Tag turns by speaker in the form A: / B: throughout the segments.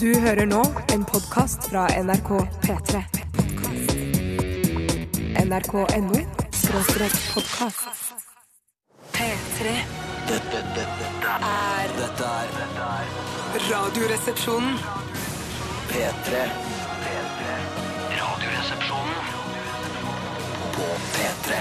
A: Du hører nå en podkast fra NRK P3. NRK.no skråstrek podkast. P3
B: Dette, dette, dette,
A: er
B: dette er dette er
A: Radioresepsjonen.
B: P3. P3. Radioresepsjonen på P3.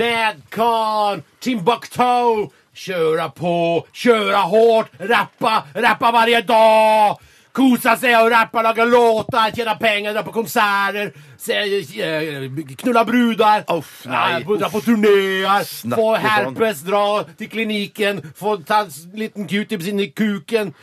C: Madcon, Timbuktu Köra på, köra hårt, rappa, rappa varje dag Kosa sig och rappa, laga låtar, tjäna pengar, dra på konserter se- eh, Knulla brudar,
D: Uff, nej,
C: eh, dra på
D: uff.
C: turnéer
D: Snacka
C: Få
D: sånt.
C: herpes, dra till kliniken Få ta en liten q-tips in i kuken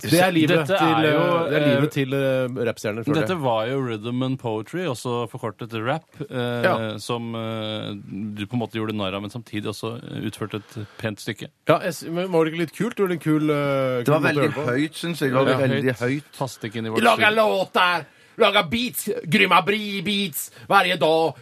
C: Det er livet
E: Dette er
C: til, eh,
E: jo,
C: det er
E: eh,
C: livet til eh, rappstjerner, føler
E: Dette
C: jeg.
E: var jo rhythm and poetry, også forkortet rap, eh,
C: Ja.
E: som eh, du på en måte gjorde narr av, men samtidig også utførte et pent stykke.
C: Ja, jeg s- men var det ikke litt kult? Det var, det en kul, eh,
D: Det
C: kul
D: var
C: måte å
D: veldig
C: gjøre på?
D: høyt, syns jeg. Det var veldig høyt.
E: Passet ikke inn i vårt
C: Laga
E: syn.
C: låtar, laga beats, grymma bri-beats varje dag.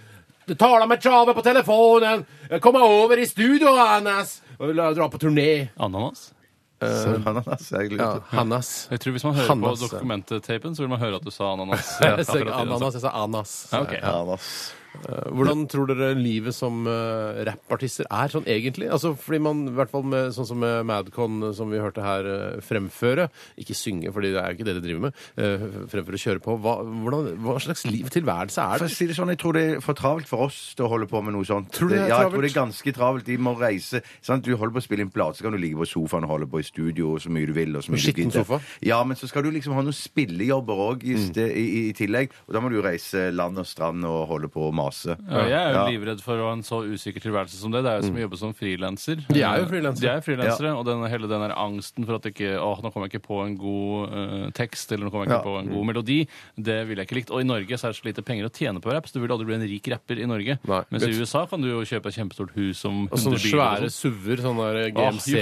C: Tala med Tjave på telefonen, komma over i studio Annas og la- dra på turné.
E: Ananas?
D: Så ananas er Eh, jeg litt-
C: Hannas.
E: Jeg tror Hvis man hører
C: Ananas, ja.
E: på dokumentet-tapen, så vil man høre at du sa ananas.
C: Jeg sa ikke
E: Akkurat i det,
C: ananas, jeg sa anas. Eh,
E: Ja, ok.
D: Ananas.
C: Hvordan tror dere livet som eh, rappartister er sånn egentlig? Altså, fordi man, i hvert fall med, sånn som med Madcon, eh, som vi hørte her, eh, fremføre Ikke synge, fordi det er jo ikke det de driver med. eh, fremføre, kjøre på. Hva, hvordan, hva slags liv, tilværelse er
D: For å
C: det?
D: si det sånn, Jeg tror det er for travelt for oss til å holde på med noe sånt.
C: Tror du det er
D: ja, jeg tror
C: travelt?
D: det er ganske travelt. De må reise. Sant? Du holder på å spille inn plate, så kan du ligge på sofaen og holde på i studio så mye du vil. Og så mye du
C: Skitten
D: gidder.
C: sofa? Mm.
D: Ja, men så skal du liksom ha noen spillejobber òg i, ste- i, i, i tillegg. Og da må du jo reise land og strand og holde på og mase.
E: Ja, jeg er jo livredd for å ha en så usikker tilværelse som det.
C: Mm.
E: Det er jo som å jobbe som frilanser.
C: De er jo frilansere.
E: De er frilansere, Og den, hele den der angsten for at ikke, åh, nå kommer jeg ikke på en god eh, tekst eller nå kommer jeg ikke
D: Ja.
E: på en
C: Mm.
E: god melodi, det ville jeg ikke likt. Og i Norge så er det så lite penger å tjene på rapp, så du vil aldri bli en rik rapper i Norge.
C: Nei.
E: Mens i USA kan du jo kjøpe et kjempestort hus som
C: Og
E: 100
C: sånne
E: biler. og
C: svære
E: sånt.
C: suver, sånn der
E: Åh, jo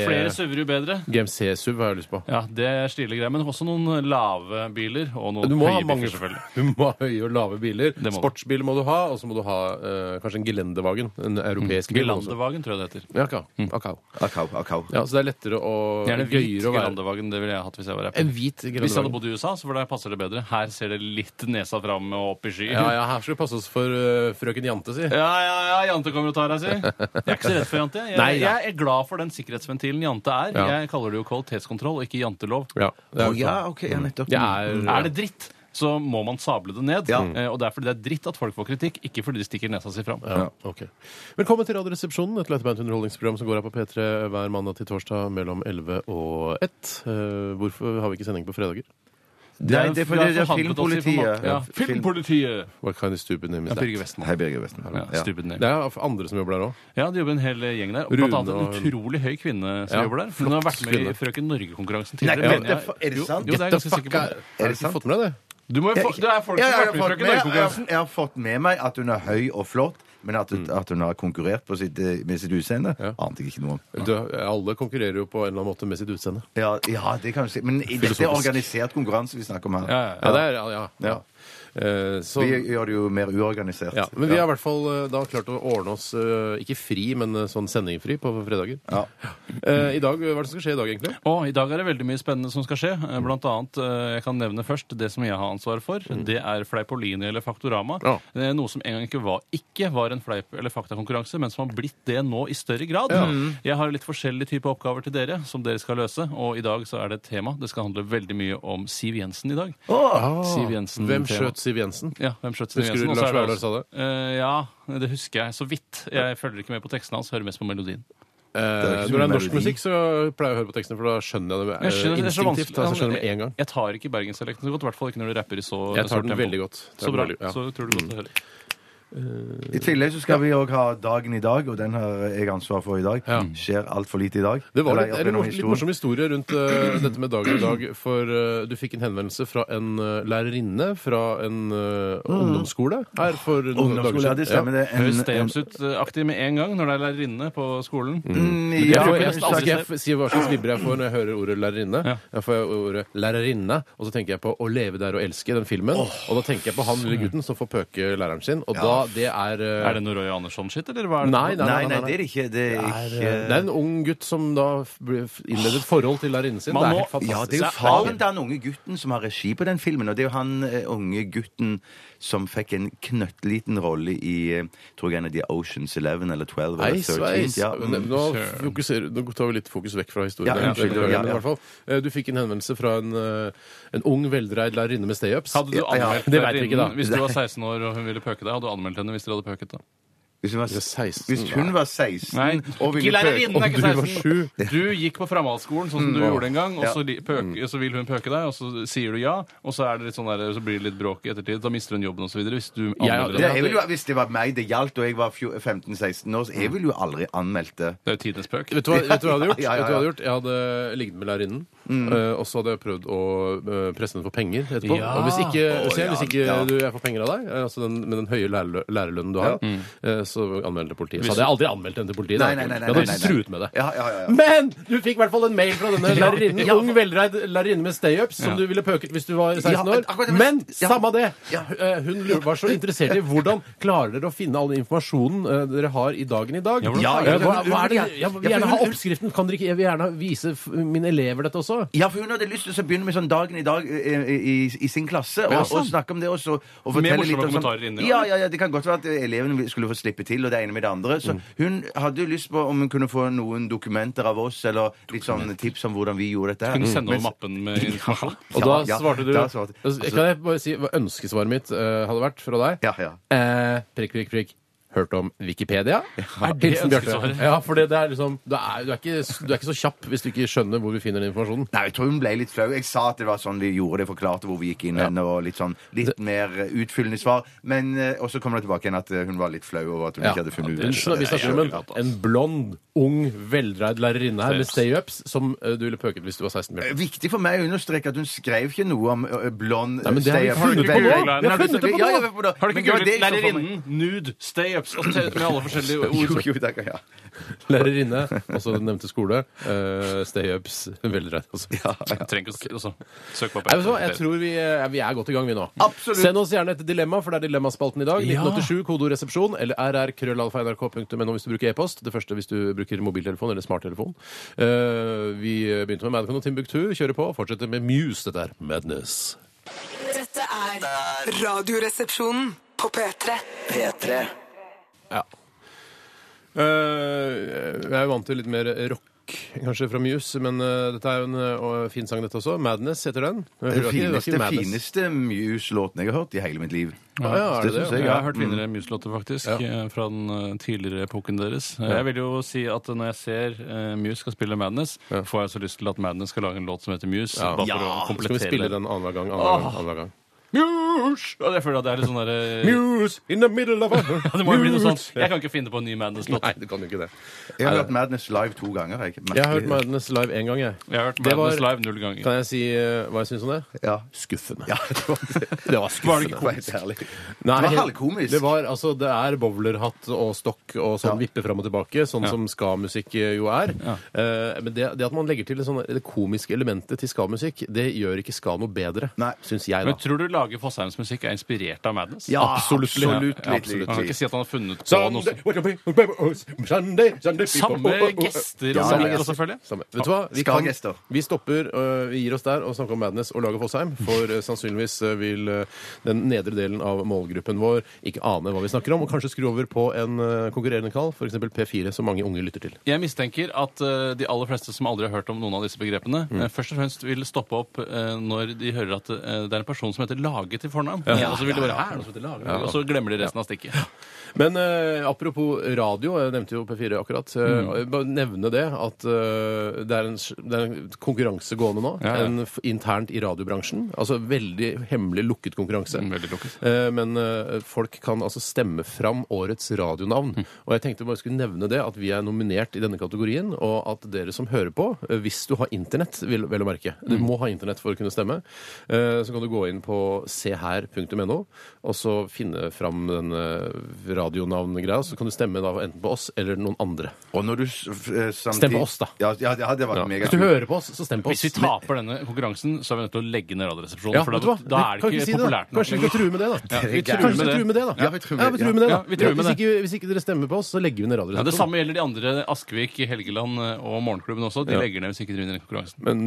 E: flere
C: GMC
E: suver, jo bedre.
C: GMC-suv har jeg lyst på.
E: Ja, det er stilige greier. Men også noen lave biler, og noen
C: Du må ha
E: høye
C: mange
E: biler, selvfølgelig.
C: Du må ha høye og lave biler.
E: må du.
C: Sportsbiler må du ha, og så må du ha eh, kanskje en gelendevagen. En
E: Mm.
C: europeisk bil. også.
E: Gelandevagen, tror jeg det heter.
C: Ja, ka- akao.
D: Akau, akau.
C: ja, så det er lettere og
E: Gjerne hvit
C: gøyere å være
E: Gelandevagen, det ville jeg hatt hvis jeg var rapper.
C: En hvit
E: Hvis jeg hadde
C: gelandevagen.
E: bodd i USA, så for der passer det bedre. Her ser det litt nesa fram og opp i sky.
C: Ja, ja, her skal vi passe oss for eh, frøken Jante, si.
E: ja, ja, ja, Jante kommer og tar deg, si. Jeg er ikke så redd for Jante. Jeg,
C: Nei, ja.
E: jeg er glad for den sikkerhetsventilen Jante er.
C: Ja.
E: Jeg kaller det jo kvalitetskontroll og ikke jantelov.
C: Ja, det
D: Å
C: er, sånn.
D: ja, OK. Ja, nettopp.
C: det er,
E: Mm. Er det dritt, så må man sable det ned.
D: Ja.
E: Eh, Og det er fordi det er dritt at folk får kritikk, ikke fordi de stikker nesa si fram.
C: Ja, ok. Velkommen til Radioresepsjonen, et lettbeint underholdningsprogram som går her på P3 hver mandag til torsdag mellom 11 og 1. Eh, hvorfor har vi ikke sending på fredager?
D: Nei, det er fordi det er
E: forhandlet oss i for makt.
D: filmpolitiet.
E: Ja.
D: Ja, film-
E: Filmpolitiet!
C: What kind of stupid name is that?
E: Birger Westman.
D: Hei, Birger Westen.
E: Ja, stupid name.
C: Det er andre som jobber der òg.
E: Ja, det jobber en hel gjeng der. Og
C: Rune
E: blant annet en
C: og-
E: utrolig høy kvinne som
C: Ja,
E: jobber der. Hun har vært med
C: kvinne.
E: i Frøken Norge-konkurransen
D: Nei,
E: tidligere.
D: men
E: mener jeg.
D: det- er det
E: Jo,
D: sant?
E: Jo, det er jeg ganske sikker på.
C: Har du ikke
D: sant?
C: fått med deg det?
E: Du må jo få, det er folk som
D: Ja,
E: har vært
D: jeg,
E: med
D: har
E: i Frøken
D: fått med, jeg,
E: Norge-konkurransen.
D: har- jeg har fått med meg at hun er høy og flott, men at, hun-
C: Mm.
D: at hun har konkurrert på sitt, eh, med sitt utseende, ante jeg ikke noe om.
C: Du, alle konkurrerer jo på en eller annen måte med sitt utseende.
D: Ja, ja, det kan du si. Men i- dette er organisert konkurranse vi snakker om her.
E: Ja, ja,
C: Ja, det er, ja, ja. Eh, så,
D: Vi gjør det jo mer uorganisert.
C: ja. Men vi har i hvert fall eh, da klart å ordne oss eh, ikke fri, men eh, sånn sendingfri på fredager.
D: Ja.
C: Eh, I dag, Hva er det som skal skje i dag, egentlig?
E: Og I dag er det veldig mye spennende som skal skje. Eh, Blant annet, eh, jeg kan nevne først det som jeg har ansvar for. Det er Fleipolini eller Faktorama.
C: Mm. Ja.
E: Det er noe som en gang ikke var, ikke var en fleip- eller faktakonkurranse, men som har blitt det nå i større grad.
D: Mm.
E: Jeg har litt forskjellige typer oppgaver til dere som dere skal løse. Og i dag så er det et tema. Det skal handle veldig mye om Siv Jensen i dag. Siv Jensen.
C: Hvem
E: tema.
C: skjøt Siv Jensen?
E: Ja, hvem skjøt Siv
C: Husker du
E: Jensen? Og så
C: Lars
E: er det
C: Vaular
E: også-
C: sa det?
E: Eh, ja, det husker jeg så vidt. Jeg følger ikke med på tekstene hans, hører mest på melodien.
C: Eh,
D: er ikke så
C: når det er
D: mye
C: norsk
D: melodi.
C: musikk, så pleier jeg å høre på tekstene, for da skjønner jeg det eh,
E: Jeg skjønner, det er så vanskelig.
C: instinktivt. Altså, jeg skjønner det med en gang.
E: Jeg tar ikke bergensdialekten så godt, i hvert fall ikke når du rapper i så
C: Jeg
E: stort
C: tar den
E: tempo.
C: veldig godt. Tar
E: Så
C: den
E: bra.
C: veldig- ja.
E: Så utrolig godt å høre.
D: I tillegg så skal vi òg ha Dagen i dag, og den har jeg ansvar for i dag.
C: Ja.
D: Skjer altfor lite i dag.
C: Det var litt,
D: Eller jeg
C: eller,
D: opplever noen
C: litt
D: historier.
C: morsom historie rundt eh, dette med dagen i dag. For eh, du fikk en henvendelse fra en eh, lærerinne fra en eh, ungdomsskole her for noen dager
D: Mm. Ungdomsskole, ja,
C: siden.
D: det stemmer det. En-
E: Høres
D: en-
E: Stayups-aktig med en gang når det er lærerinne på skolen.
D: Mm,
C: Ja,
D: ja,
C: for
E: jeg
C: jeg,
E: skal
C: skal
E: aldri
C: altså, jeg f- si hva slags vibber jeg får når jeg hører ordet lærerinne?
E: Ja.
C: Jeg får ordet lærerinne, og så tenker jeg på Å leve der og elske, den filmen. Og da tenker jeg på han lille gutten som får pøke læreren sin, og da Ja, det er eh,
E: Er det noe Roy Andersson-shit, eller hva er det?
C: Nei, nei,
D: Nei, nei, det er det ikke. Det er
C: Det
D: ikke
C: er en ung gutt som da ble- innleder et forhold til lærerinnen sin.
E: Man
C: Det er
E: må-
C: helt fantastisk.
D: Ja, det er jo faren til den unge gutten som har regi på den filmen. Og det er jo han eh, unge gutten som fikk en knøttliten rolle i eh, tror jeg en av de Oceans 11 eller 12 eller
C: Nei,
D: 13.
C: sveis.
D: Ja,
C: Nå,
D: mm.
E: Søren.
C: fokuserer- nå tar vi litt fokus vekk fra historien.
D: Ja, unnskyld,
C: Men
D: ja, ja.
C: i hvert fall, eh, Du fikk en henvendelse fra en, eh, en ung, veldreid lærerinne med stay-ups.
E: Hadde du
C: Ja, ja.
E: anmeldt
C: Det vet vi ikke, da.
E: lærerinnen hvis du var 16 år og hun ville pøke deg? Hadde du anmeldt henne hvis dere hadde pøket da?
D: Hvis hun var,
C: Det er 16,
D: hvis hun var 16 og
E: ikke
D: ville
E: lærerinnen, er
C: Og
E: ikke
D: pøke-
C: du var
E: 16. Du gikk på framhaldsskolen sånn som du gjorde en gang, og
D: Mm. Ja. Mm.
E: så, li- pøk, så vil hun pøke deg, og så sier du ja, og så, er det litt sånn der, så blir det litt bråk i ettertid. Da mister hun jobben og så videre hvis du anmelder
D: Det,
E: henne.
D: jeg vil jo, hvis det var meg det gjaldt, og jeg var 15-16 år, så jeg ville jo aldri anmeldt det.
E: Det er jo tidenes pøk.
C: Vet du, hva, vet du hva jeg hadde gjort?
D: Ja,
C: Vet du hva jeg,
D: ja, Mm. ja.
C: hadde gjort? jeg hadde ligget med lærerinnen, eh, og så hadde jeg prøvd å eh, presse henne for penger etterpå.
E: Ja.
C: Og hvis ikke,
D: Å,
C: se, hvis
D: ja,
C: ikke
D: ja.
C: du, jeg får penger av deg, eh, altså den, med den høye lærer, lærerlønnen du har, eh, så anmeld til politiet. Så hadde jeg aldri anmeldt henne til politiet.
D: Mm. Nei,
C: da.
D: nei, nei, nei,
C: jeg hadde
D: nei, nei.
C: truet med det.
D: Ja, ja, ja, ja.
C: Men du fikk i hvert fall en mail fra denne lærerinnen, ung, velreid lærerinne med stay-ups, som
E: Ja.
C: du ville pøket hvis du var 16
D: Ja, men akkurat
C: år.
D: det-
C: Men
D: ja.
C: samme det!
D: Ja.
C: Eh, Hun lurer- var så interessert i hvordan klarer dere å finne all den informasjonen eh, dere har i dagen i dag?
E: hvordan
D: Ja,
C: Eh,
D: ja,
C: hva, hva er det?
D: ja,
C: Jeg vil
D: ja, for
C: gjerne ha
D: hun-
C: oppskriften. Kan dere ikke jeg vil gjerne vise f- mine elever dette også?
D: Ja, for hun hadde lyst til å begynne med sånn dagen i dag eh, eh, i, i sin klasse, og,
E: Ja,
D: og
E: sant.
D: snakke om det også.
E: Med
D: Og fortelle
E: morsomme
D: litt om sånn-
E: kommentarer inni,
D: Ja,
E: eller?
D: ja, ja, det kan godt være at elevene skulle få slippe til, og det ene med det andre. Så hun hadde jo lyst på om hun kunne få noen dokumenter av oss, eller litt sånn tips om hvordan vi gjorde dette. her.
E: Kunne du sende
D: Mens-
E: over mappen med informasjon?
C: Og da
D: Ja, ja,
C: svarte du
D: da svarte-
C: Altså, Kan jeg bare si hva ønskesvaret mitt eh, hadde vært fra deg?
D: Ja, ja.
C: Eh, prikk, prikk, prikk. Hørt om Wikipedia? Er det
E: det er
C: Bjarte?
E: ønskesvaret.
C: Ja, for det, det er liksom, du, er, du, er ikke, du er ikke så kjapp hvis du ikke skjønner hvor vi finner den informasjonen.
D: Nei, jeg tror hun ble litt flau. Jeg sa at det var sånn vi gjorde det, forklarte hvor vi gikk inn, og litt sånn litt mer eh, utfyllende svar. Men eh, Og så kom det tilbake igjen at eh, hun var litt flau over at hun
C: Ja.
D: ikke hadde funnet ut
C: Hun
D: dette.
C: snakker- Vi snakker om en, en blond, ung, veldreid lærerinne her med stay-ups som eh, du ville pøket hvis du var 16.
D: Eh,
C: Bjørn.
D: Viktig for meg å understreke at hun skrev ikke noe om eh, blond
C: Nei, men det har vi
D: stay-up.
C: funnet på
E: nå.
D: Veldig-
E: Vi har
D: Nei, du-
C: funnet det på
D: ja,
C: nå.
D: ja, vi har funnet det på nå.
E: Har du
D: Men
E: ikke
D: det
E: googlet
D: var det jeg så for meg.
E: lærerinnen, nude, stay-ups og telt med alle forskjellige ord?
D: Jo, jo, det kan jeg.
C: Lærerinne, altså den nevnte skole. eh, stay-ups, veldreid. Altså.
E: Trenger ikke å si altså, Søk på
C: Nei, vet du hva? Jeg tror vi, eh, vi er godt i gang, vi nå.
D: Absolutt.
C: Send oss gjerne et dilemma, for det er dilemmaspalten i dag. 1987, kodeord resepsjon, eller rrkrøllalfa.nrk.no hvis du bruker e-post. Det første hvis du bruker mobiltelefon eller smarttelefon. Eh, vi begynte med Madcon og Timbuktu. Kjører på. Fortsetter med Muse. Dette er Madness.
F: Dette er Radioresepsjonen på P3.
B: P3.
C: Ja. Eh, jeg er jo vant til litt mer rock, kanskje, fra Muse, men eh, dette er jo en eh, fin sang, dette også. Madness heter den. Det
D: Den
C: var ikke- det var ikke
D: fineste,
C: Madness.
D: fineste Muse-låten jeg har hørt i hele mitt liv.
C: Ja, ja, er Mm. det
D: Det synes
C: det?
D: jeg,
E: Jeg
D: ja.
E: har hørt finere Muse-låter, faktisk, eh, fra den eh, tidligere epoken deres. Eh, Jeg vil jo si at eh, når jeg ser eh, Muse skal spille Madness, får jeg så lyst til at Madness skal lage en låt som heter Muse. Bare for å
C: Skal vi
E: komplettere
C: spille
E: det.
C: den annenhver gang? Annenhver gang, annenhver gang.
E: Muse! Ja, jeg føler at det er litt sånn derre
C: Muse in the middle of a
E: ja, det må jo bli noe sånt. Jeg kan ikke finne på en ny Madness-låt.
C: Nei, du kan jo ikke det.
D: Jeg har hørt Madness live to ganger. Jeg,
C: Jeg har hørt Madness live én gang, jeg.
E: Jeg har hørt
C: Det var-
E: Madness live null ganger.
C: Kan jeg si eh, hva jeg syns om det?
D: Ja.
C: Skuffende.
D: Ja, det var, det
C: Det var
D: var
C: skuffende.
D: ikke komisk. Det
C: Nei,
D: var halvkomisk.
C: Det, var, altså, det er bowlerhatt og stokk og sånn
D: Ja.
C: vippe fram og tilbake, sånn
E: Ja.
C: som ska-musikk jo er. Eh, men det, det at man legger til det, sånne, det komiske elementet til ska-musikk, det gjør ikke ska noe bedre,
D: Nei.
C: syns jeg, da.
E: Men tror du Lage Fosheims musikk er inspirert av Madness?
D: Ja,
C: absolutt.
D: absolutt.
C: Ja,
D: litt,
C: absolutt. Sånn,
E: Man kan
D: litt,
E: ikke
D: litt.
E: si at han har funnet på noe
C: Sunday,
E: sånt.
C: what a paper, oh, Sunday, Sunday,
E: Samme
C: people, oh, oh, oh.
E: gester og
C: Ja,
E: samme
C: ja.
E: gester, selvfølgelig.
C: Samme. Vet du hva? Vi,
D: Skal
C: kan,
D: gester.
C: vi stopper, øh, vi gir oss der og snakker om Madness og lager Fossheim, for øh, sannsynligvis øh, vil øh, den nedre delen av målgruppen vår ikke ane hva vi snakker om, og kanskje skru over på en øh, konkurrerende kall, f.eks. P4, som mange unge lytter til.
E: Jeg mistenker at eh, de aller fleste som aldri har hørt om noen av disse begrepene,
C: Mm.
E: eh, først og fremst vil stoppe opp eh, når de hører at eh, det er en person som heter Lage til fornavn. og så vil de bare, «Hæ, er det noen som heter Lage? Og så glemmer de resten av stikket.
C: Men øh, apropos radio, jeg nevnte jo P4 akkurat. øh,
E: Mm.
C: jeg Bare nevne det at øh, det, er en, s- det er en konkurranse gående nå,
E: Ja, ja.
C: En f internt i radiobransjen. Altså veldig hemmelig lukket konkurranse.
E: Veldig lukket.
C: Eh, Men eh, folk kan altså stemme fram årets radionavn.
E: Mm.
C: Og jeg tenkte bare skulle nevne det, at vi er nominert i denne kategorien, og at dere som hører på,
E: Mm.
C: eh, hvis du har internett, vil, vel å merke Du må ha internett for å kunne stemme. eh, Så kan du gå inn på seher.no, og så finne fram den eh, radionavngreia. Så kan du stemme da enten på oss eller noen andre.
D: Og når du s- f- eh, samtidig...
C: Stem på oss, da.
D: Ja, ja det hadde vært
C: Ja.
D: mega
C: Hvis du hører på oss, så stem på oss.
E: Hvis vi taper denne konkurransen, så er vi nødt til å legge ned Radioresepsjonen.
C: Ja,
E: for
C: vet du
E: da,
C: hva?
E: da er
C: Kan
E: det ikke
C: si det, da.
E: populært nok.
C: Kanskje vi kan true med det, da.
E: Ja, vi
D: Kanskje
E: truer
C: Kanskje vi
E: med
C: truer
E: det.
C: med det, da.
D: Ja, vi truer med-
C: ja, vi truer med det, da.
E: Ja, vi truer med
C: hvis,
E: det.
C: ikke, hvis ikke dere stemmer på oss, så legger vi ned
E: Ja,
C: radioresepsjonen.
E: det samme gjelder de andre Askvik, Helgeland eh, og Morgenklubben også. De legger ned hvis ikke de vinner konkurransen.
C: Men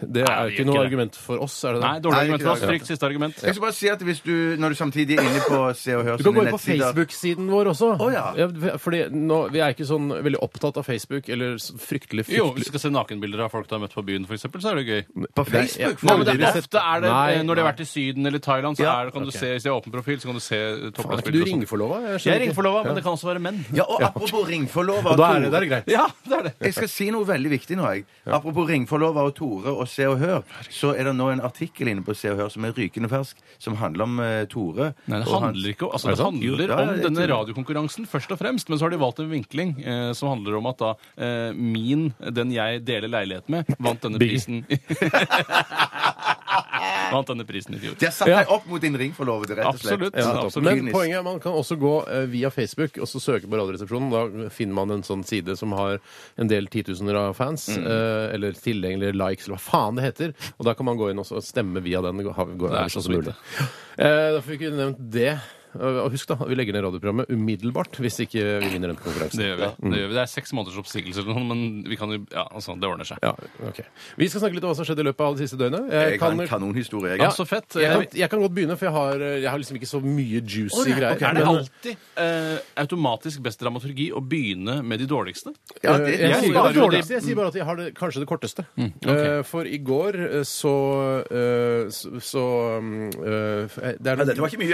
C: det
E: Nei,
C: er
E: vi
C: jo ikke
E: gjør
C: noe
E: ikke det.
C: argument for oss, er det det?
E: Nei, dårlig
D: Nei,
E: argument
D: ikke
E: fra oss.
D: det.
E: Trygt siste argument.
D: Jeg skal bare si at hvis du, når du samtidig er inne på Se og Hør
C: Du kan gå inn
D: sine
C: på
D: nettsider-
C: Facebook-siden vår også.
D: Å, ja.
C: fordi nå, Vi er ikke sånn veldig opptatt av Facebook eller så fryktelig
E: Jo,
C: fryktelig
E: hvis du skal se nakenbilder av folk du har møtt på byen, for eksempel, så er det gøy.
D: På
C: Nei, jeg-
D: Facebook?
E: Nei, men det
D: får du
E: er,
D: det?
E: ofte er det, eh,
C: Nei,
E: Når de har
C: nei.
E: vært i Syden eller Thailand, så
D: Ja,
E: er det, kan du
C: ok.
E: se, hvis de har åpen profil, så kan du se
C: Faen, er ikke du
E: topplassbilder. og sånn.
C: ringforlova? Jeg
E: Jeg
C: skjønner
E: er
C: ikke.
E: ringforlova,
C: Ja.
E: men det kan også være menn.
D: Ja, og apropos ringforlover
C: Og da er det, da er det greit.
E: Ja, det er det.
D: Jeg skal si noe veldig viktig nå. jeg. Apropos ringforlover og Tore og Se og Hør, så er det nå en artikkel inne på Se og Hør som er rykende fersk, som handler om eh, Tore.
E: Nei, det
D: og hans-
E: handler ikke om, altså,
D: Er
E: det
D: det sant? Jo,
E: handler
D: ja, ja,
E: om
D: jeg
E: denne
D: tror det.
E: radiokonkurransen først og fremst, men så har de valgt en vinkling eh, som handler om at da eh, min, den jeg deler leilighet med, vant denne
C: Bil.
E: prisen. vant denne prisen i fjor.
D: Det har satt deg opp mot din ringforlovede, rett og slett.
E: Absolutt.
C: Ja,
E: absolutt.
C: Men poenget er man kan også gå eh, via Facebook og så søke på Radioresepsjonen. Da finner man en sånn side som har en del titusener av fans,
E: Mm.
C: eh, eller tilgjengelige likes, eller hva faen det heter. Og da kan man gå inn og så stemme via den. Det går, går,
E: Det er
C: er
E: så
C: så
E: sweet,
C: mulig. Eh, Da fikk vi nevnt det. Eh, Og husk, da, vi legger ned radioprogrammet umiddelbart hvis ikke vi vinner den konkurransen.
E: Det gjør vi. Det, gjør vi. det er seks måneders oppsigelse eller noe, men vi kan jo Ja, altså, det ordner seg.
C: Ja, ok. Vi skal snakke litt om hva som skjedde i løpet av det siste døgnet.
D: Jeg har en kanonhistorie, jeg.
E: Ja, så fett. Eh,
C: jeg,
E: Jeg,
C: kan, jeg kan godt begynne, for jeg har, jeg har liksom ikke så mye juicy greier.
E: er det
C: men-
E: alltid eh, automatisk best dramaturgi å begynne med de dårligste?
D: Ja,
C: Eh, jeg,
D: det-
E: jeg
C: sier
E: sier
C: bare
E: det.
C: dårligste, jeg sier bare at jeg har det, kanskje det korteste.
E: Mm,
C: Eh, for i går eh, så eh, så, så mm, eh, det, er
D: Men dette
C: noe,
D: var ikke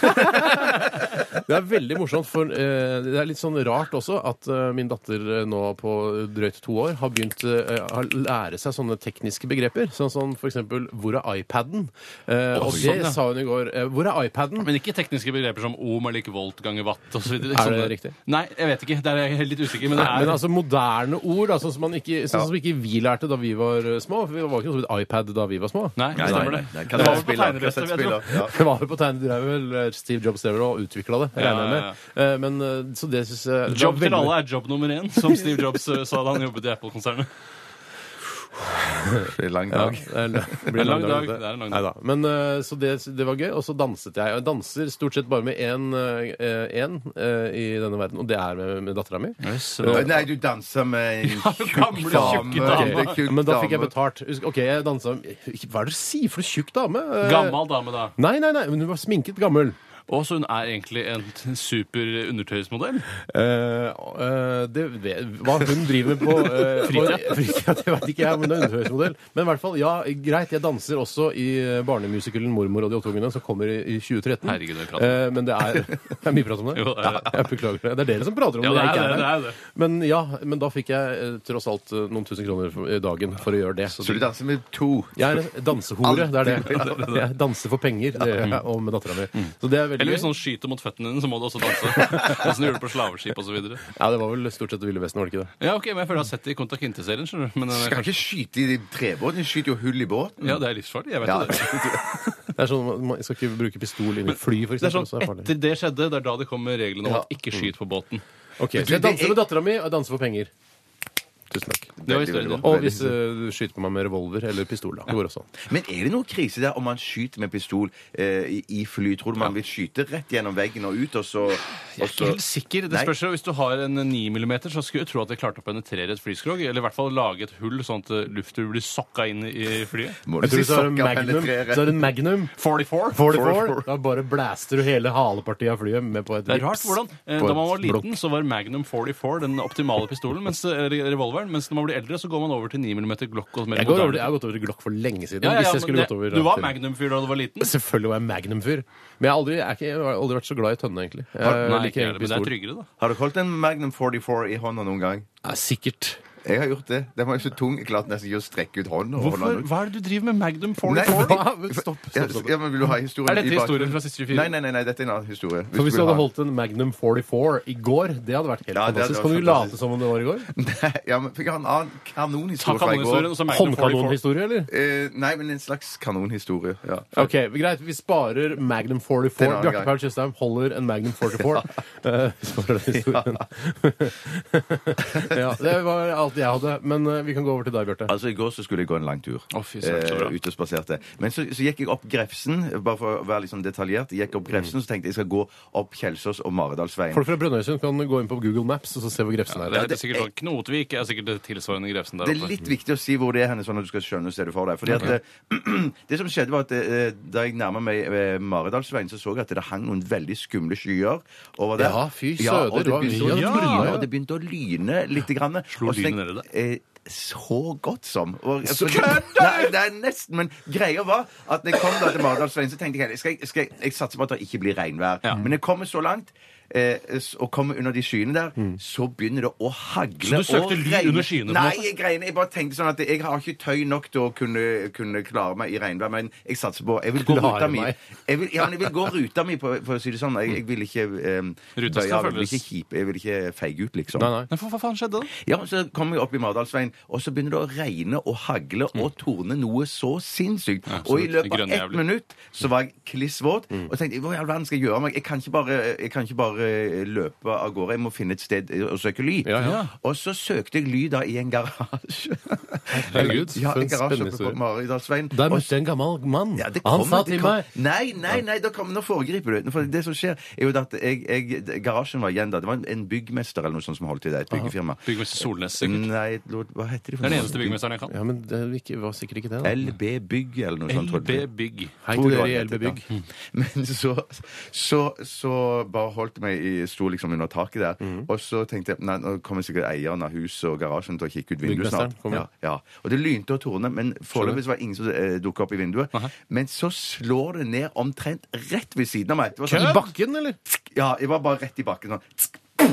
D: mye.
C: det er veldig morsomt, for eh, det er litt sånn rart også at eh, min datter eh, nå på drøyt to år har begynt eh, å lære seg sånne tekniske begreper. Sånn som for eksempel 'Hvor er iPaden?' Eh, og
E: sånn,
C: det
E: ja.
C: sa hun i går. Eh, 'Hvor er iPaden?'
E: Men ikke tekniske begreper som ohm er lik volt ganger watt osv.
C: Er det riktig?
E: Nei, jeg vet ikke. Der er jeg helt litt usikker. Men det
C: Nei,
E: er
C: men altså moderne ord, da, sånn, som man ikke, sånn som ikke vi lærte da vi var eh, små. for Vi var ikke noe som het iPad da vi var små.
E: Nei, det stemmer det.
D: Nei,
E: Det var vel på
D: kassettspiller,
E: tegnebrett, jeg
D: kassettspiller,
E: tror.
D: ja.
C: Det var jo på tegnet drev vel eh, Steve Jobs drev og utvikla det,
E: Ja,
C: regner jeg
E: ja,
C: med. Eh, Men eh, så det syns jeg det var
E: Jobb til
C: veldig-
E: alle er jobb nummer én, som Steve Jobs eh, sa da han jobbet i Apple-konsernet.
D: Det er lang
C: Ja,
D: dag.
C: det er- det blir en lang dag.
E: Det er en lang dag.
C: Neida. Men eh, så det, det var gøy, og så danset jeg. Og jeg danser stort sett bare med én eh, eh, én, eh, i denne verden, og det er med, med dattera mi.
D: Nei, du danser med en
E: Ja, gamle,
D: tjukk
E: tjukke dame.
D: dame. Tjukk
C: Men da fikk jeg
D: dame.
C: betalt. Husk- OK, jeg dansa Hva er det du sier for en tjukk dame? Eh,
E: Gammel dame, da.
C: Nei, nei, nei, men hun var sminket gammel.
E: Og så hun er egentlig en super undertøysmodell.
C: Eh, eh, det, vet- hva hun driver med på eh,
E: Fritida.
C: på- fritida, det vet ikke jeg, men det er underveismodell. Men i hvert fall, ja, greit, jeg danser også i eh, barnemusikalen 'Mormor og de åtte ungene', som kommer i, i 2013.
E: Herregud, det er prat.
C: Eh, men det er, det er mye prat om det?
E: Jo, det er det.
C: Ja, jeg beklager det. Det er dere som prater om
E: Ja,
C: det.
E: det
C: jeg
E: er
C: ikke
E: det. det,
C: her.
E: er det.
C: Men ja, men da fikk jeg eh, tross alt eh, noen tusen kroner for- i dagen for å gjøre det.
D: Så du danser med to?
C: jeg er en dansehore, det er det. Mm. Jeg danser for penger, det gjør jeg, og med dattera mi. Så det er veldig
E: Eller hvis
C: gøy.
E: noen skyter mot føttene dine, så må du også danse. Åssen gjorde du på slaveskip osv.
C: Ja, det var vel stort sett Ville Vesten, var det ikke det?
E: Ja, ok, men jeg føler jeg har sett det i Conta Quinte-serien. skjønner du? Men eh,
D: Skal ikke skyte i de trebåten, de skyter jo hull i båten.
E: ja, det er livsfarlig. Jeg vet
D: Ja.
E: jo det.
C: Det er sånn, man- Man skal ikke bruke pistol inn i fly, for
E: Det er
C: eksempel.
E: sånn,
C: også farlig.
E: Etter det skjedde, det er da det kommer reglene om
D: Ja.
E: at ikke skyt på båten.
C: Ok, så
D: Men du,
C: jeg
D: det
C: danser
D: er-
C: med dattera mi, og jeg danser for penger. Tusen takk.
E: Det var
D: Veldig, veldig
E: historien.
D: bra.
C: Og hvis eh, du skyter på meg med revolver eller pistol, da. Det går også. an.
D: Men er det noe krise der om man skyter med pistol eh, i- i fly? Tror du man vil skyte rett gjennom veggen og ut, og så,
E: Jeg
D: og
E: er ikke
D: så
E: helt sikker. Det
D: Nei.
E: spørs jo. Hvis du har en 9 mm, så skulle jeg tro at jeg klarte å penetrere et flyskrog. Eller i hvert fall lage et hull, sånn at eh, luften blir sokka inn i flyet.
D: Må du
C: Jeg tror
D: si
C: hvis du har en
D: sokka
C: magnum, sånn-
D: penetrere?
C: så er det en magnum.
E: 44?
C: 44. Da bare blaster du hele halepartiet av flyet med på et
E: Det er rart
C: vips
E: hvordan. eh,
C: på
E: Da man
C: et
E: var liten,
C: blokk.
E: så var Magnum 44 den optimale pistolen, mens, eh, re- revolveren. Mens når man blir eldre, så går man over til 9 mm Glock. Og mer
C: Jeg, går over,
E: moderne.
C: jeg har gått over til Glock for lenge siden.
E: ja, ja,
C: hvis jeg
E: ja, men
C: skulle
E: det,
C: gått over
E: du var
C: til-
E: Magnum-fyr da du var liten.
C: Selvfølgelig var jeg Magnum-fyr. Men jeg har aldri, jeg er ikke, jeg har aldri vært så glad i tønne, egentlig. Jeg
E: Nei,
C: liker
E: ikke, heller,
C: egentlig
E: men det er
C: pistol.
E: tryggere, da.
D: Har dere holdt en Magnum 44 i hånda noen gang?
C: Ja, sikkert.
D: Jeg har gjort det. Den var jo så tung. Jeg klarte nesten ikke å strekke ut hånden. og holde
E: Hvorfor,
D: den ut.
E: hva er det du driver med Magnum
D: Nei,
E: 44?
C: hva? Men stopp, stopp,
D: Ja,
C: stopp.
D: Ja, men vil du ha historien
E: Er dette
D: i bakgrunnen?
E: historien fra siste 24?
D: Nei, nei, nei, nei, dette er en annen historie.
C: For Hvis du
D: du vil
C: hadde
D: ha-
C: holdt en Magnum 44 i går, det hadde vært helt
D: Ja, det hadde
C: fantastisk.
D: vært
C: Kan du
D: fantastisk.
C: late som om det var i går?
D: Nei, ja, men fikk jeg ha en annen
E: Ta
D: kanonhistorie fra i
E: kanonhistorien,
D: går?
E: og så Magnum 44.
C: Håndkanonhistorie, eller?
D: Eh, nei, men en slags kanonhistorie. Ja.
C: Ok, Greit, vi sparer Magnum 44.
D: Det er en annen
C: Bjarte
D: gang.
C: Paul Tjøstheim holder en Magnum 44. Eh, Vi sparer den historien. ja, det var alt jeg hadde. Men eh, vi kan gå over til deg, Bjarte.
D: Altså, I går så skulle jeg gå en lang tur.
E: Å, fy søren, så bra.
D: Eh, ute og spaserte. Men så, så gikk jeg opp Grefsen, bare for å være litt sånn detaljert. Jeg gikk opp Grefsen, så tenkte jeg jeg skal gå opp Kjelsås og Maridalsveien.
C: Folk fra Brønnøysund kan gå inn på Google Maps og så se hvor Grefsen
E: Det
C: er.
E: heter sikkert sånn Knotvik er sikkert det tilsvarende Grefsen der
D: Det er
E: oppe.
D: litt viktig å si hvor det er henne, sånn at du skal skjønne stedet for deg. Fordi at eh, det som skjedde var at eh, Da jeg nærma meg eh, Maridalsveien, så så jeg at det hang noen veldig skumle skyer over der.
C: Ja, fy søder,
D: og det
C: det var
D: begynte
C: mye
D: å
C: av det
D: lyne,
C: trynet, ja.
D: og det begynte å lyne litt. Grann.
E: Slo
D: Og så
E: lynet
D: tenkte-
E: ned
D: eh, så godt som. Og,
C: Så-
D: Nei, det er nesten, men greia var at når jeg kom da til Maridalsveien, så tenkte jeg skal jeg, skal jeg, jeg satser på at det ikke blir regnvær. Men jeg kommer så langt. eh, s- Og kommer under de skyene der, så begynner det å
E: Mm. Så
D: hagle.
E: du søkte
D: og
E: ly
D: regne.
E: under skyene, på en
D: Nei,
E: måte?
D: jeg, greiene, jeg bare tenkte sånn at jeg har ikke tøy nok til å kunne, kunne klare meg i regnvær, men jeg satser på Jeg vil gå
C: Klare
D: ruta mi.
C: meg.
D: Jeg vil, ja, men jeg vil gå ruta mi, på- for å si det sånn. Jeg, jeg vil ikke um,
E: Ruta skal
D: jeg vil
E: følges.
D: ikke kjipe, jeg vil ikke feige ut, liksom.
C: Nei, nei.
E: Nei, for hva faen skjedde da?
D: Ja, så kommer jeg opp i Mardalsveien, og så begynner det å regne og hagle
C: Mm.
D: og torne noe så sinnssykt. og i
E: absolutt.
D: løpet av
E: Grønn
D: ett
E: jævlig.
D: minutt så var jeg kliss våt
C: Mm.
D: og tenkte hva i all verden skal jeg gjøre av meg? Jeg kan ikke bare, jeg kan ikke bare eh, løpe av gårde. Jeg må finne et sted eh, å søke ly.
C: Ja, ja.
D: Og så søkte jeg ly da i en garasje.
C: Herregud,
D: ja,
C: for en
D: en garasje
C: spennende
D: oppe på
C: historie.
D: Maridalsveien.
C: Der
D: Og-
C: møtte jeg en gammel mann.
D: ja, det
C: Han
D: kommer-
C: sa
D: det
C: til meg
D: kom- Nei, nei, nei, da kommer- nå foregriper du. For det som skjer, er jo at jeg, jeg, garasjen var igjen da. Det var en, en byggmester eller noe sånt som holdt til det. Et byggefirma.
E: Byggmester Solnes, sikkert.
D: Nei, lord, hva heter de?
E: Det er den eneste byggmesteren jeg kan.
C: Mm. Ja, men det var ikke- var sikkert ikke det. da.
D: LB Bygg eller noe sånt. tror
E: LB
D: jeg.
E: Bygg.
C: Hei
D: Tror
C: til
D: jeg
C: dere
D: det
C: i
D: var
C: LB
D: det, ja.
C: Bygg.
D: Men så, så, så bare holdt jeg meg i sto liksom under taket der. Og så tenkte jeg nei, nå kommer sikkert eieren av huset og garasjen til å kikke ut vinduet
C: Byggmesteren
D: snart.
C: kommer.
D: Ja, ja. Og det lynte og tornet, men foreløpig så var det ingen som eh, dukka opp i vinduet. Men så slår det ned omtrent rett ved siden av meg. Det var
C: I
D: sånn,
C: bakken, eller?
D: ja, jeg var bare rett i bakken. Sånn.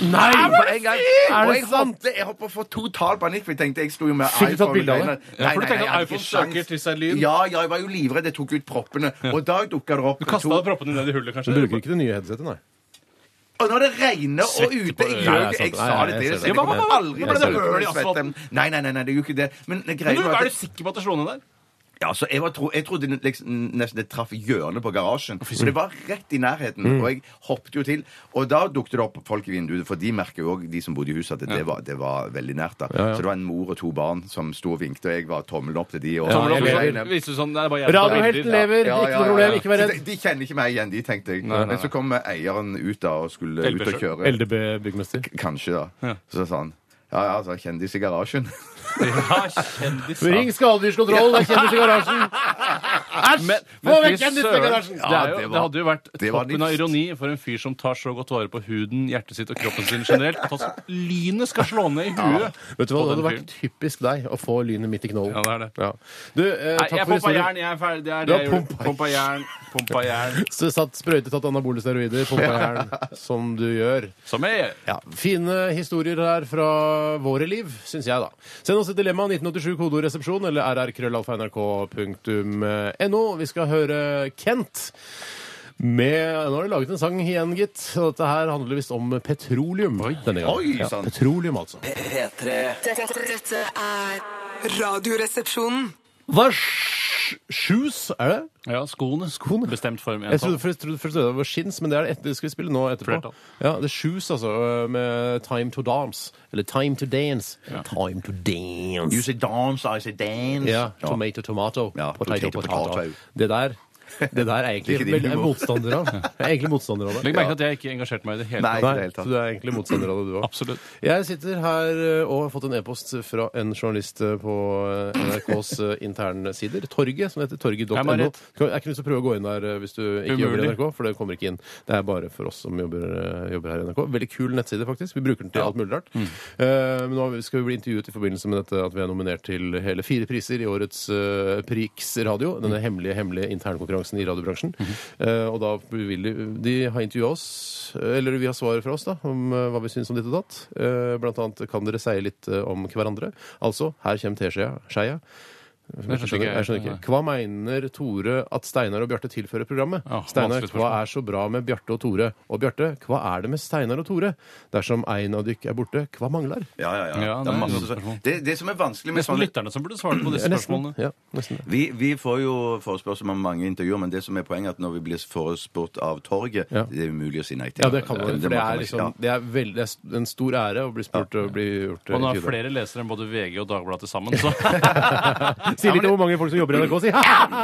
C: Nei!
D: På en gang.
C: Er
D: Og
C: det
D: jeg
C: sant?
D: hoppet, jeg hoppet for total panikk, for jeg tenkte jeg sto jo med
C: Fikk du tatt
D: iPhone i
C: bilde av det?
D: beina.
E: Ja, for du tenkte
D: jeg hadde
E: iPhone
D: ikke sjans.
E: søker til seg lyd.
D: Ja, ja, jeg var jo livredd. Jeg tok ut proppene. Og da dukka det opp
E: Du kasta proppene ned i hullet,
C: Du
E: kanskje?
C: bruker ikke det nye headsetet, nei.
D: Og når det regner og
E: Svette på
D: ute
C: Nei,
E: øret.
D: i
C: det er
D: gjøken Jeg
C: sant.
D: sa
C: Nei,
D: det
C: jeg
D: til
C: ser
D: deg.
C: det.
D: Jeg kommer aldri
C: Jeg
D: ble
C: ser
D: det
C: det.
D: høl i
E: Jeg ser det.
D: svetten. Nei, nei, nei, nei, det gjør ikke det. Men
E: Men
D: greia
E: du,
D: var
E: er
D: at
E: du sikker på at det slo ned der?
D: ja, så jeg, var tro, jeg trodde det liksom, nesten det traff hjørnet på garasjen. For det var rett i nærheten.
C: Mm.
D: Og jeg hoppet jo til. Og da dukket det opp folk i vinduet, for de merker jo òg, de som bodde i huset, at det, var, det var veldig nært. da. Så det var en mor og to barn som sto og vinket, og jeg var tommel opp til de. Og,
E: Tommel
C: jeg
E: opp,
C: lever.
E: sånn, viser du sånn, det er bare jeg som tar
C: Radiohelten
E: bilder. Ja.
C: lever,
D: Ja,
C: ikke
D: ja,
C: noe
D: ja,
C: problem,
D: ja.
C: ikke vær
D: Så
C: redd.
D: de, de kjenner ikke meg igjen, de, tenkte jeg. Men så kom eieren ut da og skulle ut og kjøre.
C: LDB byggmester.
D: Kanskje, da. Så sa han ja, ja, altså, kjendis i garasjen.
E: Ja, kjendis.
C: Ring skadedyrskontroll, det er kjendis i garasjen! Æsj! Få
E: Men
C: vekk
E: fy
C: kjendis i
E: søren.
C: garasjen!
E: Ja, det, er jo, det hadde jo vært
D: det var
E: toppen av
D: nifst.
E: ironi for en fyr som tar så godt vare på huden, hjertet sitt og kroppen sin generelt, at altså, lynet skal slå ned i huet.
C: Vet du hva, Det
E: på den
C: hadde
E: fyren.
C: vært typisk deg å få lynet midt i knollen.
E: Ja, det er det.
C: Ja. Du, eh,
E: Nei,
C: takk
E: jeg
C: for
E: pumpa
C: historien.
E: jern, jeg er ferdig. Det
C: Du
E: er det
C: har
E: jeg gjorde.
C: pumpa
E: Pumpa jern, pumpa jern.
C: Så Satt sprøyte, tatt anabole steroider, pumpa jern, som du gjør.
E: Som jeg gjør.
C: Ja, Fine historier her fra våre liv, syns jeg, da. Send oss et dilemma 1987 kodoresepsjon eller rrkrøllalfa.nrk.no. Vi skal høre Kent. Med, nå har de laget en sang igjen, gitt. Og dette her handler visst om petroleum. denne gangen.
D: oi,
C: ja,
D: sant.
C: petroleum, altså.
B: P3
F: Dette, dette er Radioresepsjonen.
C: Hva er sj- shoes? Er det?
E: Ja, skoene. Bestemt form.
C: Jeg trodde først, trodde først det var skins, men det er det etter, det skal vi spille nå etterpå.
E: Flertall.
C: Ja, det er shoes, altså, med Time to Dance. Eller Time to Dance. Time to Dance.
D: You say dance, I say dance.
C: Ja, tomato, tomato,
D: Ja,
C: potato,
D: potato,
C: potato.
D: potato.
C: Det der det der er jeg
D: Ikke
C: egentlig
D: din
C: veldig jeg er
D: humor.
C: motstander av. Jeg er egentlig motstander av det.
E: Legg merke til at jeg ikke engasjerte meg i det hele
D: Nei,
E: tatt.
D: ikke i det hele
C: så
D: tatt.
C: du er egentlig motstander av det, du òg.
E: Absolutt.
C: Jeg sitter her eh, og har fått en e-post fra en journalist eh, på eh, NRKs eh, internsider. Torget, som heter torget.no.
E: Jeg må
C: Er
E: rett.
C: ikke noe lyst til å prøve å gå inn der eh, hvis du ikke jobber i
E: Umulig.
C: NRK, for det kommer ikke inn. Det er bare for oss som jobber, eh, jobber her i NRK. Veldig kul nettside, faktisk. Vi bruker den til alt mulig rart. Eh, Men nå skal vi bli intervjuet i forbindelse med dette at vi er nominert til hele fire priser i årets eh, Prix radio, denne hemmelige, hemmelige konkurransen i radiobransjen. Eh, og da vil de, de har intervjua oss, eh, eller vi har svar fra oss da, om eh, hva vi syns om ditt og datt. Eh, blant annet kan dere seie litt eh, om hverandre. Altså, her kommer teskeia. skeia. Jeg skjønner ikke. Jeg skjønner ikke. Hva mener Tore at Steinar og Bjarte tilfører programmet?
E: Ja,
C: Steinar,
E: vanskelig
C: hva
E: spørsmål.
C: er så bra med Bjarte og Tore? Og Bjarte, hva er det med Steinar og Tore? Dersom en av dykk er borte, hva mangler?
D: Ja, ja, ja.
E: Ja, det
D: det, er
E: er
D: masse,
E: et godt spørsmål.
D: det, det som er vanskelig med
E: Nesten
D: sånne
E: lytterne som burde svare på disse
C: sånn- Ja, nesten.
E: spørsmålene.
C: Ja, nesten det.
D: vi, vi får jo forespørsel om mange intervjuer, men det som er poenget er at når vi blir forespurt av torget,
C: Ja.
D: det er umulig å si nei til.
C: Ja, det kan man. For
D: må
C: det
D: man
C: er,
D: ikke.
C: liksom,
D: Ja.
C: det er veldig, det er en stor ære å bli spurt og bli gjort
E: Og nå har
C: intervjuet.
E: flere lesere enn både VG og Dagbladet til sammen, så
C: Si litt om hvor mange folk som jobber i NRK, si!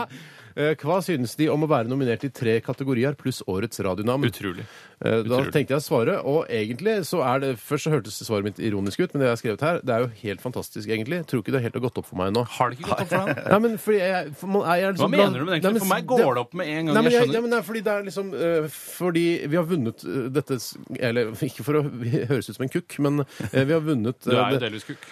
C: Eh, Hva synes de om å være nominert i tre kategorier pluss årets radionavn?
E: utrolig.
C: Eh, Da
E: Utrolig.
C: tenkte jeg å svare, og egentlig så er det Først så hørtes svaret mitt ironisk ut, men det jeg har skrevet her, det er jo helt fantastisk, egentlig. Jeg tror ikke det helt har gått opp for meg nå.
E: Har det ikke gått opp for deg?
C: Nei, men fordi jeg, for man, jeg er
E: Hva
C: liksom
E: mener du med det?
C: Nei,
E: egentlig?
C: men
E: For meg går det opp med en gang.
C: Nei, men
E: jeg
C: jeg, ja,
E: skjønner.
C: men det er fordi det er liksom eh, Fordi vi har vunnet eh, dette s- Eller ikke for å høres ut som en kukk, men eh, vi har vunnet
E: Du
C: eh,
E: er jo
C: det-
E: delvis kukk.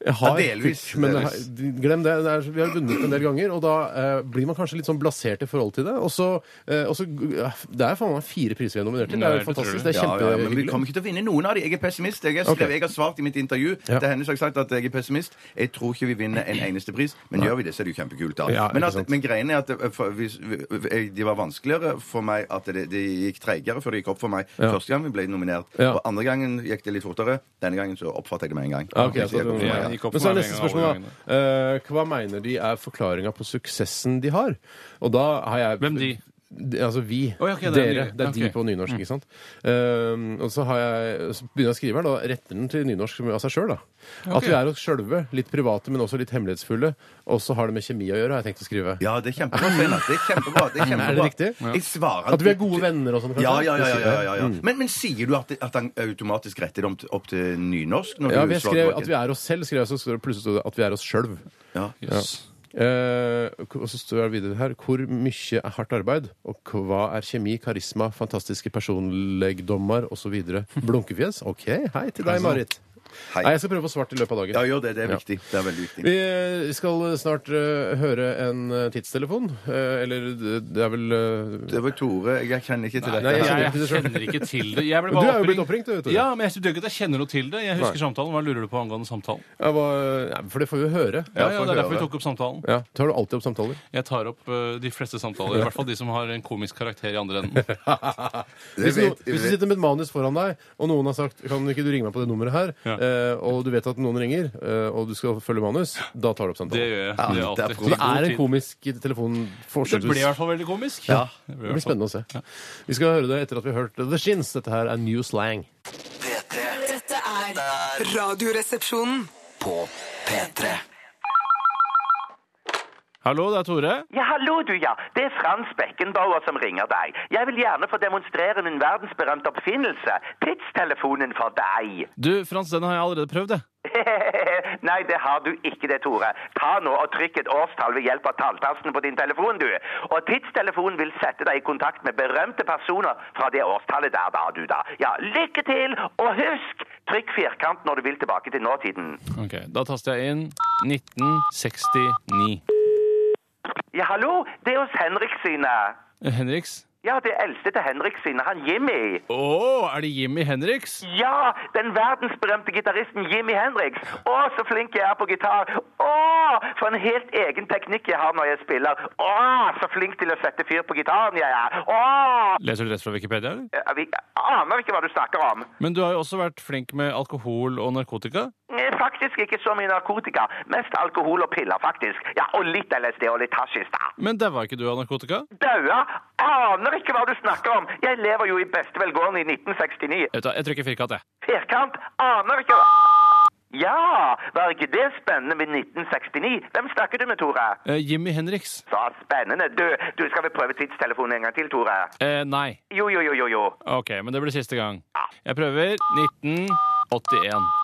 C: jeg har
D: Ja, delvis,
C: kukk, men
D: delvis.
C: jeg har- glem det. det er, vi har vunnet en del ganger, og da eh, blir man kanskje litt sånn blasert i forhold til det. Og så, eh, og så ja, Det er faen meg fire priser vi er nominert til. Det
E: Nei,
C: er
E: det
C: jo fantastisk.
E: tror
C: Det er
D: Ja, ja, men vi
C: kjempehyggelig.
D: kommer ikke til å vinne noen av de. Jeg er pessimist. Jeg, har skrevet-
C: Ok.
D: jeg har svart i mitt intervju
C: Ja.
D: til henne så har jeg sagt at jeg er pessimist. Jeg tror ikke vi vinner en eneste pris, men gjør vi det, så er det jo kjempekult. da.
C: Ja, ikke
D: men,
C: sant.
D: at, men greien er at eh, for, hvis, vi- vi- de var vanskeligere for meg at det, det gikk treigere før det gikk opp for meg
C: Ja.
D: første gang vi ble nominert.
C: Ja.
D: Og andre gangen gikk det litt fortere. Denne gangen så oppfattet jeg det med en gang.
C: Ja, ok, så
D: Det gikk opp for meg, ja.
E: det gikk opp for
C: Men så er
E: meg
C: neste
E: med en
C: spørsmål,
E: gang,
C: da. Eh, hva mener de er forklaringa på suksessen de har? Og da har jeg
E: Hvem de?
C: De- Altså vi.
E: Å, ja, ok, det er
C: Dere.
E: de.
C: Det er de
E: Ok.
C: på nynorsk, ikke sant? Eh, og så, har jeg, så begynner jeg å skrive her, da. Retter den til nynorsk av seg sjøl, da. At
E: Ok.
C: vi er oss sjølve. Litt private, men også litt hemmelighetsfulle. Og så har det med kjemi å gjøre, har jeg tenkt å skrive.
D: Ja, det er kjempebra, Steinar. Det er kjempebra. Det er, kjempebra.
C: riktig?
D: Jeg svarer
C: At vi er gode venner og sånn, kanskje?
D: Ja, ja, ja. ja, ja, ja, ja.
C: Mm.
D: Men, men sier du at, at han automatisk retter det om til- opp til nynorsk? Når
C: Ja,
D: du
C: vi
D: svarer
C: skrev
D: tilbake?
C: at vi er oss selv, skrev jeg, så står det plutselig stod det at vi er oss sjølv.
D: Ja.
E: Jøss.
C: Eh, og så står det videre her Hvor mye er hardt arbeid, og hva er kjemi, karisma, fantastiske personlegdommer osv.? Blunkefjes? OK, hei til deg, Marit.
D: Hei.
C: Nei, jeg skal prøve å få svart i løpet av dagen.
D: Ja, gjør det. Det er viktig. Det er veldig viktig.
C: Vi eh, skal snart eh, høre en eh, tidstelefon. Eh, eller det- det er vel eh,
D: Det var Tore. Jeg kjenner ikke til dette.
C: nei,
D: her.
C: kjenner
E: Jeg,
C: ikke til det selv.
E: kjenner ikke til det. Jeg ble
C: Du
E: bare
C: er jo blitt oppringt, du vet du.
E: Ja, men jeg synes ikke at jeg kjenner noe til det. Jeg husker
C: Nei.
E: samtalen. Hva lurer du på angående samtalen?
C: jeg var, nei, For det får vi jo høre.
E: Ja,
D: får
E: ja, Det er derfor
D: høre.
E: vi tok opp samtalen.
C: Ja, Tar du alltid opp samtaler?
E: Jeg tar opp eh, de fleste samtaler. I hvert fall de som har en komisk karakter i andre enden.
C: Hvis,
D: Jeg
C: no,
D: vet- jeg
C: hvis du
D: vet-
C: sitter med et manus foran deg, og noen har sagt Kan ikke du ringe meg på det nummeret her,
E: Ja.
C: eh, og du vet at noen ringer, eh, og du skal følge manus, da tar du opp
E: Det
C: samtalen.
E: gjør jeg.
D: Ja,
E: Det, er
D: det er
E: alltid.
D: pro-
C: Så det er en
E: God tid.
C: komisk telefon
E: Det ble i
C: forskjellsvis.
E: hvert fall veldig komisk.
D: Ja.
E: Det
C: Det
E: ble i
C: blir
E: hvert fall-
C: spennende å se. Vi skal høre det etter at vi har hørt The Shins. Dette her er New Slang.
B: P3
F: Dette er Radioresepsjonen.
B: på P3.
E: Hallo, det er Tore.
G: Ja, hallo du, ja. Det er Frans Beckenbauer som ringer deg. Jeg vil gjerne få demonstrere min verdensberømte oppfinnelse. Tidstelefonen for deg.
E: Du, Frans, den har jeg allerede prøvd, jeg.
G: Nei, det har du ikke det, Tore. Ta nå og trykk et årstall ved hjelp av talltasten på din telefon, du. Og tidstelefonen vil sette deg i kontakt med berømte personer fra det årstallet der, da, du, da. Ja, lykke til, og husk, trykk firkant når du vil tilbake til nåtiden.
E: Ok, Da taster jeg inn 1969.
G: Ja, hallo, det er hos Henrik sine.
E: Henriks?
G: Ja, det eldste til Henrik sine, han Jimmy.
E: Å, er det Jimmy Henriks?
G: Ja, den verdensberømte gitaristen Jimmy Hendrix. Å, så flink jeg er på gitar. Å, for en helt egen teknikk jeg har når jeg spiller. Å, så flink til å sette fyr på gitaren jeg er. Å,
E: Leser du rett fra Wikipedia, eller?
G: jeg vi- jeg aner ikke hva du snakker om.
E: Men du har jo også vært flink med alkohol og narkotika.
G: Eh, Faktisk ikke så mye narkotika. Mest alkohol og piller, faktisk. Ja, og litt LSD og litt hasjis, da.
E: Men daua ikke du av narkotika?
G: Daua? Aner ikke hva du snakker om. Jeg lever jo i beste velgående i 1969.
E: Jeg, vet, da, jeg trykker firkant, jeg.
G: Firkant? Aner ikke hva Ja, var ikke det spennende med 1969? Hvem snakker du med, Tore?
E: Eh, Jimmy Henriks?
G: Så spennende. Du, du skal vel prøve tidstelefonen en gang til, Tore?
E: Eh, nei.
G: Jo, jo, jo, jo, jo.
E: Ok, men det blir siste gang. Jeg prøver 1981.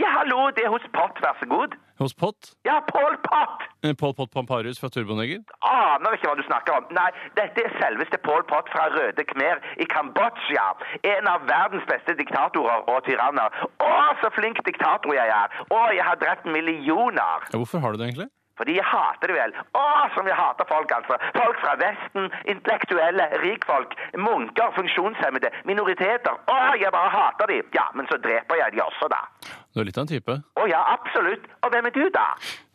G: Ja, hallo, det er hos Pott, vær så god.
E: Hos Pott.
G: Ja, Pål Pott!
E: Eh, Pol Pott Pamparus fra Turboneger.
G: Aner ikke hva du snakker om. Nei, dette er selveste Pål Pott fra Røde Khmer i Kambodsja. En av verdens beste diktatorer og tyranner. Å, så flink diktator jeg er! Å, jeg har drept millioner.
E: Ja, hvorfor har du det egentlig?
G: Fordi jeg hater det vel. Å, som jeg hater folk, altså. Folk fra Vesten, intellektuelle, rikfolk, munker, funksjonshemmede, minoriteter. Å, jeg bare hater de. Ja, men så dreper jeg de også, da.
E: Du er litt av en type.
G: Å ja, absolutt. Og hvem er du, da?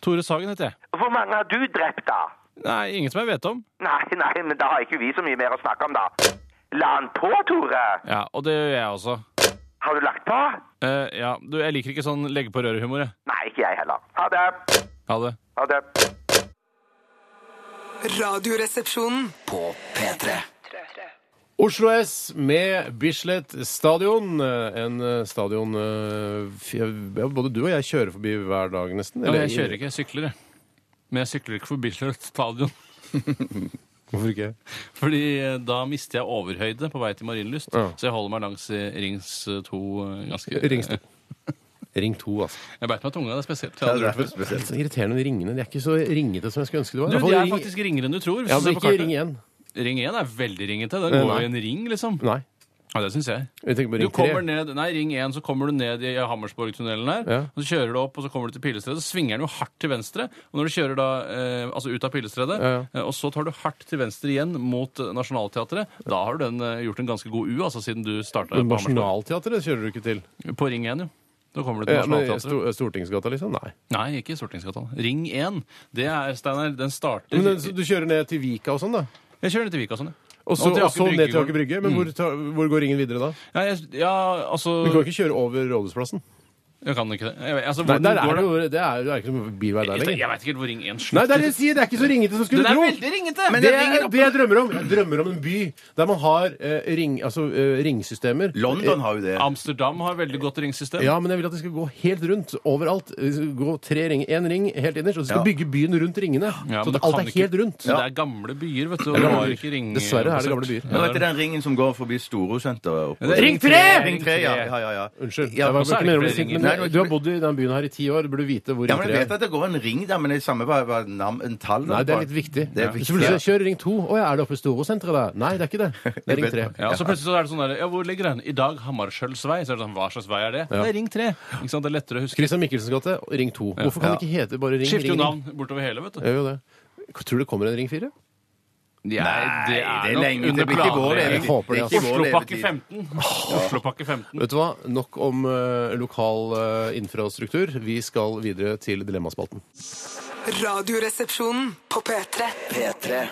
E: Tore Sagen heter jeg.
G: Hvor mange har du drept, da?
E: Nei, ingen som jeg vet om.
G: Nei, nei, men da har ikke vi så mye mer å snakke om, da. La han på, Tore!
E: Ja, Og det gjør jeg også.
G: Har du lagt på?
E: Eh, ja, du, Jeg liker ikke sånn legge på røret-humor. jeg.
G: Nei, ikke jeg heller. Ha det.
E: Ha det.
G: Ha det.
F: Radioresepsjonen.
B: På P3
C: Oslo S med Bislett Stadion. Eh, En eh, stadion eh, f- ja, Både du og jeg kjører forbi hver dag, nesten.
E: Ja, jeg kjører ikke, jeg sykler. jeg. Men jeg sykler ikke forbi Bislett stadion.
C: Hvorfor ikke?
E: Fordi eh, da mister jeg overhøyde på vei til Marienlyst.
C: Ja.
E: Så jeg holder meg langs eh, Rings 2 ganske
C: Rings to. Ring to, altså.
E: Jeg beit meg i tunga, det er spesielt. Jeg
D: Ja, det
E: hadde
D: er
E: hørt
C: Det er
E: før.
C: litt
D: spesielt.
C: sånn irriterende med de ringene. De er ikke så ringete som jeg skulle ønske de var. I
E: Du,
C: hvert
E: de
C: fall
E: er
C: ring-
E: faktisk ringere enn du tror. hvis
C: ja,
E: du
C: men
E: ser på
C: ikke
E: kartet.
C: ring igjen.
E: Ring 1 er veldig ringete. Den
C: Eh,
E: går
C: nei.
E: i en ring, liksom.
C: Nei.
E: Ja, det syns jeg.
C: Jeg tenker på
E: Du
C: ring
E: kommer
C: tre.
E: ned, nei, Ring 1, så kommer du ned i Hammersborgtunnelen her.
C: Ja.
E: og Så kjører du opp, og så kommer du til Pilestredet. Så svinger den jo hardt til venstre. Og når du kjører da, eh, altså ut av Pilestredet,
C: Ja, ja.
E: eh, og så tar du hardt til venstre igjen mot eh, Nationaltheatret, da har du den, eh, gjort en ganske god U, altså siden du starta på Hammersborg.
C: Nationaltheatret kjører du ikke til.
E: På Ring 1, jo. Da kommer du til
C: Ja, men i Stor-
E: Nationaltheatret.
C: Stortingsgata, liksom? Nei.
E: Nei, ikke i Stortingsgata. Ring 1. Det er, Steinar, den starter
C: Men, eh, så du kjører ned til Vika og sånn, da?
E: Jeg kjører ned til Vika sånn, ja.
C: Og så,
E: Og til
C: og så
E: Aker
C: ned til
E: Brygge
C: Aker Brygge? Men hvor, tar- hvor går ringen videre da?
E: Ja, jeg, ja altså
C: Du kan ikke kjøre over Rådhusplassen?
E: Jeg kan ikke det. Jeg, vet- altså,
C: Nei,
E: hvordan
C: der er
E: går
C: det jo det er, det er ikke noen bilvei der
E: Jeg,
C: lenger.
E: jeg vet ikke helt hvor Ring 1 slutter.
C: Nei, det er det jeg sier! Det er ikke så ringete som skulle
E: Den er
C: tro!
E: veldig ringete!
C: Det er det jeg drømmer om. Jeg drømmer om en by der man har eh, ring, altså, eh, ringsystemer.
D: London har jo det.
E: Amsterdam har veldig godt ringsystem.
C: Ja, men jeg vil at det skal gå helt rundt overalt. Gå tre ring, én ring helt innerst, og du skal
D: Ja.
C: bygge byen rundt ringene.
E: Ja,
C: så at
E: men du
C: alt
E: kan
C: er
E: ikke-
C: helt rundt.
E: Men Det er gamle byer, vet du. Og
C: Det er
E: du
C: gamle
E: har
C: byer.
E: ikke ring
C: Dessverre er det gamle byer.
D: Nå vet du den ringen som går forbi Storosenteret? oppe-
E: Det er
C: Ring tre!
D: Ring tre, ja. ja, ja, ja.
C: Unnskyld.
D: Ja,
C: jeg var
E: og så er
C: ikke
E: det
C: mener å
E: flere
C: bli sint,
E: ringer.
C: men
D: Nei, nå-
C: du har bodd i den byen her i ti år. Burde du vite hvor
D: Ja,
C: ring
D: men
C: tre
D: Jeg vet
C: er.
D: at det går en ring der, men det er samme hva, hva nam, en tall
C: Nei, det er litt viktig.
D: Det er
C: Så
D: viktig,
C: plutselig
D: ja.
C: kjører ring to. Å ja, er det oppe i Storosenteret der? Nei, det er ikke det. Det er ring tre.
E: Ja, og så plutselig så er det sånn der, ja, Hvor ligger den? I dag Hammarskjøldsvei. Så er det sånn, Hva slags vei er det? Det er Ring 3. Ikke sant? Det er lettere å huske.
C: Christian Michelsens gate, ring to. Hvorfor kan det ikke hete bare ring?
E: Skifter jo
C: ring,
E: navn bortover hele, vet du.
C: Ring? Gjør jo det. Tror du det kommer en ring fire?
E: Nei, det er,
D: det er
E: nok
D: lenge.
E: under
D: Det blir ikke vår
E: planlegging.
C: Jeg håper det, altså.
D: levetid. Det er ikke vår
E: Oslopakke
D: levetid.
E: 15. Oslopakke 15.
C: Vet du hva? Nok om eh, lokal eh, infrastruktur. Vi skal videre til Dilemmaspalten.
F: Radioresepsjonen på P3.
B: P3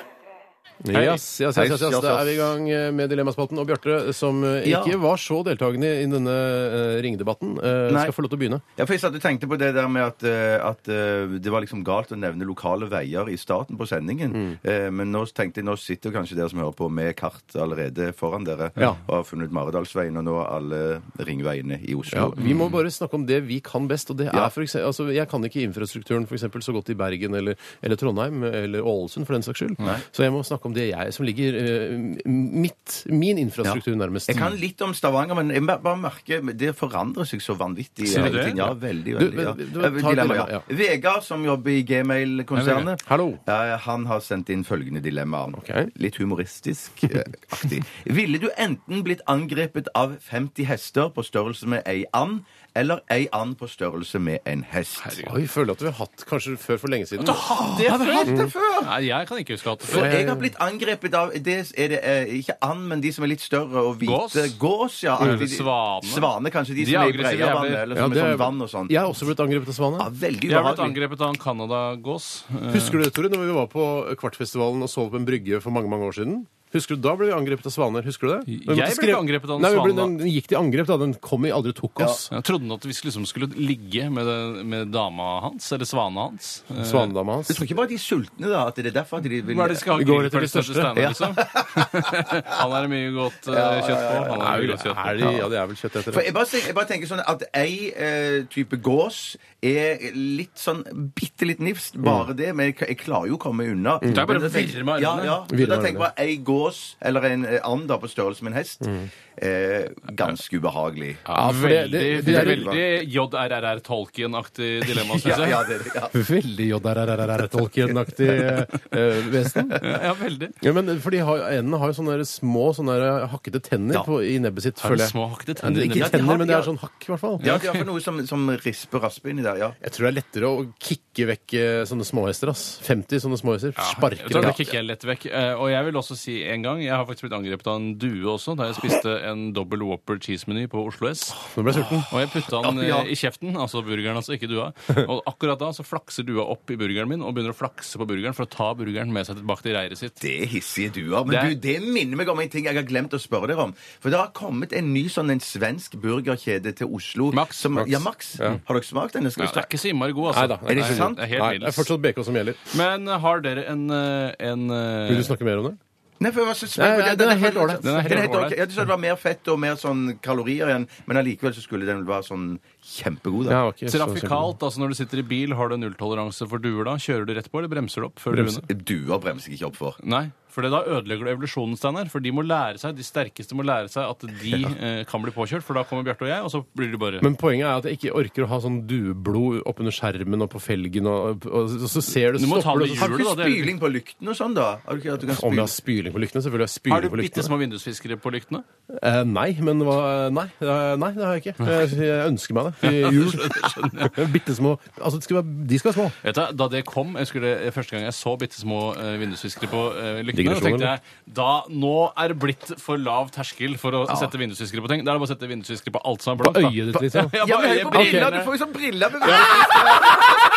C: Yes, yes, yes, yes, yes.
D: Hei,
C: Da er vi i gang eh, med Dilemmaspalten. Og Bjarte, som eh, ikke var så deltakende i denne eh, ringedebatten, eh,
D: Nei.
C: skal få lov til å begynne.
D: Ja, for jeg satt og tenkte på det der med at, eh, at eh, det var liksom galt å nevne lokale veier i starten på sendingen.
C: Mm.
D: Eh, Men nå tenkte jeg, nå sitter kanskje dere som hører på med kart allerede foran dere
C: Ja.
D: og har funnet Maridalsveien og nå alle ringveiene i
C: Ja,
D: Oslo.
C: vi må bare snakke om det vi kan best. og det er
D: Ja.
C: for eksempel, altså, Jeg kan ikke infrastrukturen for eksempel, så godt i Bergen eller, eller Trondheim eller Ålesund, for den saks skyld. Så jeg må snakke om det jeg som ligger eh, mitt, min infrastruktur nærmest.
D: Jeg kan litt om Stavanger, men jeg mer- bare merker det forandrer seg så vanvittig.
E: Sier du
D: hele
E: det?
D: tiden. Ja, veldig,
C: Du,
D: veldig. ja.
C: men- du tar
D: Eh,
C: et
D: dilemma, ja.
C: dilemma,
D: Vegard, som jobber i Gmail-konsernet,
C: Hei, Vegard.
D: eh, han har sendt inn følgende dilemma.
C: Ok.
D: Litt humoristisk eh, aktig. Ville du enten blitt angrepet av 50 hester på størrelse med ei and, eller ei and på størrelse med en hest?
C: Oi, jeg føler at vi har hatt kanskje før for lenge siden.
D: Det har vi hatt det før!
E: Nei, jeg kan ikke huske at
D: For jeg har blitt angrepet av det er det, eh, ikke and, men de som er litt større og hvite.
E: Gås?
D: Gås, ja.
E: Eller
D: Aktig-
E: svane?
D: Svane, kanskje.
E: De
D: De,
E: er
D: som er i
E: aggressive
D: Breiavannet,
E: jævler.
D: eller
C: Ja,
D: som
C: det
D: er
C: er-
D: sånn vann og sånn.
C: Jeg har også blitt angrepet av svane.
D: Ja, veldig
E: Jeg har blitt
D: ubehagelig.
E: angrepet av en Canada-gås. Eh,
C: Husker du det, Tore, når vi var på Kvartfestivalen og sov på en brygge for mange mange år siden? Husker du, Da ble vi angrepet av svaner. Husker du det?
E: Jeg
C: Vi måtte
E: ble
C: skrive-
E: angrepet av en
C: Nei, vi ble-
E: svan, da.
C: Den, den gikk til angrep, da. Den kom i, aldri tok oss.
E: Jeg trodde han at vi liksom skulle ligge med, med dama hans, eller svana hans. Eh,
C: Svanedama hans.
D: Jeg tror ikke bare de er sultne, da. At det er derfor at de vil
E: Hva er det de skal ha
C: Vi går etter de
E: grillpølser til Steinar, liksom? han er det mye godt eh, kjøtt på.
C: Er
E: Han er det mye
C: vel-
E: godt kjøtt på.
C: er de, ja, det er vel kjøtt etter
D: For
C: det.
D: jeg bare, tenker, jeg bare tenker sånn at ei eh, type gås er litt sånn bitte litt nifst, bare det. Men jeg, jeg klarer jo å komme unna.
E: Mm. er bare
D: Men
E: å
D: da
E: virre med
D: Ja,
E: armene.
D: ja.
C: Virre
D: Så da
C: med
D: tenker jeg bare ei gå, gås eller en eh, and da, på størrelse med en hest.
E: Mm.
D: Eh, ganske ubehagelig.
C: Ja, for det-
E: veldig
C: det- det er-
E: veldig JRRR Tolkien-aktig dilemma, syns
D: Ja,
E: jeg.
D: ja, det, ja.
C: Veldig JRRR-tolkenaktig eh, vesen.
E: Ja, veldig.
C: Ja, men for de har, Endene har jo sånne der små sånne der hakkete tenner
D: Ja.
C: på, i nebbet sitt.
E: Har de
C: føler jeg.
E: små hakkete
C: Ja,
E: tenner i
C: det- Ikke
E: nebbet?
C: tenner,
D: Ja,
C: men det er
D: ja.
C: sånn hakk, i hvert fall.
D: Ja, de har for noe som, som risper og rasper inni der. ja.
C: Jeg tror det er lettere å kicke vekk eh, sånne småhester. ass. 50 sånne småhester.
E: Vet du hva,
C: Sparker
E: Det kikker jeg lett vekk. Eh, Og jeg vil også si en gang Jeg har faktisk blitt angrepet av en due også da jeg spiste en dobbel Whopper cheese-meny på Oslo S.
C: Nå ble jeg sulten.
E: Og jeg putta den
D: Ja, ja.
E: eh, i kjeften, altså burgeren, altså, ikke dua. Og akkurat da så flakser dua opp i burgeren min og begynner å flakse på burgeren for å ta burgeren med seg tilbake til reiret sitt.
D: Det er hissige duer. Men
E: Det er-
D: du, det minner meg om en ting jeg har glemt å spørre dere om. For det har kommet en ny sånn en svensk burgerkjede til Oslo.
E: Max,
D: Som,
E: Max.
D: ja, Max. Har dere smakt den? Jeg skal
E: Ja, det er
D: snakke-
E: ikke så innmari god, altså.
C: Neida, det er
D: Er det ikke sant?
E: Det er
C: Nei,
E: helt
C: det er
E: middels.
C: fortsatt BK som gjelder.
E: Men eh, har dere en, eh, en eh,
C: Vil du snakke mer om det?
D: Nei, for jeg var så spent.
C: Nei,
D: på-
C: nei, den er helt ålreit.
E: Den er helt
D: Den er helt
E: ålreit.
D: ålreit. Ja, Du sa det var mer fett og mer sånn kalorier igjen, men allikevel så skulle den være sånn kjempegod, da.
C: Ja, ok, så-
E: Trafikalt, altså når du sitter i bil, har du nulltoleranse for duer da? Kjører du rett på, eller bremser du opp før
C: Bremser.
E: duene?
D: Duer bremser jeg ikke opp for.
E: Nei, for det da ødelegger du evolusjonen, Steinar. For de må lære seg, de sterkeste må lære seg at de eh, kan bli påkjørt, for da kommer Bjarte og jeg, og så blir de bare
C: Men poenget er at jeg ikke orker å ha sånn dueblod oppunder skjermen og på felgen. Og, og, og så ser du,
E: Du må ta
C: stopper
E: det
C: du,
E: i
C: og
D: Har
C: så-
E: hjulet.
D: du
E: Juler, da, det
D: ikke
E: er det.
D: spyling på lyktene og sånn, da? Har du ikke at du kan
C: Om jeg har
D: spyle?
C: spyling på lyktene? Selvfølgelig har jeg
E: Har
C: spyling
E: du
C: på
E: bitte
C: lyktene.
E: små vindusfiskere på lyktene?
C: Eh, nei, men hva, nei, eh, nei, det har jeg ikke. Jeg, jeg ønsker meg det. I Jul. Bitte små. Altså, det skal være, de skal være små.
E: Vet du, da det kom, jeg skulle, eh, første gang jeg så bitte små eh, vindusviskere på eh, lyktene,
C: Digresjon,
E: tenkte jeg da, nå er det blitt for lav terskel for å sette vindusviskere på ting. Da er det bare å sette vindusviskere på alt som er
C: På
E: blankt. da.
C: øyet ditt, liksom.
E: Ja,
D: Ja,
E: på
D: men hør
E: øyet,
D: på
E: på
D: briller!
E: brillene.
D: Du får jo sånn brillebevegelser!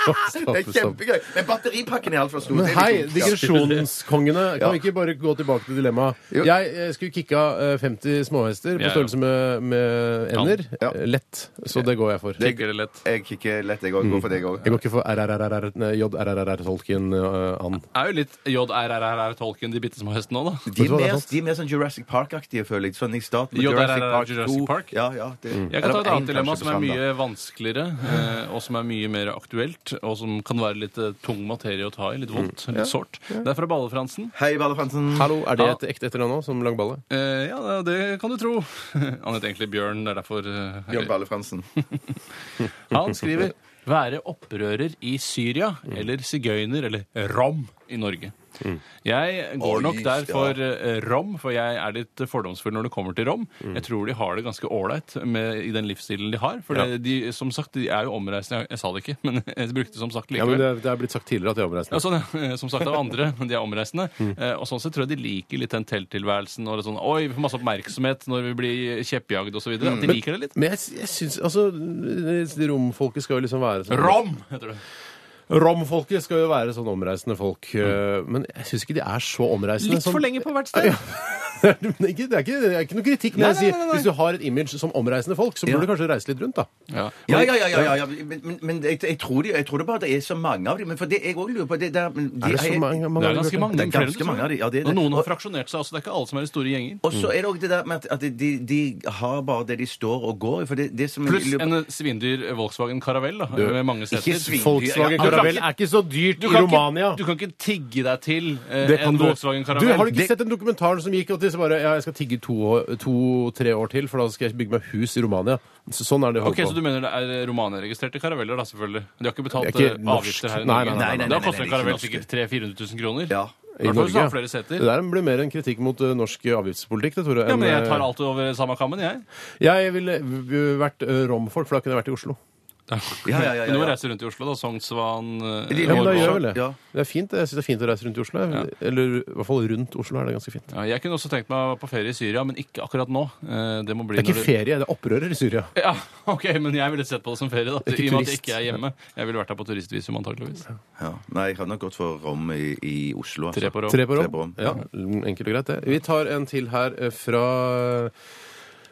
D: Det
C: Stopp,
D: er
C: stopp.
D: kjempegøy. Men batteripakken er altfor stor.
C: Men
D: Det er
C: hei,
D: litt dumt, ja.
C: digresjonskongene. Kan
D: Ja.
C: vi ikke bare gå tilbake til dilemmaet?
D: Jo.
C: Jeg eh, skulle kicka eh, 50 småhester på
E: Ja, ja.
C: størrelse med, med ender.
D: Ja.
C: Eh, Lett. Så det går jeg for.
E: Kikker det lett.
D: Jeg kikker lett, jeg òg. Går for deg òg.
C: Jeg går ikke for RRRR, nei, JRRR-tolken eh, an.
E: Er jo litt JRRR-tolken, de bitte små hestene òg, da.
D: De
C: Vet
D: er,
C: du hva, det er
D: mer,
C: sant.
D: de er mer sånn Jurassic Park-aktige, føler jeg. Sånn i starten med
E: Jo, der er
D: Jurassic
E: det
D: Park
E: Jurassic
D: 2.
E: Park. Mm.
D: Ja, ja, det,
E: Jeg kan ta
D: Eller
E: et
D: en
E: annet dilemma
D: kanskje
E: som er
D: forsvant, da.
E: mye vanskeligere, eh, og som er mye mer aktuelt, og som kan være litt eh, tung materie å ta i. Litt vondt, litt sårt. Det er fra Balle-Fransen.
D: Hei, Balle Fransen.
C: Hallo, er det
E: Ja.
C: et ekte etternavn nå, som Langballe?
E: Eh, ja, det kan du tro. Han heter egentlig Bjørn, det er derfor eh,
D: Bjørn Balle Fransen.
E: Han skriver være opprører i Syria
C: Mm.
E: eller sigøyner eller rom i Norge. Jeg går
D: Oi,
E: nok der
D: ja.
E: for eh, rom, for jeg er litt fordomsfull når det kommer til rom.
C: Mm.
E: Jeg tror de har det ganske ålreit med- i den livsstilen de har. For det- de, som sagt, de er jo omreisende. Jeg, jeg sa det ikke, men jeg brukte som sagt
C: Ja, men
E: likevel.
C: det, er- det er blitt sagt tidligere at jeg er
E: Ja,
C: omreisende.
E: sånn, ja. Som sagt av andre, men de er omreisende.
C: Mm.
E: Eh, Og sånn sett tror jeg de liker litt den telttilværelsen og det sånn Oi, vi får masse oppmerksomhet når vi blir kjeppjagd og så videre. At de liker det litt.
C: Men jeg, jeg syns Altså, romfolket skal jo liksom være sånn
E: Rom! heter det.
C: Romfolket skal jo være sånn omreisende folk. øh, Men jeg syns ikke de er så omreisende.
E: Mm. Litt for
C: sånn-
E: lenge på hvert sted.
C: Det er ikke, det, er ikke, det er ikke noe kritikk, men
E: Nei,
C: jeg sier,
E: nei, nei, nei.
C: hvis du har et image som omreisende folk, så burde du kanskje reise litt rundt, da.
E: Ja.
D: Ja, ja, ja. ja, ja, ja. Men, men, men jeg, jeg, tror de, jeg tror det bare det er så mange av dem. Men for det jeg òg lurer på det der, men de,
C: Er det så mange, mange
E: Det er
C: ganger, Bjarte?
E: ganske mange.
D: Det er
E: flere,
D: ganske
E: tror jeg.
D: mange av de, ja, det er det.
E: Og noen har
D: Og-
E: fraksjonert seg også. Det er ikke alle som er i store gjenger.
D: Og så
C: Mm.
D: er det òg det der med at, at de, de har bare det de står og går i. For det, det som jeg
E: Pluss
D: lurer på-
E: en svindyr Volkswagen Caravelle da, med mange seter.
D: ikke svin-
C: Volkswagen
D: Ja, ja.
C: Caravelle er ikke så dyrt
E: Du
C: i
E: kan,
C: Romania.
E: ikke, du kan ikke tigge deg til eh,
C: Det kan
E: en
C: du.
E: Volkswagen
C: Du,
E: Caravelle.
C: har du ikke
E: Det-
C: sett den dokumentaren som gikk og disse bare Ja, jeg skal tigge to-tre år til, for da skal jeg bygge meg hus i Romania. Så, sånn er det
E: Ok, Så
C: holdt
E: du
C: på.
E: mener det er Romania-registrerte karaveller, da, selvfølgelig? De har ikke betalt
C: Det er ikke
E: eh,
C: norsk.
E: avgifter her i
C: Nei,
E: Norge?
C: nei, nei, nei,
D: nei,
E: Da
D: nei,
E: koster en
D: nei, det er ikke
E: karavell
D: norsk.
E: sikkert 300 000-400 000 kroner.
D: Ja.
C: I
E: hvert fall hvis du har
C: Norge.
E: flere seter.
C: Det der blir mer en kritikk mot ø, norsk avgiftspolitikk, det, Tore.
E: Ja,
C: enn,
E: men
C: eh,
E: jeg
C: ø,
E: tar alt over samme kammen, jeg.
C: Jeg ville ø, vært ø, romfolk, for da kunne jeg vært i Oslo.
D: Ja, ja, ja, ja, ja.
E: Nå reiser du rundt i Oslo, da. Sognsvann eh,
C: Ja,
D: Lille-
C: men da
E: Ålgård.
C: gjør jeg vel det.
D: Ja.
C: Det er fint, jeg synes det er fint å reise rundt i Oslo. jeg. Eller i hvert fall rundt Oslo er det ganske fint.
E: ja, Jeg kunne også tenkt meg på ferie i Syria, men ikke akkurat nå. Eh, Det må bli
C: Det er
E: når
C: ikke ferie, det er opprører i Syria.
E: Ja, ok, men jeg ville sett på det som ferie, da.
C: er ikke
E: I og med at jeg
C: turist.
E: ikke er hjemme. Jeg ville vært her på turistvisum, antakeligvis.
D: Ja. Nei, jeg hadde nok gått for rom i, i Oslo. altså.
E: Tre på rå.
C: Tre på
D: Tre på
C: rom.
D: rom.
C: Ja, enkelt og greit, det. Vi tar en til her eh, fra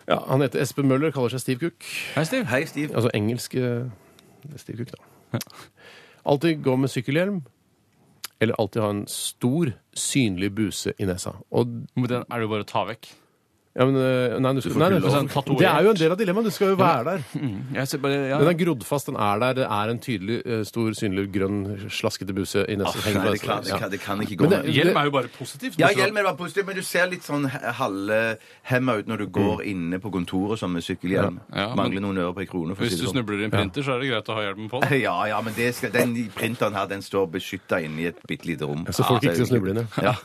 C: ja, Han heter Espen Møller, kaller seg Steve Cook.
E: Hei, Steve.
D: Hei, Steve.
C: Altså engelsk eh, Steve Cook, da. Alltid gå med sykkelhjelm. Eller alltid ha en stor, synlig buse i nesa. Og
E: Men Den er det jo bare å ta vekk.
C: Ja, men, eh, nei, du, skal- nei,
D: ikke
C: det-
D: lov.
E: Sånn tatovert.
C: det er jo en del av dilemmaet. Du skal jo være der.
E: Jeg ser bare, ja.
C: Den er grodd fast, den er der. Det er en tydelig, eh, stor, synlig grønn, slaskete buse i neste altså.
D: Nei, det, kan, det, kan, det kan ikke gå
C: Men det-
D: med.
E: Hjelm er jo bare positivt.
D: Ja,
E: bortsett fra-
D: hjelmen var positiv, men du ser litt sånn halvhemma ut når du går
C: Mm.
D: inne på kontoret som med sykkelhjelm.
E: Ja, men-
D: Mangler noen øre på ei krone. For å
E: Hvis
D: si
E: du
D: det sånn.
E: snubler i en printer, så er det greit å ha hjelmen på.
D: Ja, ja, men det skal, den printeren her den står beskytta inne i et bitte lite rom.
C: Så folk ikke skal snuble inn, ja.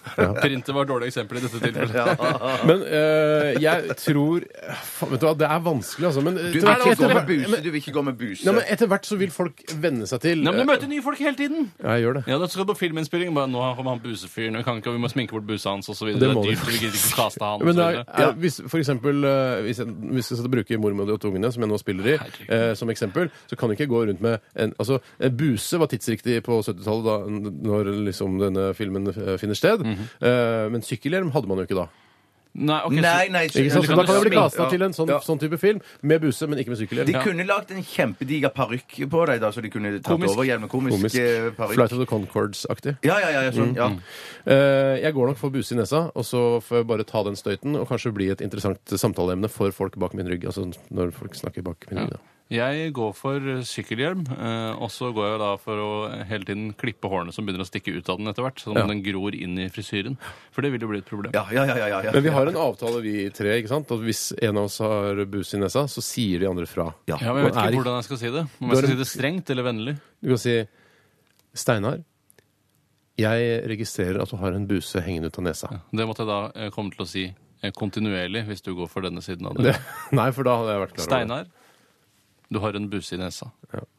E: Printer var et dårlig eksempel i dette tilfellet.
C: Men eh, jeg tror faen, Vet du hva, det er vanskelig, altså. Men, eh,
D: Du
C: etter
D: vil
C: hvert-
D: ikke gå
C: etter
D: med
C: hvert-
D: buse. Du vil ikke gå med buse.
C: Nei, men etter hvert så vil folk venne seg til
E: Nei, men Du
C: eh,
E: møter nye folk hele tiden!
C: Ja, jeg gjør det.
E: Ja, da skal du på filminnspilling. Bare, nå kommer han busefyren, vi, kan ikke, vi må sminke bort busa hans osv. Det,
C: Det
E: det er
C: må du.
E: dyrt, vi gidder ikke kaste han.
C: Men
E: og så
C: da,
E: videre.
C: er, hvis, for eksempel, eh, hvis, jeg, hvis jeg skal bruke mormor og de åtte ungene, som jeg nå spiller i, eh, som eksempel, så kan du ikke gå rundt med en Altså, en buse var tidsriktig på 70-tallet, da, n- når liksom denne filmen eh, finner sted.
E: Mhm.
C: eh, men sykkelhjelm hadde man jo ikke da.
E: Nei, ok, så-
D: Nei, nei,
C: Ikke sant? Så
E: du kan
C: da kan
E: jo
C: det bli
E: sminke-
C: kasta til en sånn,
D: Ja.
C: sånn type film, med buse, men ikke med sykkelhjelm.
D: De kunne lagd en kjempediger parykk på deg, da, så de kunne tatt
E: Komisk.
D: over gjennom komisk,
C: Komisk. Mm.
D: eh, parykk.
C: Flight of the Concords-aktig.
D: Ja, ja, ja. ja, sånn, ja.
C: Eh, jeg går nok for buse i nesa, og så får jeg bare ta den støyten, og kanskje bli et interessant samtaleemne for folk bak min rygg. Altså når folk snakker bak min rygg, da.
E: Jeg går for eh, sykkelhjelm, eh, og så går jeg da for å hele tiden klippe hårene som begynner å stikke ut av den etter hvert, sånn at
C: Ja.
E: den gror inn i frisyren. For det vil jo bli et problem.
D: Ja, ja, ja, ja, ja, ja.
C: Men vi har en avtale, vi tre. ikke sant? At hvis en av oss har bus i nesa, så sier de andre fra.
D: Ja.
E: Ja, men jeg vet
C: Man er
E: ikke
C: ikke-
E: hvordan jeg skal si det. Om
C: Du
E: jeg
C: er
E: skal
C: en-
E: si det strengt eller vennlig.
C: Du kan si Steinar, jeg registrerer at du har en buse hengende ut av nesa.
E: Det måtte jeg da eh, komme til å si eh, kontinuerlig hvis du går for denne siden av det.
C: Det, nei, for da hadde jeg vært klar over det.
E: Steinar, du har en buse i nesa.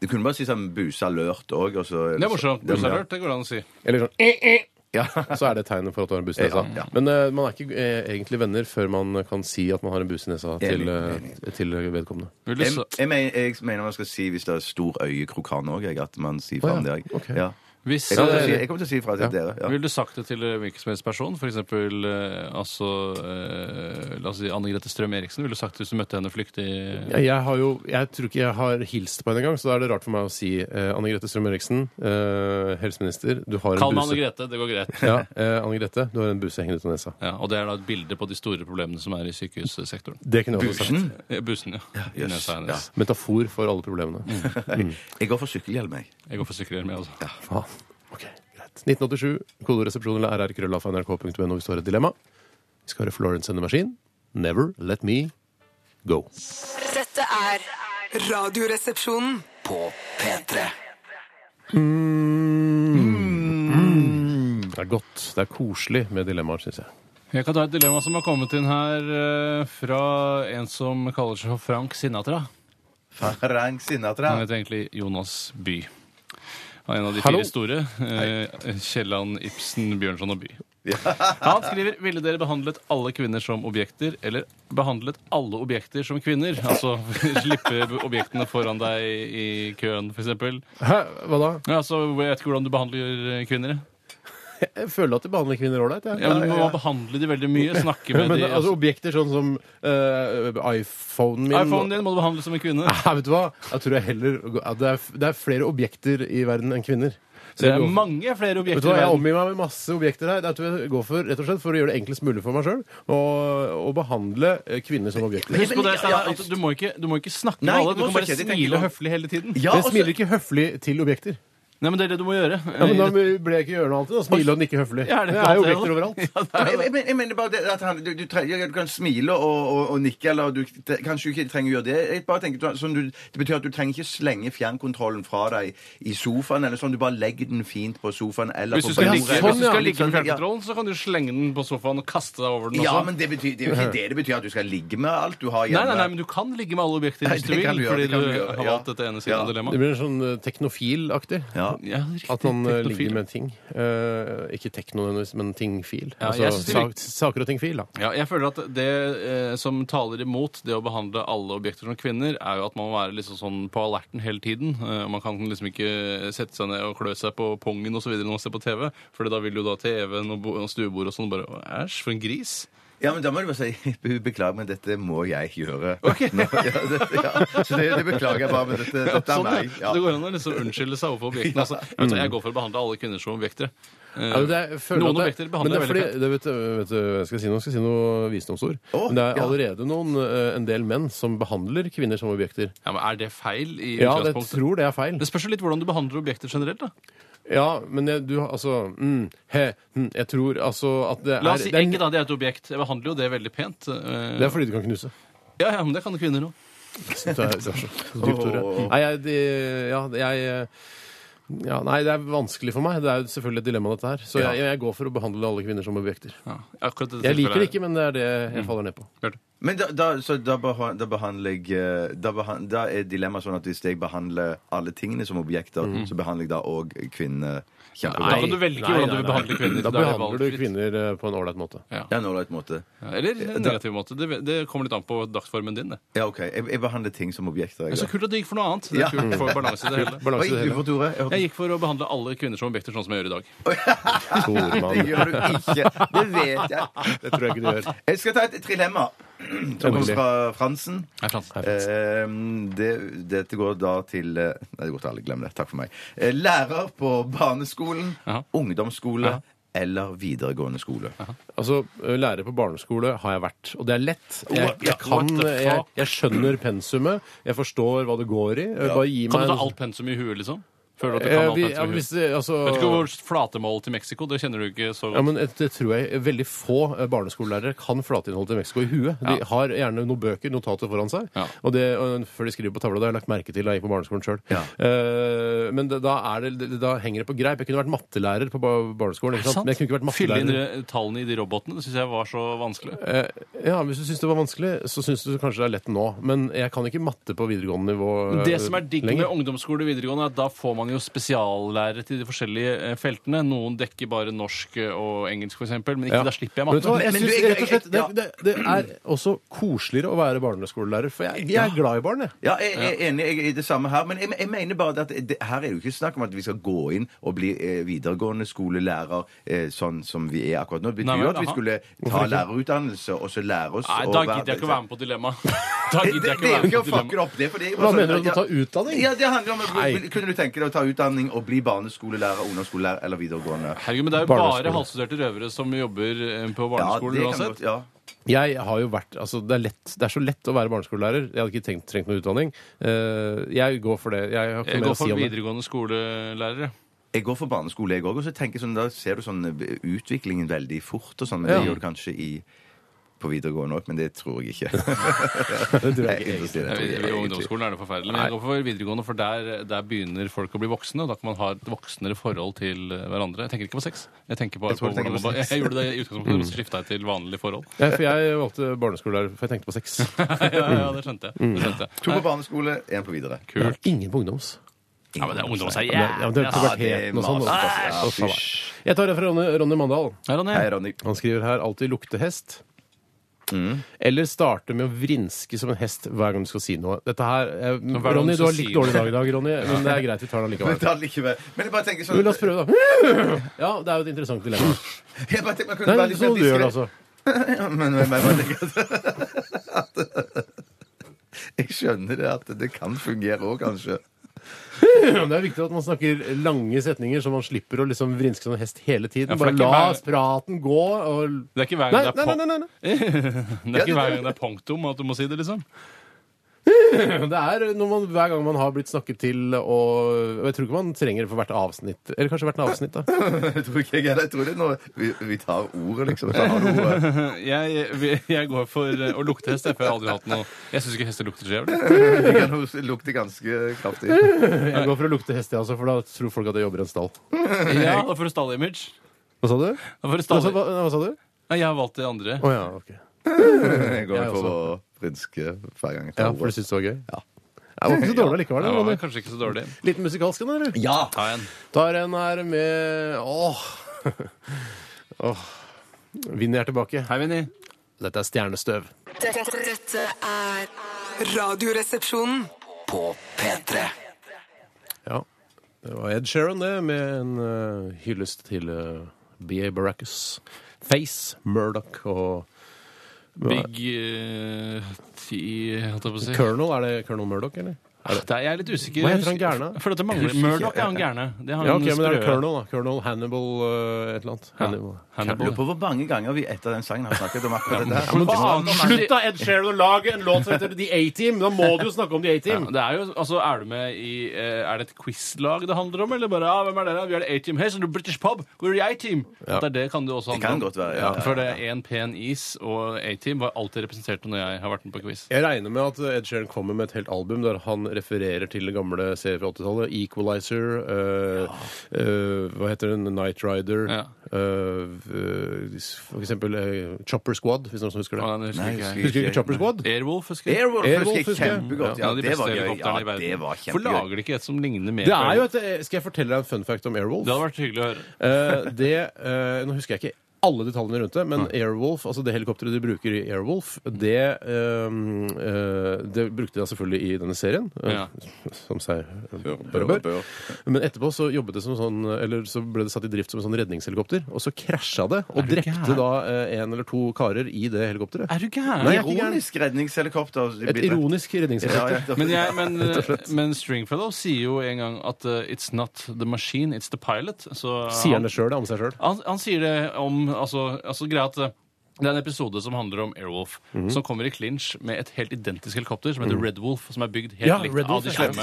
D: Du kunne bare si sånn busa lørt òg.
E: Det er morsomt.
D: sånn,
E: Buse er rørt, det går an å si.
C: Eller sånn eh, eh. Så er det tegnet for at du har en buse i nesa. Men eh, man er ikke eh, egentlig venner før man kan si at man har en buse i nesa til, eh, til vedkommende.
E: Vil du
D: Jeg,
E: så-
D: jeg, mener, jeg mener man skal si hvis det er stor øyekrokan òg, at man sier
C: Å,
D: fra om
C: ja.
D: det. jeg.
C: Ok.
D: Ja.
E: Hvis,
D: Jeg kommer til å
E: eh,
D: si- jeg kommer til å si fra til dere. Ja.
E: Ville du sagt det til eh, hvilken som helst person? For eksempel, eh, altså, eh, la oss si Anne Grete Strøm Eriksen. Ville du sagt det hvis du møtte henne flyktig
C: Ja, Jeg, har jo, jeg tror ikke jeg har hilst på henne engang, så da er det rart for meg å si eh, Anne Grete Strøm-Eriksen, eh, helseminister, du har
E: Kall
C: en
E: meg
C: buse.
E: Anne Grete, det går greit.
C: Ja, eh, Anne Grete, du har en buse hengende ut av nesa.
E: Ja, og det er da et bilde på de store problemene som er i sykehussektoren.
C: Det kunne jeg også sagt.
E: Eh, Bussen, ja. I
D: jøss,
E: nesa hennes.
C: Metafor for alle
E: Mm.
C: problemene.
D: Jeg går for sykkelhjelm, jeg.
E: Jeg går for sykkelhjelm, jeg også.
C: Faen. Ok, greit. 1987, kodoresepsjon eller rrkrøllafnrk.no hvis du har et dilemma. Vi skal høre Florence and the Machine. Never let me go.
F: Dette er Radioresepsjonen.
B: På P3
C: Det er godt. Det er koselig med dilemmaer, syns jeg.
E: Jeg kan ta et dilemma som har kommet inn her eh, fra en som kaller seg for Frank Sinatra.
D: Frank Sinatra.
E: Han heter egentlig Jonas By. Han er en av de
C: Hallo.
E: fire store. Eh, Kielland, Ibsen, Bjørnson og By. Han skriver Ville dere behandlet alle kvinner som objekter, eller behandlet alle objekter som kvinner? Altså slippe objektene foran deg i køen, f.eks.
C: Hæ, hva da?
E: Ja, altså, jeg vet ikke hvordan du behandler eh, kvinner. jeg.
C: Jeg føler at de behandler kvinner ålreit. jeg.
E: Ja, men Du må behandle de veldig mye. Snakke med
C: Men
E: de.
C: altså,
E: Altså,
C: objekter sånn som eh, iPhonen min
E: iPhonen din må du behandle som en kvinne.
C: Nei, vet du hva? Jeg tror jeg heller at det, er, det er flere objekter i verden enn kvinner.
E: Det er mange flere
C: Vet du hva,
E: objekter i
C: Jeg
E: verden.
C: omgir meg med masse objekter her. Jeg tror jeg går for, rett og slett, for å gjøre det enklest mulig for meg sjøl å behandle eh, kvinner som objekter.
E: Husk på det, Steinar, at du må ikke, du må ikke snakke med
D: Nei,
E: alle.
D: du
E: Du
D: må
E: kan bare
D: snakke, det tenker
E: smile
D: man.
E: høflig hele tiden.
D: Ja,
C: jeg
D: også-
C: smiler ikke høflig til objekter.
E: Nei, men Det er det du må gjøre.
C: Ja, men Da ble jeg ikke gjøre noe annet. Da smile og nikke høflig.
E: Ja, er det
C: det er
E: ikke
C: jo
E: alt det, da?
C: objekter overalt.
D: Ja, men Jeg, men- jeg mener bare det at han, du, du, trenger, du kan smile og, og, og nikke, eller du tre- kanskje ikke trenger å gjøre det. Jeg bare tenker, du- sånn du, det betyr at du trenger ikke slenge fjernkontrollen fra deg i sofaen, eller sånn. Du bare legger den fint på sofaen eller
E: Hvis du
D: på
E: skal
C: Ja,
D: bordet.
E: ligge,
C: sånn,
E: hvis du
C: ja.
E: skal ligge med
D: Sånn, ja.
E: fjernkontrollen, så kan du slenge den på sofaen og kaste deg over den også.
D: Ja, men det, betyr, det er jo ikke det det betyr at du skal ligge med alt du har
E: Nei,
D: hjemme.
E: nei, nei, men du kan ligge med alle objekter
D: Nei,
E: hvis
D: det
E: du vil,
D: kan du gjøre,
E: fordi
D: det
E: du
D: kan du gjøre,
E: har
D: ja.
E: valgt dette ene siden av
D: Ja.
C: Det
E: dilemmaet.
C: blir sånn eh, teknofil-aktig.
D: Ja.
E: Ja, riktig.
C: At man eh,
E: Teknofil.
C: ligger med ting. Eh, ikke tekno, nødvendigvis, men ting-fil.
E: Ja, jeg
C: altså
E: synes det
C: sak, saker og ting-fil, da.
E: Ja, jeg føler at det eh, som taler imot det å behandle alle objekter som kvinner, er jo at man må være liksom sånn på alerten hele tiden. Eh, og man kan liksom ikke sette seg ned og klø seg på pungen osv. når man ser på TV, for da vil jo da TV-en og bo- og stuebordet og sånn bare Æsj, for en gris.
D: Ja, men da må du bare si «Be- beklager, men dette må jeg gjøre. Nå, ja, det, ja. Så det, det beklager jeg bare, men dette, dette er
E: Sånn, ja.
D: meg. Ja.
E: Så Det går an å liksom unnskylde seg overfor objektene. Altså. Jeg, vet, hva, jeg går for å behandle alle kvinner som objekter. Eh,
C: Ja, men det er, jeg føler
E: noen
C: at det-
E: objekter
C: men det
E: behandler
C: er
E: veldig
C: fordi- det, vet, du- vet du, jeg skal si noe, jeg skal si noe visdomsord.
D: Å,
C: men det er
D: ja.
C: allerede noen, eh, en del menn som behandler kvinner som objekter.
E: Ja, men Er det feil? i
C: Ja, jeg
E: utgangspunktet?
C: tror det er feil.
E: Det spørs jo litt hvordan du behandler objekter generelt. da.
C: Ja, men jeg, du har- altså mm, he, hm, Jeg tror altså at det er
E: La oss si
C: det er,
E: egget, da. Det er et objekt. Jeg behandler jo det veldig pent. eh,
C: det er fordi du kan knuse.
E: Ja, ja, men det kan kvinner òg.
C: Så det er- det er så så dypt ordet. Nei, jeg, de, ja, jeg eh, ja, Nei, det er vanskelig for meg. Det er jo selvfølgelig et dilemma, dette her. Så jeg, jeg går for å behandle alle kvinner som objekter.
E: Ja, akkurat i dette
C: Jeg liker
E: tilfellet
C: det ikke, men det er det jeg faller ned på.
E: Bjarte.
D: Men da, da, så da, beha- da behandler jeg eh, da, behan- da er dilemmaet sånn at hvis jeg behandler alle tingene som objekter,
E: Mm.
D: så behandler jeg da òg kvinner
E: Da
D: kjempebra.
E: kan du velge hvordan du vil behandle kvinner.
C: Da
E: Da er det
C: behandler du
E: valgfritt.
C: kvinner eh, på en ålreit måte.
D: Ja, nå er det et måte.
E: Ja, Eller en negativ måte. Det, det kommer litt an på dagsformen din. det.
D: Ja, OK. Jeg, jeg behandler ting som objekter.
E: Det
D: Jeg,
E: er så kult at du gikk for noe annet. Det
D: Ja.
E: er kult for balanse i det hele.
D: Hva
C: Balanse i
D: gikk
C: det hele.
D: du for, Tore? Jeg hørte-
E: Jeg gikk for å behandle alle kvinner som objekter, sånn som jeg gjør i dag.
C: Stormann.
D: Det gjør du ikke. Det vet jeg.
C: Det tror jeg ikke du gjør.
D: Jeg skal ta et trilemma som kommer
C: Endelig.
D: fra Fransen.
E: Nei, Frans.
D: Eh, det, dette går da til eh, Nei, det går til alle. Glem det. Takk for meg. Eh, lærer på barneskolen,
E: Jaha.
D: ungdomsskole
E: Jaha.
D: eller videregående skole.
C: Altså, Lærer på barneskole har jeg vært, og det er lett. Jeg,
E: What-
C: jeg,
E: what
C: kan,
E: the fuck?
C: jeg, jeg skjønner pensumet, jeg forstår hva det går i. Bare gi
E: Kan
C: meg
E: du ta
C: en-
E: alt pensum i huet, liksom? Føler du at du
C: Eh,
E: kan alt
C: vi, ja,
E: pensum i
C: hvis
E: huet?
C: det, altså,
E: Vet ikke hvor flatemål til Mexico, det kjenner du ikke så
C: ja,
E: godt.
C: men det tror jeg veldig få eh, barneskolelærere kan flateinnholdet til Mexico i huet. De
E: Ja.
C: har gjerne noen bøker, notater foran seg,
E: Ja.
C: og det, og før de skriver på tavla. Det har jeg lagt merke til da jeg gikk på barneskolen sjøl.
D: Ja.
C: men det, da, er det, det- da henger det på greip. Jeg kunne vært mattelærer på ba- barneskolen, ikke sant? men jeg kunne ikke vært
E: Fylle inn
C: mattelærer.
E: eh, tallene i de robotene, det syns jeg var så vanskelig.
C: Eh, ja, Hvis du syns det var vanskelig, så syns du kanskje det er lett nå. Men jeg kan ikke matte på videregående nivå eh,
E: Det som er digg med
C: lenger.
E: ungdomsskole og videregående, er at da får man jo spesiallærere til de forskjellige eh, feltene. Noen dekker bare norsk eh, og engelsk, f.eks., men ikke
C: Ja.
E: da slipper jeg
C: Men vet du hva,
E: matte.
C: jeg
D: Men- men
C: synes,
D: du, jeg-
C: rett og slett, det,
D: jeg-
C: det, det er også koseligere å være barneskolelærer, for jeg, jeg er glad i barn, jeg.
D: Ja, jeg er enig jeg er i det samme her. Men jeg, jeg mener bare at det, her er det jo ikke snakk om at vi skal gå inn og bli eh, videregående skolelærer eh, sånn som vi er akkurat nå. Det
E: Nei,
D: betyr
E: men,
D: jo at vi
E: aha.
D: skulle ta lærerutdannelse og så lære oss
E: Nei,
D: å
E: da gidder jeg ikke å være med på dilemmaet. Da
D: Det,
E: gidder
D: det,
E: jeg
D: det
E: ikke å
D: er jo
E: være med
D: ikke å
E: på
D: fucke
E: dilemmaet.
D: opp det. For det er jo
C: Hva
D: sånn-
C: mener du om å
D: ja.
C: ta utdanning?
D: Ja, det handler om
C: Nei.
D: Kunne du tenke deg å ta utdanning og bli barneskolelærer, ungdomsskolelærer eller videregående?
E: Herregud, men det er jo
C: Barneskole.
E: bare halvstuderte røvere som jobber eh, på
D: Ja, det
E: barneskolen
D: kan godt-
E: uansett.
D: ja.
C: Jeg har jo vært, altså det er, lett, det er så lett å være barneskolelærer. Jeg hadde ikke tenkt, trengt noe utdanning. Eh, jeg går for det. Jeg har ikke noe mer
E: Jeg Eh, går
C: å si
E: for
C: om det.
E: videregående skolelærere.
D: Jeg går for barneskole, jeg òg. Og så tenker jeg sånn, da ser du sånn eh, utviklingen veldig fort og sånn. Men det
C: Ja.
D: gjør du kanskje i, på videregående òg, men det tror jeg ikke. Nei,
C: Det tror jeg ikke.
D: jeg tror ikke det,
E: I
D: jeg
E: i
D: tror ikke.
E: ungdomsskolen er det forferdelig. Men jeg går for videregående, for der, der begynner folk å bli voksne, og da kan man ha et voksnere forhold til eh, hverandre. Jeg tenker ikke på sex. Jeg tenker bare
D: Jeg
E: på
D: tror du tenker
E: hvordan man
D: på
E: ba- Jeg gjorde det i
C: Mm.
E: utgangspunktet, men så skifta jeg til vanlige forhold.
C: Ja, for jeg valgte barneskolelærer, for jeg tenkte på sex.
E: Ja, ja, det skjønte jeg.
C: Mm.
E: Det skjønte jeg.
D: To på barneskole, én på videre.
C: Jeg har Ingen på ungdoms.
E: Ja, men det er ungdom, sier
C: Ja, men det er
E: jeg.
C: puberteten og sånn.
D: mas,
C: også.
D: altså. Ja,
C: Uff, faen.
D: fysj.
C: Jeg tar det fra Ronny, Ronny Mandal.
E: Hei, Ronny.
D: Hei, Ronny.
C: Han skriver her alltid lukte hest.
E: Mm.
C: Eller starte med å vrinske som en hest hver gang du skal si noe. Dette her, eh,
E: hver gang
C: Ronny,
E: du
C: du har
E: skal
C: litt
E: si
C: dårlig dag i dag, Ronny, men det er greit. Vi tar den
D: Men
C: likevel.
D: ta likevel. Men jeg bare tenker sånn
C: Men La oss prøve, da. Ja, det er jo et interessant dilemma.
D: Jeg bare tenker, man
C: Nei,
D: kunne
C: det er
D: være litt
C: sånn
D: mer
C: du gjør det,
D: diskret.
C: altså.
D: Men, men, men, men jeg, jeg skjønner det at det kan fungere òg,
C: Ja,
D: kanskje.
C: men Det er viktig at man snakker lange setninger, så man slipper å liksom vrinske som en hest hele tiden.
E: Ja, for
C: Bare
E: det er ikke
C: la
E: hver-
C: praten gå. Og...
E: Det er ikke hver
C: Nei,
E: gang
C: nei,
E: det
C: nei,
E: er punk-
C: nei, nei.
E: det er ikke hver gang det er punktum at du må si det, liksom.
C: Det er når man, hver gang man har blitt snakket til, og, og jeg tror ikke man trenger det for hvert avsnitt. Eller kanskje hvert avsnitt, da.
D: Jeg tror ikke jeg er det. Jeg tror det er noe vi, vi tar ordet, liksom. Jeg tar ordet.
E: Jeg, vi- jeg går for eh, å lukte hest. jeg, for Jeg har aldri hatt noe Jeg syns ikke hester lukter så jævlig.
D: Det kan jo lukte ganske kraftig.
C: Jeg går for å lukte hest, jeg også, for da tror folk at jeg jobber i en stall.
E: Ja, da får du stallimage.
C: Hva sa du?
E: Da får du
C: Hva,
E: stall...
C: sa- hva, hva sa du?
E: Nei, jeg har valgt det andre.
C: Å ja, ok.
D: Jeg går
C: Jeg
D: for å
C: også.
D: rynske hver gang jeg
C: altså. Ja,
D: tar
C: for du
D: ordet.
C: syntes det var gøy? Ja. Det var ikke så dårlig likevel.
E: Det
C: det,
E: var
C: Ronny. Ah.
E: vel kanskje ikke så dårlig.
C: Liten musikalsk en, eller?
D: Ja!
E: Ta en.
C: Tar en her med Åh! Åh. Vinner jeg tilbake.
E: Hei, Vinni.
C: Dette er stjernestøv.
F: Dette, dette er Radioresepsjonen.
B: På P3
C: Ja. Det var Ed Sheeran, det, med en eh, hyllest til eh, B.A. Baracus. Face, Murdoch og
E: Big eh, T, holdt jeg på å si.
C: Colonel. Er det Colonel Murdoch, eller?
E: Der er jeg litt usikker.
C: Hva heter han gærne?
E: For dette mangler
D: Husker ikke.
E: Murdoch er han gærne. Det er han
C: Ja, ok, men det er
E: sprø.
C: Colonel, da. Colonel Hannibal eh, et eller annet. Hannibal.
E: Hannibal.
D: Lurer på hvor mange ganger vi etter den sangen har snakket om akkurat det der.
E: men faen, slutt
C: da, Ed Sheeran, å lage en låt som heter The A-Team! Da må du jo snakke om The
E: Ja, det er, jo, altså, er, du med i, eh, er det et quizlag det handler om, eller bare ah, 'Hvem er dere? Vi er det A-Team. Hei, så du er British Pub! Hvor er A-Team?'
C: Ja.
E: Det, er det kan det også handle
D: Det kan
E: om.
D: godt være, ja.
E: For det er én pen is, og A-Team var alltid representert når jeg har vært med på quiz.
C: Jeg regner med at Ed Sheeran kommer med et helt album der han refererer til gamle serier fra 80-tallet. Equalizer, eh, eh, hva heter den, Night Rider
E: Ja.
C: eh, eh, For eksempel eh, Chopper Squad, hvis noen husker det.
E: Og den husker
D: Nei,
E: ikke jeg.
D: husker
C: Husker du ikke Chopper Squad?
E: Airwolf, husker jeg.
D: Airwolf
C: Airwolf
D: husker jeg
C: husker jeg.
D: kjempegodt.
E: Ja,
D: Ja,
E: de
D: det
E: beste
D: var gøy.
E: helikopterne
D: Ja,
E: i verden.
D: det var
E: Hvorfor lager
D: kjempegøy.
E: de ikke et som ligner mer
C: Det
E: på
C: er jo et, eh, Skal jeg fortelle deg en fun fact om Airwolf?
E: Det hadde vært hyggelig å høre.
C: Eh, det, eh, nå husker jeg ikke alle detaljene rundt det, men Airwolf, altså det helikopteret de bruker i Airwolf, det, eh, eh, det brukte de da selvfølgelig i denne serien. eh,
E: Ja.
C: Som seg eh, bør og bør. Men etterpå så jobbet det som sånn Eller så ble det satt i drift som en sånn redningshelikopter, og så krasja det og
E: du
C: drepte
E: gæren?
C: da eh, en eller to karer i det helikopteret.
E: Er du gæren?
C: Nei, jeg er ikke gæren.
D: Ironisk redningshelikopter. de
C: Et
D: blir-
C: ironisk redningshelikopter.
D: Ja, ja,
E: Men, jeg, men, men Stringfellow sier jo en gang at eh, 'it's not the machine, it's the pilot'. Så
C: Sier han det sjøl om seg sjøl?
E: Han, han sier det om altså, altså greia at eh, det er en episode som handler om Airwolf,
C: Mhm.
E: som kommer i clinch med et helt identisk helikopter som heter Red Wolf, som er bygd helt
C: Ja,
E: likt
C: Red
E: av
C: Wolf,
E: de
C: ja. Mm.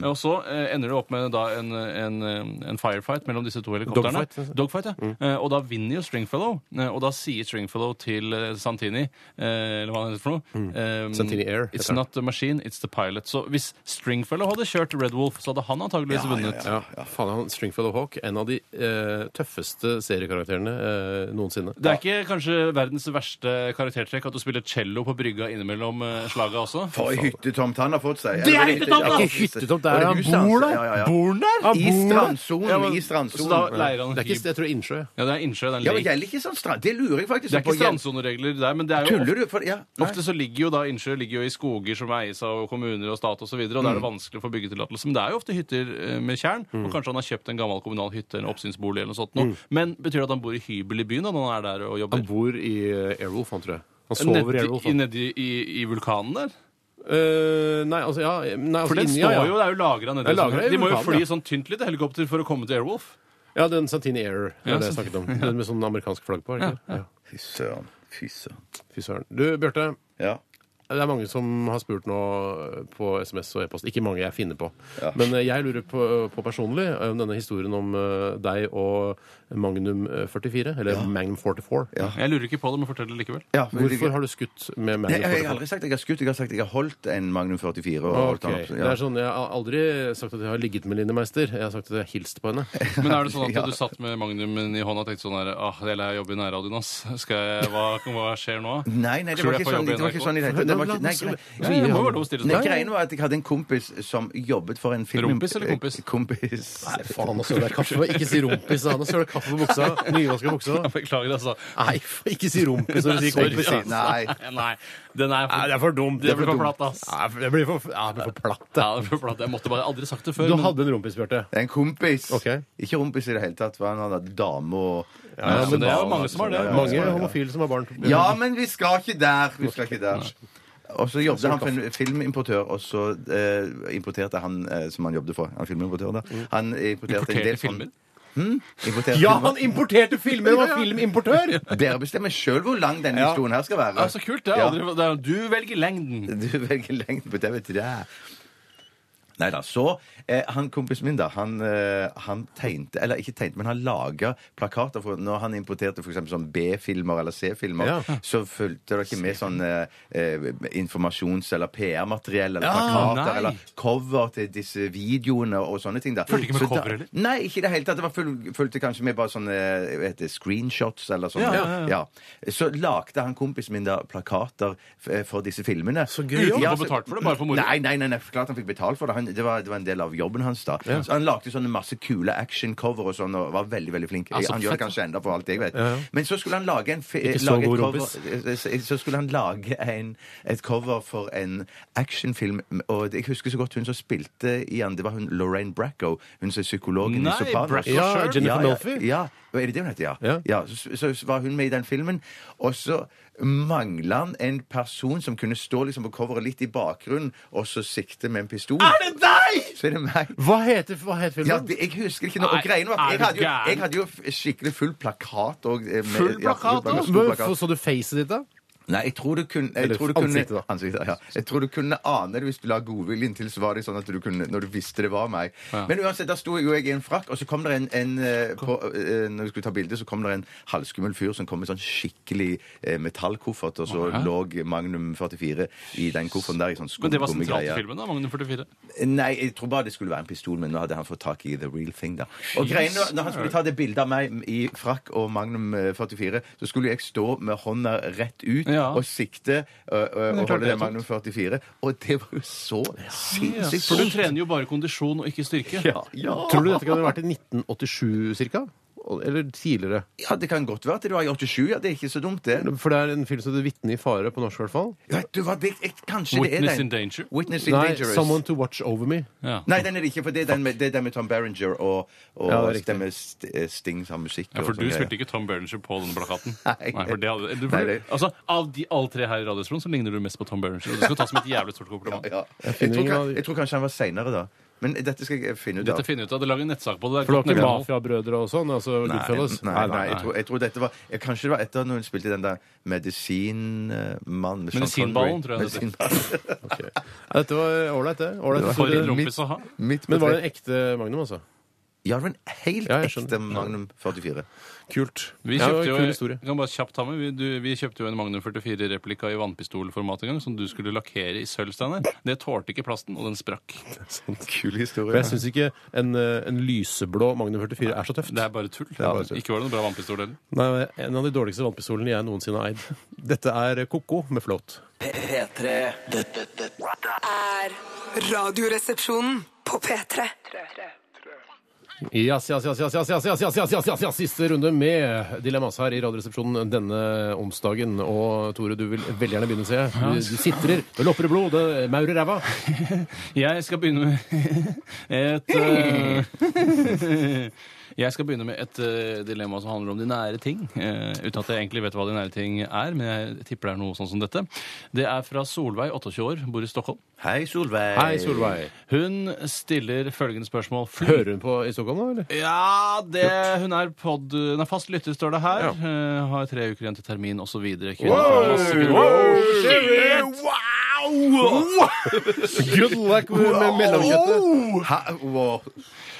E: slemme. Og så eh, ender det opp med da en, en, en firefight mellom disse to helikoptrene.
C: Dogfight, altså.
E: Dogfight, ja. Eh, og da vinner jo Stringfellow, eh, og da sier Stringfellow til eh, Santini, eh, eller hva han heter for noe eh,
C: Mm. Santini Air, heter
E: It's
C: han.
E: not the machine, it's the pilot. Så hvis Stringfellow hadde kjørt Red Wolf, så hadde han antageligvis vunnet.
C: Ja, ja, faen, han Stringfellow Hawk, en av de eh, tøffeste seriekarakterene eh, noensinne.
E: Det er ikke kanskje verdens verste karaktertrekk at du spiller cello på brygga innimellom eh, slaga også?
D: For ei hyttetomt han har fått seg.
C: Det er
D: Eller,
C: hyttetomt, da!
D: ja,
C: Ikke hyttetomt, det er
D: Var
C: han
D: huset hans?
C: bor der.
D: Ja, ja, ja.
C: Bor han der?
D: I
C: Han bor der?
D: strandsonen.
E: Ja, men-
D: I
E: Så da
D: strandsonen.
E: leier han
C: Det er ikke,
E: hyb...
C: jeg tror det er innsjø.
E: Ja, det er innsjø, det er
D: Ja,
E: en
D: men
E: lake.
D: gjelder ikke sånn strand... Det lurer jeg
C: liksom
D: faktisk
E: Det er ikke
D: på.
E: strandsoneregler der, men det er jo
D: Tuller du? For, ja.
E: ofte, ofte så ligger jo da innsjø ligger jo i skoger som eies av kommuner og stat osv., og, så videre, og da er det
C: Mm.
E: vanskelig å få byggetillatelse. Men det er jo ofte hytter eh, med tjern, og kanskje han har kjøpt en gammel kommunal hytte eller oppsynsbolig eller noe sånt. nå. Men betyr det at han bor i hybel i byen da, når han er der og jobber?
C: Mm. Han bor i eh, Airwolf, han tror jeg. Han sover i Airwolf.
E: Nedi, i, nedi i, i vulkanen der?
C: Eh, nei, altså, ja nei, altså,
E: For den
C: inni-
E: står
C: ja, ja.
E: jo, det er jo lagra nedi.
C: Det er lagret i
E: De må jo
C: vulkanen,
E: fly
C: ja.
E: sånn tynt litt helikopter for å komme til Airwolf.
C: Ja, den Santini Air er
E: Ja,
C: det jeg
E: Santini-
C: snakket om. Den med sånn amerikansk flagg på. er det Ikke? Ja,
D: Fy søren. Fy søren.
C: Fy søren. Du, Bjarte.
D: Ja.
C: Det er mange som har spurt nå eh, på SMS og e-post. Ikke mange jeg finner på. Men eh, jeg lurer på, på personlig om denne historien om eh, deg og Magnum eh, 44, eller Magnum 44.
E: Jeg lurer ikke på det, men fortell det likevel.
D: Ja, men det-
C: Hvorfor har du skutt med
D: Nei,
C: Magnum
D: jeg, jeg
C: 44?
D: har aldri sagt jeg har skutt. Jeg har sagt jeg har holdt en Magnum 44. Og
C: Ok,
D: holdt den opp,
C: Det er sånn, Jeg har aldri sagt at jeg har ligget med Line Meister. Jeg har sagt at jeg har hilst på henne.
E: Men er det sånn at
D: Ja.
E: du satt med magnumen i hånda og tenkte sånn her Åh, det er lei av å jobbe i nærradioen, ass. Skal jeg, hva, hva skjer nå?
D: Nei, nei, det
E: Tror
D: var
E: jeg
D: ikke
E: får
D: sånn
E: jobb i
D: det var ikke
E: NRK?
D: sånn i det hele tatt. Det var
C: La
D: ikke- nei,
C: oss-
D: grei-
C: Ja,
E: Nei, det må jo være lov å stille
D: Nei,
E: spørsmål.
D: Greia var at jeg hadde en kompis som jobbet for en film
E: Rumpis eller kompis?
D: Kompis.
C: Faen, nå søler jeg kaffe. Ikke si rumpis, da. Nå søler jeg kaffe på buksa. Nyvaska buksa.
E: Beklager, altså.
C: Nei, ikke si rumpis når du sier
E: Sorry,
C: kompis.
E: altså.
D: Nei.
E: Nei, den er for,
C: for dumt.
E: det blir for platt, ass.
C: Nei, det blir for, ja, det blir for platt.
E: Ja, det er for platt. Jeg måtte bare jeg har aldri sagt det før.
C: Du
E: men-
C: hadde en rumpis, Bjarte.
D: En kompis.
C: Ok.
D: Ikke rumpis i det hele tatt. hva? Han hadde dame og
E: ja, men det er jo
D: barn og
E: mange som har
D: sånn.
E: det.
D: Ja, ja, ja.
C: Mange homofile som har barn.
D: Ja, men vi skal ikke der. Vi skal ikke der. Og så jobbet han for en filmimportør, og så eh, importerte han eh, som han jobbet for. Han filmimportør da.
E: Mm.
D: Han importerte, en
E: Importerte
D: del sånn-
E: filmer.
D: Importerte
C: Ja,
D: filmer.
C: han importerte filmer og var filmimportør!
D: Dere bestemmer sjøl hvor lang denne
C: Ja.
D: historien her skal være.
E: Ja, så kult. Det er aldri, det er, du velger lengden.
D: Du velger lengden på TV3. Nei da. Så eh, han kompisen min, da, han, eh, han tegnte Eller ikke tegnte, men han laga plakater for Når han importerte f.eks. sånn B-filmer eller C-filmer,
C: Ja.
D: så fulgte det ikke med sånn eh, eh, informasjons- eller PR-materiell eller
E: Ja,
D: plakater
E: nei.
D: eller cover til disse videoene og sånne ting. da
E: Fulgte ikke med
D: Så
E: cover,
D: da-
E: heller?
D: Nei, ikke i det hele tatt. Det var full- fulgte kanskje med bare sånne eh, hva heter det, screenshots eller sånn.
E: Ja, ja, ja.
D: Så lagde han kompisen min da plakater f- eh, for disse filmene.
C: Så gøy,
E: ja.
D: Ja,
E: Uten å få betalt for det, bare for moro.
D: Nei, nei, nei, nei, klart han fikk betalt for det. Han det var, det var en del av jobben hans da. Så han lagde sånne masse kule action-cover og sånn, og var veldig, veldig flink.
E: Altså,
D: han gjør
E: fett,
D: det kanskje enda for alt jeg vet. Men så skulle han lage en fi-
C: Ikke så
D: lage et
C: god
D: cover,
C: rompis.
D: eh, så skulle han lage en, et cover for en actionfilm, og jeg husker så godt hun som spilte i han, det var hun Lorraine Bracco, hun som er psykologen
E: Nei,
D: i Sopranos.
E: Bracco
C: Ja, selv. Jennifer
D: ja,
C: Melfi.
D: Ja, ja. Er det det hun heter, ja?
C: Ja.
D: så, så- så var hun med i den filmen, og så mangla han en person som kunne stå liksom på coveret litt i bakgrunnen og så sikte med en pistol. Er det deg?! Så er det meg.
C: Hva heter, hva heter
D: Ja,
C: filmen?
D: det, jeg husker ikke noe.
E: Nei,
D: Og greiene var at
E: er
D: jeg
E: du
D: hadde jo,
E: gæren?
D: jeg hadde jo f- skikkelig full plakat og eh, med-
E: Full
D: ja,
E: plakat også?
D: stor
C: Hva-
D: plakat.
C: Så du facet ditt, da?
D: Nei, jeg tror du kunne, jeg
C: Eller
D: tror du kunne
C: ansiktet, da.
D: ansiktet, ja. Jeg tror du kunne ane det hvis du la godviljen til, så var det sånn at du kunne Når du visste det var meg. Men uansett, da sto jo jeg i en frakk, og så kom det en, en eh, på, eh, Når vi skulle ta bilde, så kom det en halvskummel fyr som kom med sånn skikkelig eh, metallkoffert, og så lå Magnum 44 i den kofferten der i sånn
E: Men det var sentralt i
D: skumgummigreie.
E: filmen, da, Magnum 44.
D: Nei, jeg tror bare det skulle være en pistol, men nå hadde han fått tak i the real thing, da. Og greien, var- når han skulle ta det bildet av meg i frakk og Magnum eh, 44, så skulle jeg stå med hånda rett ut
E: Ja.
D: og sikte ø, ø,
E: er
D: og
E: klart
D: holde
E: det er
D: det Magnum 44, og det var jo så sinnssykt
E: For du trener jo bare kondisjon og ikke styrke.
D: Ja, ja.
C: Tror du dette kan ha vært i 1987 ca.? Eller tidligere?
D: ja, det kan godt være at det var i 87, ja. Det er ikke så dumt, det.
C: For det er en film som heter 'Vitne i fare' på norsk, i hvert fall.
D: Vet du hva, det, jeg, kanskje det er den.
E: Witness in danger.
D: Witness in
C: Nei,
D: Dangerous.
C: 'Someone to Watch Over Me'.
E: Ja.
D: Nei, den er det ikke, for det er den med, det er den med Tom Berenger og, og
C: Ja, det er riktig.
D: stemmer st Sting som musikk.
E: Ja,
D: og
E: for
D: sånn
E: du
D: greier.
E: spilte ikke Tom Berenger på denne plakaten.
D: Nei.
E: for det hadde, du,
D: Nei, det-
E: altså, Av de alle tre her i Radiosporen så ligner du mest på Tom Berenger. Og det skal tas som et jævlig stort kompliment.
D: Ja. Jeg,
C: finner
D: tror,
C: ingen
D: ka-
C: av de-
D: jeg tror kanskje han var seinere, da. Men dette skal jeg finne ut av.
E: Dette finner jeg ut av. Det lager en nettsak på det.
C: For det var ikke
E: Godt nivå.
C: mafiabrødre og sånn? Altså
D: Nei,
C: Goodfellas?
D: nei, nei, jeg tror, jeg tror dette var jeg, Kanskje det var etter når hun spilte den der Medisinmann med Sean
E: Medisinballen,
D: Connery.
E: tror jeg det heter.
D: Medisinballen.
C: Ok. Ja, Dette var ålreit, det. Ålreit. Så
E: For en
C: det-
E: lompis å ha.
D: Midt på
C: Men var det
D: tre-
C: en ekte Magnum, altså?
D: Ja, det var en helt
C: Ja, jeg skjønner.
D: ekte Magnum 44.
C: Kult.
E: Vi
C: Ja, det var en
E: kjøpte, jo,
C: kul historie.
E: jeg kan bare kjapt ta med, vi, du, vi kjøpte jo en Magnum 44-replika i vannpistolformat en gang, som du skulle lakkere i sølv, Steinar. Det tålte ikke plasten, og den sprakk.
D: Kul
C: For
D: historie.
C: jeg syns ikke en, eh, en lyseblå Magnum 44 er så tøft.
E: Det er bare tull.
C: bare tull.
E: Ikke var det noen bra vannpistol heller.
C: Nei, En av de dårligste vannpistolene jeg noensinne har eid. Dette er Koko med Float.
B: P3 Dette, dette
F: Er radioresepsjonen på P3.
C: Yes, yes, yes, yes, yes, yes, yes, yes, yes, yes, yes, yes, Siste runde med Dilemmas her i Radioresepsjonen denne onsdagen. Og Tore, du vil veldig gjerne begynne, ser jeg. Du, du sitrer, det lopper i blod, det maurer ræva.
E: Jeg skal begynne med et eh, Jeg skal begynne med et eh, dilemma som handler om de nære ting. eh, uten at jeg egentlig vet hva de nære ting er, men jeg tipper det er noe sånn som dette. Det er fra Solveig, 28 år, bor i Stockholm.
D: Hei, Solveig.
C: Hei, Solveig.
E: Hun stiller følgende spørsmål.
C: Hører hun på i Stockholm nå, eller?
E: Ja, det, hun er pod, hun er fast lytter, står det her. Eh, har tre uker igjen til termin osv.
C: Good luck med, med mellomkjøttet.
D: Hæ?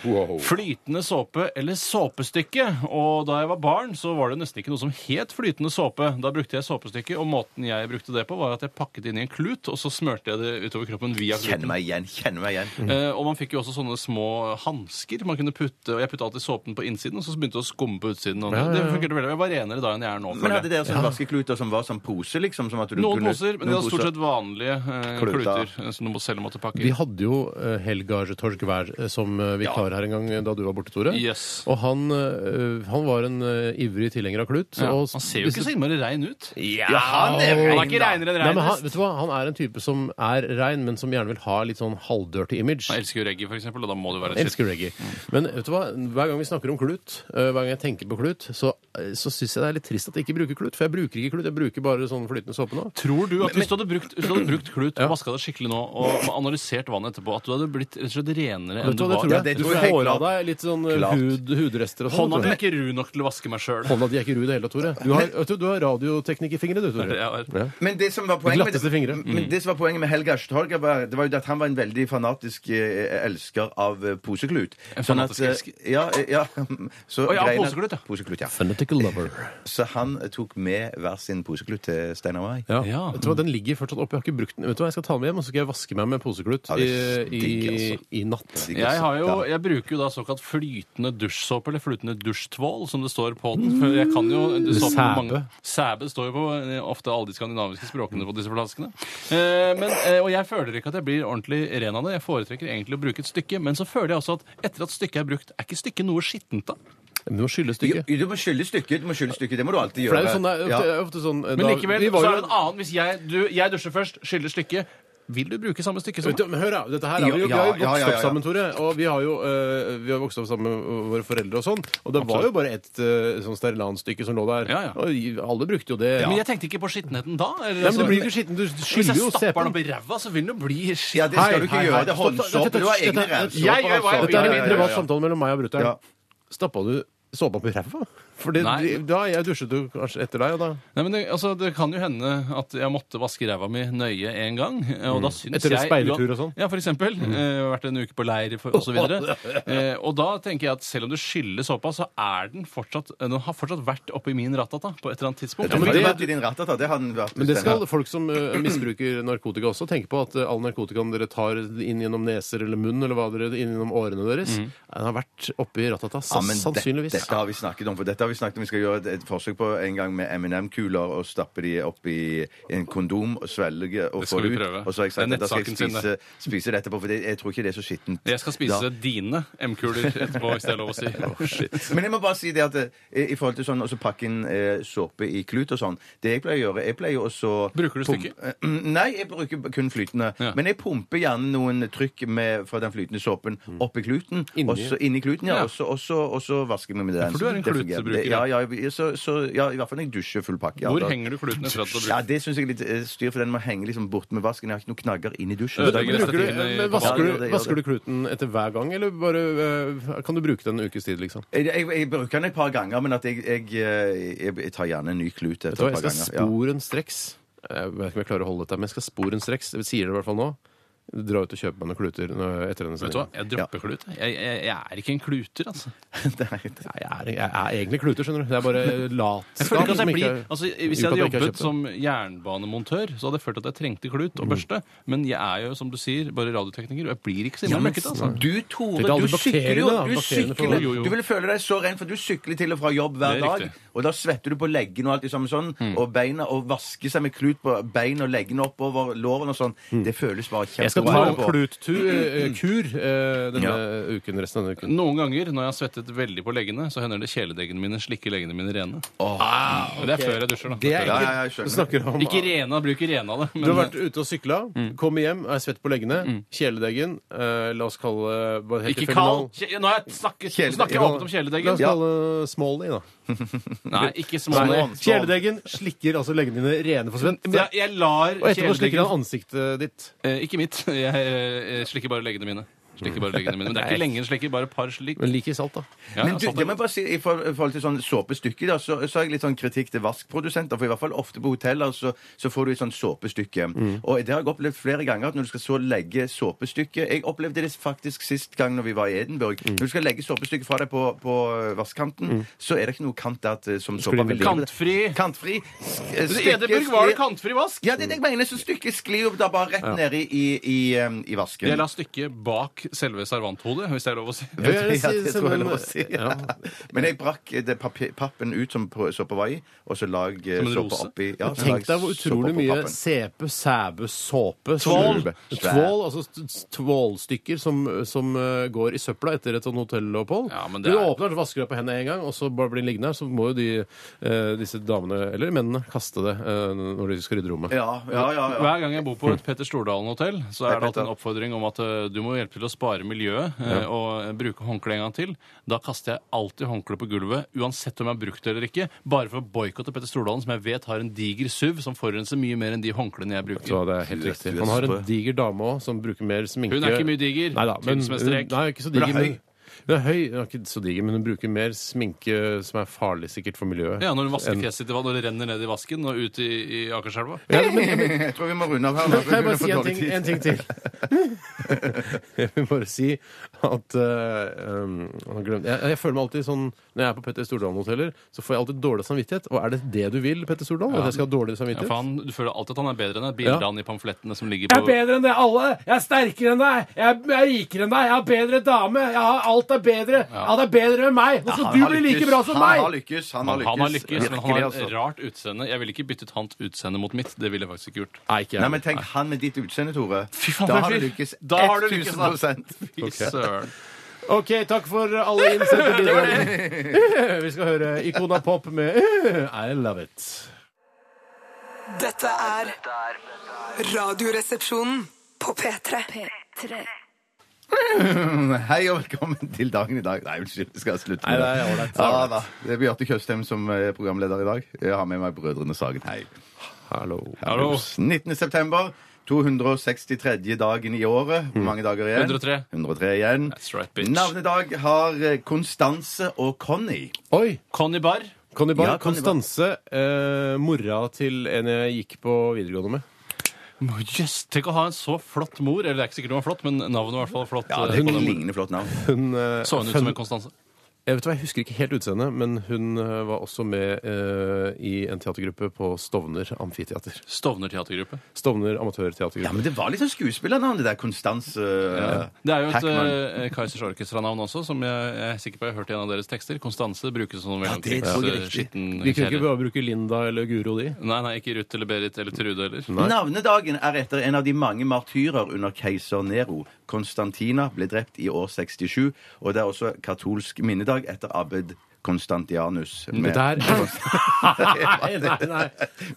D: Wow.
E: Flytende såpe eller såpestykke? Og da jeg var barn, så var det nesten ikke noe som het flytende såpe. Da brukte jeg såpestykke, og måten jeg brukte det på, var at jeg pakket det inn i en klut, og så smørte jeg det utover kroppen via
D: Kjenner
E: kluten.
D: meg igjen. Kjenner meg igjen.
E: Eh, og man fikk jo også sånne små hansker man kunne putte, og jeg putta alltid såpen på innsiden, og så begynte det å skumme på utsiden. Og det fungerte veldig. bra. Jeg var renere da enn jeg er nå.
D: Men
E: føler jeg.
D: hadde dere sånne vaskekluter som var sånn pose, liksom? Som at du
E: Noen
D: kunne,
E: poser, men
D: noen
E: det var stort
D: poser?
E: sett vanlige eh,
D: Kluter.
E: kluter eh, som du må- selv måtte pakke
C: Vi
E: i.
C: hadde jo eh, Helgar Torgvær eh, som eh, vikar her en gang eh, da du var borte, Tore.
E: Yes.
C: Og han, eh, han var en eh, ivrig tilhenger av klut.
E: Ja.
C: og
E: Han ser jo ikke så innmari rein ut.
D: Ja, han
E: Han
D: er
E: er
D: rein,
E: ikke
D: da.
E: reinere enn
C: Nei, men han,
E: reinest.
C: vet du hva? han er en type som er rein, men som gjerne vil ha litt sånn halvdirty image.
E: Han elsker jo reggae, for eksempel, og da må det være
C: Jeg
E: et shit.
C: elsker reggae. Men vet du hva? hver gang vi snakker om klut, øh, hver gang jeg tenker på klut, så, øh, så syns jeg det er litt trist at jeg ikke bruker klut. For jeg bruker ikke klut, jeg bruker bare sånn flytende såpe nå.
E: Tror du at hvis du hadde brukt, hvis du hadde brukt klut og vaska det skikkelig nå, og analysert vannet etterpå, at du hadde blitt rett og slett renere enn
C: Vet du
E: du
C: hva, det
E: var?
C: tror jeg.
D: Ja, det
C: du
D: tror jeg
C: får
D: helt
C: av deg litt sånn øh,
D: Klart.
C: hud, hudrester og sånn.
E: Hånda mi
C: vet
E: er
C: du.
E: ikke ru nok til å vaske meg sjøl.
C: Hånda di er ikke ru i det hele tatt, Tore. Du har, vet du, du har radioteknikk i fingrene, du, Tore.
E: Ja.
D: Men det som var poenget med,
C: glatteste fingre.
D: men det som var poenget med Helga Stolga, var, det var jo at han var en veldig fanatisk eh, elsker av eh, poseklut.
E: En
D: Sånn at,
E: fanatisk
D: eh, Ja, eh, ja. Så
E: Å ja,
D: greien er-
E: poseklut, ja.
D: Poseklut, ja.
C: like a lover.
D: Så han eh, tok med hver sin poseklut til Steinar og meg.
C: Ja.
E: Ja.
C: Vet du hva, Den ligger fortsatt oppe. Jeg har ikke brukt den. Vet du hva, Jeg skal ta den med hjem og så skal jeg vaske meg med poseklut
D: Ja,
C: i,
D: det er
C: i,
D: digg, altså.
C: i natt.
E: Jeg, har jo, jeg bruker jo da såkalt flytende dusjsåpe, eller flytende dusjtvål, som det står på den. For jeg kan jo
C: Mm.
E: såpe på mange- Sæbe står jo på eh, ofte alle de skandinaviske språkene på disse flaskene. Eh, men, eh, og jeg føler ikke at jeg blir ordentlig ren av det. Jeg foretrekker egentlig å bruke et stykke, men så føler jeg også at etter at stykket er brukt, er ikke stykket noe skittent da?
C: Men Du må skylle
D: Jo,
C: stykket.
D: Du må skylle stykket. du må skylle stykket, Det må du alltid
C: For det
D: gjøre.
C: er jo sånn, det er
D: Ja.
C: ofte, det er ofte sånn eh,
E: Men
C: da-
E: likevel,
C: vi var
E: så
C: jo-
E: er det en annen. Hvis jeg, du, jeg dusjer først, skyller stykket, vil du bruke samme stykke som
C: Vet du,
E: meg?
C: men hør, da. Dette her er, vi, jo- vi
D: Ja,
C: har jo
D: ja, ja,
C: vokst
D: ja, ja.
C: opp sammen, Tore. Og vi har jo eh, vi har vokst opp sammen med våre foreldre og sånn. Og det var jo bare et eh, sånn Sterilanstykke som lå der.
E: Ja, ja.
C: Og alle brukte jo det.
E: Men jeg tenkte ikke på skittenheten da. eller
C: Nei, men
E: altså-
C: du blir jo ikke skitten. Du
E: Hvis
C: skyller
E: jeg
C: jo
E: stapper den
C: sepen.
E: opp i ræva, så vil den jo bli
D: Ja,
E: skitten.
D: det skal du
C: Hei,
D: ikke
C: hei,
D: gjøre.
C: hei.
D: Det er
C: Stopp, stopp,
D: håndsåpe.
C: dette-
D: Du har egne
C: dette-
D: rensåper.
E: Jeg gjør hva jeg
C: Dette er
E: Ja,
C: en
E: ja, ja,
C: privat
E: ja.
C: samtale mellom meg og brutter'n.
D: Ja.
C: Stappa du såpa opp i ræva? Fordi
E: Nei.
C: de- da jeg dusjet jo kanskje etter deg, og da
E: Nei, men det, altså, det kan jo hende at jeg måtte vaske ræva mi nøye en gang. Og da syns
C: Mm. Etter en
E: jeg
C: speiletur og sånn?
E: Ja, for eksempel. Eh, vært en uke på leir for- og så videre. eh, og da tenker jeg at selv om du skyller såpa, så er den fortsatt eh, Den har fortsatt vært oppi min ratata på et eller annet tidspunkt.
D: Ja, men det
C: det-
D: har vært i din ratata. Det har den vært.
C: Men det skal
D: Steinar.
C: folk som eh, misbruker narkotika også tenke på, at eh, all narkotikaen dere tar inn gjennom neser eller munn, eller hva dere inn gjennom årene deres, den har vært oppi ratata,
D: Mm. Ja,
C: sa-
D: men
C: sannsynligvis.
D: Dette, dette har vi snakket om. For dette har vi snakket om. Vi skal gjøre et, et forsøk på en gang med M&M-kuler og stappe de opp i en kondom og svelge og
E: Det
D: få
E: skal
D: det
E: vi
D: ut.
E: prøve.
D: Og så har jeg sagt
E: Det er
D: at da skal jeg
E: nettsaken sin,
D: spise, spise det etterpå, for det, jeg tror ikke det er så skittent.
E: Jeg skal spise
D: Da.
E: dine M-kuler etterpå, hvis det er lov å si.
D: Men jeg må bare si det at eh, i forhold til sånn å så pakke inn eh, såpe i klut og sånn Det jeg pleier å gjøre, jeg pleier også
E: Bruker du
D: pump-
E: stykket?
D: Eh, Nei, jeg bruker kun flytende.
E: Ja.
D: Men jeg pumper gjerne noen trykk med, fra den flytende såpen opp i kluten.
C: Inni.
D: Også inni kluten, ja.
E: Ja.
D: Og så- Og så og så vasker vi med den.
E: for du er en
D: Det fungerer.
E: klutebruker,
D: Det- Ja, ja, jeg- så, så, ja, i hvert fall når jeg dusjer full pakke. Ja,
E: Hvor
D: da-
E: henger du kluten etter at du har
D: Ja,
E: brukt
D: det syns jeg er litt eh, styr, for den må henge liksom bort med vasken. Jeg har ikke noen knagger inn i dusjen.
E: Ødelegger
D: Så da-
C: Bruker du,
E: Stativene i
C: men
D: badet.
C: vasker,
D: Ja, det
C: du,
D: gjør
C: vasker du
D: det.
C: kluten etter hver gang, eller bare, eh, kan du bruke den en ukes tid, liksom?
D: Jeg, jeg, jeg bruker den et par ganger, men at jeg, jeg, eh, jeg, jeg tar gjerne en ny klut etter
C: Vet du hva,
D: et par
C: jeg skal
D: ganger. Ja.
C: sporenstreks Jeg vet ikke om jeg klarer å holde dette, men jeg skal sporenstreks. Jeg sier det i hvert fall nå. Dra ut og kjøpe meg noen kluter når- etter denne
E: Vet du hva,
C: sendingen.
E: jeg dropper klut. Jeg, jeg, jeg er ikke en kluter, altså.
D: Nei, det-
C: Nei, Jeg, er- jeg er egentlig kluter, skjønner du. Det er bare
E: Jeg føler
C: latskap
E: ikke at
C: som
E: jeg
C: ikke
E: blir,
C: er-
E: altså, hvis
C: uten
E: jeg hadde
C: at ikke har kjøpt Mm.
E: jobbet
C: det.
E: som jernbanemontør, så hadde jeg følt at jeg trengte klut og børste. Men jeg er jo, som du sier, bare radiotekniker, og jeg blir ikke så
D: Ja,
E: innmari
D: men
E: møkkete. Altså.
D: du,
C: Det er
D: Tore,
C: alle
D: du sykler
C: bakteriene, da.
D: jo.
C: Bakteriene
D: Du,
C: får-
E: Jo,
D: sykler.
E: jo, jo.
D: du vil føle deg så ren, for du sykler til og fra jobb hver
E: Det er
D: dag.
E: riktig.
D: Og da svetter du på leggene og alt det samme sånn,
C: Mm.
D: og beina, og vasker seg med klut på beina og leggene oppover lårene og sånn. Det føles bare
C: Mm. Jeg skal ta en
D: kjempebra.
C: kluttur eh, denne uken, resten av denne uken.
E: Noen ganger når jeg har svettet veldig på leggene, så hender det kjæledeggene mine slikker leggene mine rene. Ah, og Det er før jeg dusjer, da.
D: Ja, ja, ja, jeg skjønner.
C: Snakker om
E: Ikke rena, bruk rena det.
C: Du
E: Men
C: har vært ute og sykla, kommer hjem, er svett på leggene, kjæledeggen eh, La oss kalle bare helt
E: ikke
C: tilfeldig
E: kall
C: navn.
E: kje- Nå har jeg snakket,
D: Kjæledegg.
E: snakker jeg åpent om
C: La oss
E: kjæledeggen.
C: kalle Smally, da.
E: Nei, ikke
C: Nei,
E: smålig.
C: Kjæledeggen slikker altså leggene dine rene for svett.
E: Jeg, jeg lar
C: Og etterpå slikker
E: kjæledeggen
C: han ansiktet ditt.
E: eh, Ikke mitt. Jeg eh, slikker bare leggene mine. Slikker bare leggene mine. Men det er ikke lenge en slikker, bare et par slikk.
C: Men like salt, da.
E: Ja,
D: Men du,
E: sånn
D: det må jeg bare si, I for- i forhold til sånn såpestykke da, så, så har jeg litt sånn kritikk til vaskprodusenter. For i hvert fall ofte på hoteller så, så får du et sånt såpestykke.
E: Mm.
D: Og det har jeg opplevd flere ganger at når du skal så legge såpestykket Jeg opplevde det faktisk sist gang når vi var i Edinburgh.
E: Mm.
D: Når du skal legge såpestykket fra deg på, på vaskekanten, så er det ikke noe kant der til, som såpa vil ligge.
E: Kantfri.
D: Kantfri. S-
E: I
D: stykket
E: Edinburgh var det
D: sklir-
E: kantfri vask.
D: Ja, det er det jeg mener. Så stykket sklir jo da bare rett ned i, i, i, um, i vasken.
E: Jeg la stykket bak selve servanthodet, hvis det er lov å si.
C: Jeg vil
D: Ja,
C: gjerne
D: det
C: si-
D: tror jeg
C: sende
D: det
C: en-
D: må si.
C: Ja.
D: Men jeg brakk eh, det papi- pappen ut som på- såpa var i, og så lag eh,
E: Som en
D: såpa
E: rose?
D: oppi. Ja, så
C: Tenk
D: lag
C: deg hvor
D: såpa
C: utrolig
D: på
C: mye
D: pappen.
C: sæpe, sæbe, såpe
D: Tvål.
C: som- Tvål, altså st- st- tvålstykker som, som eh, går i søpla etter et sånt hotellopphold.
E: Ja, men
C: du
E: det er-
C: åpner og vasker deg på hendene en gang, og så bare blir den liggende her, så må jo de, eh, disse damene, eller mennene, kaste det eh, når de skal rydde rommet.
D: Ja, ja, ja. ja.
E: Hver gang jeg bor på et Petter Stordalen-hotell, så er det alltid en oppfordring om at eh, du må hjelpe til å spare miljøet eh, og bruke håndkle en gang til. Da kaster jeg alltid håndkle på gulvet, uansett om jeg har brukt det eller ikke, bare for å boikotte Petter Stordalen, som jeg vet har en diger SUV som forurenser mye mer enn de håndklene jeg bruker.
C: Så det er helt
D: Du er-
C: riktig.
D: du er
C: Han har
D: så
C: en diger dame òg, som bruker mer sminke.
E: Hun er ikke mye diger.
C: Nei da, men
E: Tynn som en strek.
C: Nei, ikke så
D: Men
C: diger,
D: det er
C: men
D: høy.
C: Hun er høy, hun er ikke så diger, men hun bruker mer sminke som er farlig sikkert for miljøet.
E: Ja, når du vasker
C: enn-
E: fjeset ditt i vann, og det renner ned i vasken og ut i, i Akerselva.
C: Ja, men-
D: Jeg tror vi må runde av her. nå, for
C: Kan jeg
D: vi
C: bare
D: får
C: si en
D: dårlig
C: ting,
D: tid.
C: en ting til? jeg vil bare si at eh, um, jeg, glemte- jeg, jeg føler meg alltid sånn Når jeg er på Petter Stordalen-hoteller, så får jeg alltid dårlig samvittighet. Og er det det du vil, Petter Stordalen? At jeg skal ha dårlig
E: Ja,
C: samvittighet?
E: for han, du føler alltid at han er bedre enn deg. Bildene i pamflettene som ligger
H: Jeg er
E: på
H: bedre enn det alle. Jeg er sterkere enn deg. Jeg er, jeg er rikere enn deg. Jeg har bedre dame. Jeg har, alt er bedre. Alt er bedre enn meg. Nå skal
D: Han
H: du
D: har
H: bli like
D: lykkes,
H: bra som
D: Han har
H: meg.
D: lykkes. Han har
E: han,
D: lykkes.
E: han har lykkes, men han
D: Virkelig,
E: har
D: altså.
E: et rart utseende. Jeg ville ikke byttet hans utseende mot mitt. Det ville jeg faktisk ikke gjort.
C: Nei, ikke
D: Nei,
C: jeg.
D: men tenk han med ditt utseende, Tore.
E: Fy faen,
D: da
E: for en
D: har du
E: fyr.
D: lykkes
E: Da har du lykkes, da.
D: 1000
E: Fy søren.
C: OK, takk for alle innsendte bidrag. Vi skal høre Ikona Pop med I Love It.
F: Dette er Radioresepsjonen på P3. P3.
D: Hei og velkommen til dagen i dag. Nei, unnskyld, vi skal slutte
C: Nei,
D: med
C: det er ålreit, det er
D: Ja, da. Det er Bjarte Tjøstheim som er programleder i dag. Jeg har med meg Brødrene Sagen. Hei.
C: Hallo.
D: 19. september. 263. dagen i året.
E: Mm.
D: Hvor mange dager igjen?
E: 103.
D: 103 igjen.
E: That's right, bitch.
D: Navnedag har eh, Konstanse og Conny.
C: Oi!
E: Conny Barr.
C: Conny Barr,
D: Ja, Conny Barr.
C: Konstanse, eh, mora til en jeg gikk på videregående med.
E: Yes, tenk å ha en så flott mor. Eller det er ikke sikkert hun var flott, men navnet var i hvert fall flott.
D: Ja,
E: eh,
D: det er
E: på
D: et
E: den moren.
D: lignende flott navn.
C: Hun, eh,
E: Så hun ut som en Konstanse?
C: Jeg vet hva, jeg husker ikke helt utseendet, men hun eh, var også med eh, i en teatergruppe på Stovner Amfiteater.
E: Stovner teatergruppe.
C: Stovner
D: Ja,
C: amatørteatergruppe.
D: men det var litt sånn skuespillernavn, det der Konstanse
E: Det er jo et
D: Hackman.
E: eh, Kaizers Orkestra-navn også, som jeg, jeg er sikker på jeg har hørt i en av deres tekster. Konstanse brukes som en
D: Ja, det tror jeg er riktig.
E: skitten
C: Vi kunne ikke
E: kjerre.
C: bare bruke Linda eller Guro de.
E: Nei, nei, ikke Ruth eller Berit eller Trude eller
D: Navnedagen er etter en av de mange martyrer under keiser Nero. Konstantina ble drept i år 67, og det er også katolsk minnedag etter Abed Konstantianus.
C: Det
D: Med-
C: der Nei, nei, nei.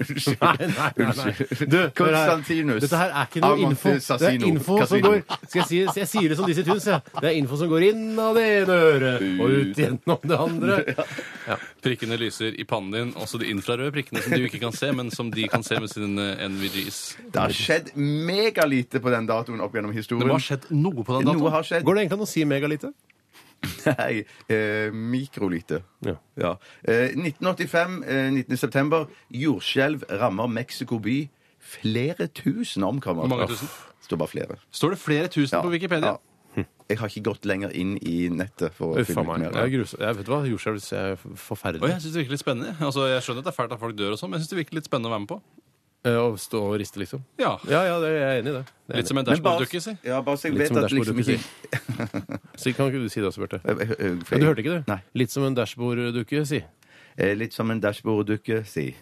D: Unnskyld.
C: Nei, nei, nei, nei.
D: Unnskyld.
C: Du, hør her.
D: Konstantinus.
C: Dette her er ikke noe info. Det er
D: Casino.
C: info som
D: Casino.
C: går Skal jeg si jeg sier det som disse tusen, jeg. Det er info som går inn av det ene øret og ut gjennom det andre.
E: Prikkene lyser i pannen din, også de infrarøde prikkene som du ikke kan se, men som de kan se med eh, sine NVGs.
D: Det har skjedd megalite på den datoen opp gjennom historien.
E: Det må ha skjedd noe på den
D: Noe
E: datoen.
D: har skjedd.
C: Går det egentlig an å si megalite?
D: Nei, eh, mikrolite.
C: Ja.
D: Eh, 1985, eh, 19. september, jordskjelv rammer Mexico by. Flere tusen omkommer.
E: Hvor mange tusen?
D: Det står bare flere.
E: Står det flere tusen
D: Ja,
E: på Wikipedia?
D: ja. Jeg har ikke gått lenger inn i nettet for å
C: Uff a
D: finne ut
C: meg.
D: mer.
C: Det er grusomt. Jeg vet du hva, jordskjelv er
E: Og
C: forferdelig.
E: jeg syns det virker litt spennende. Altså, jeg skjønner at det er fælt at folk dør og sånn, men jeg syns det virker litt spennende å være med på.
C: Eh, Å stå og riste, liksom.
E: Ja.
C: Ja, ja, det er jeg enig i det. det. er jeg
E: Litt som en
D: Men bare,
E: dashborddukke, si.
D: ja, bare så jeg
C: Litt
D: vet
C: som
D: at liksom
C: dashborddukke,
D: ikke
C: Så kan ikke du si det også, Bjarte?
D: Eh, eh, eh,
C: Ja, du hørte ikke det?
D: Nei.
C: Litt som en dashborddukke, si.
D: Eh, Litt som en dashborddukke, si.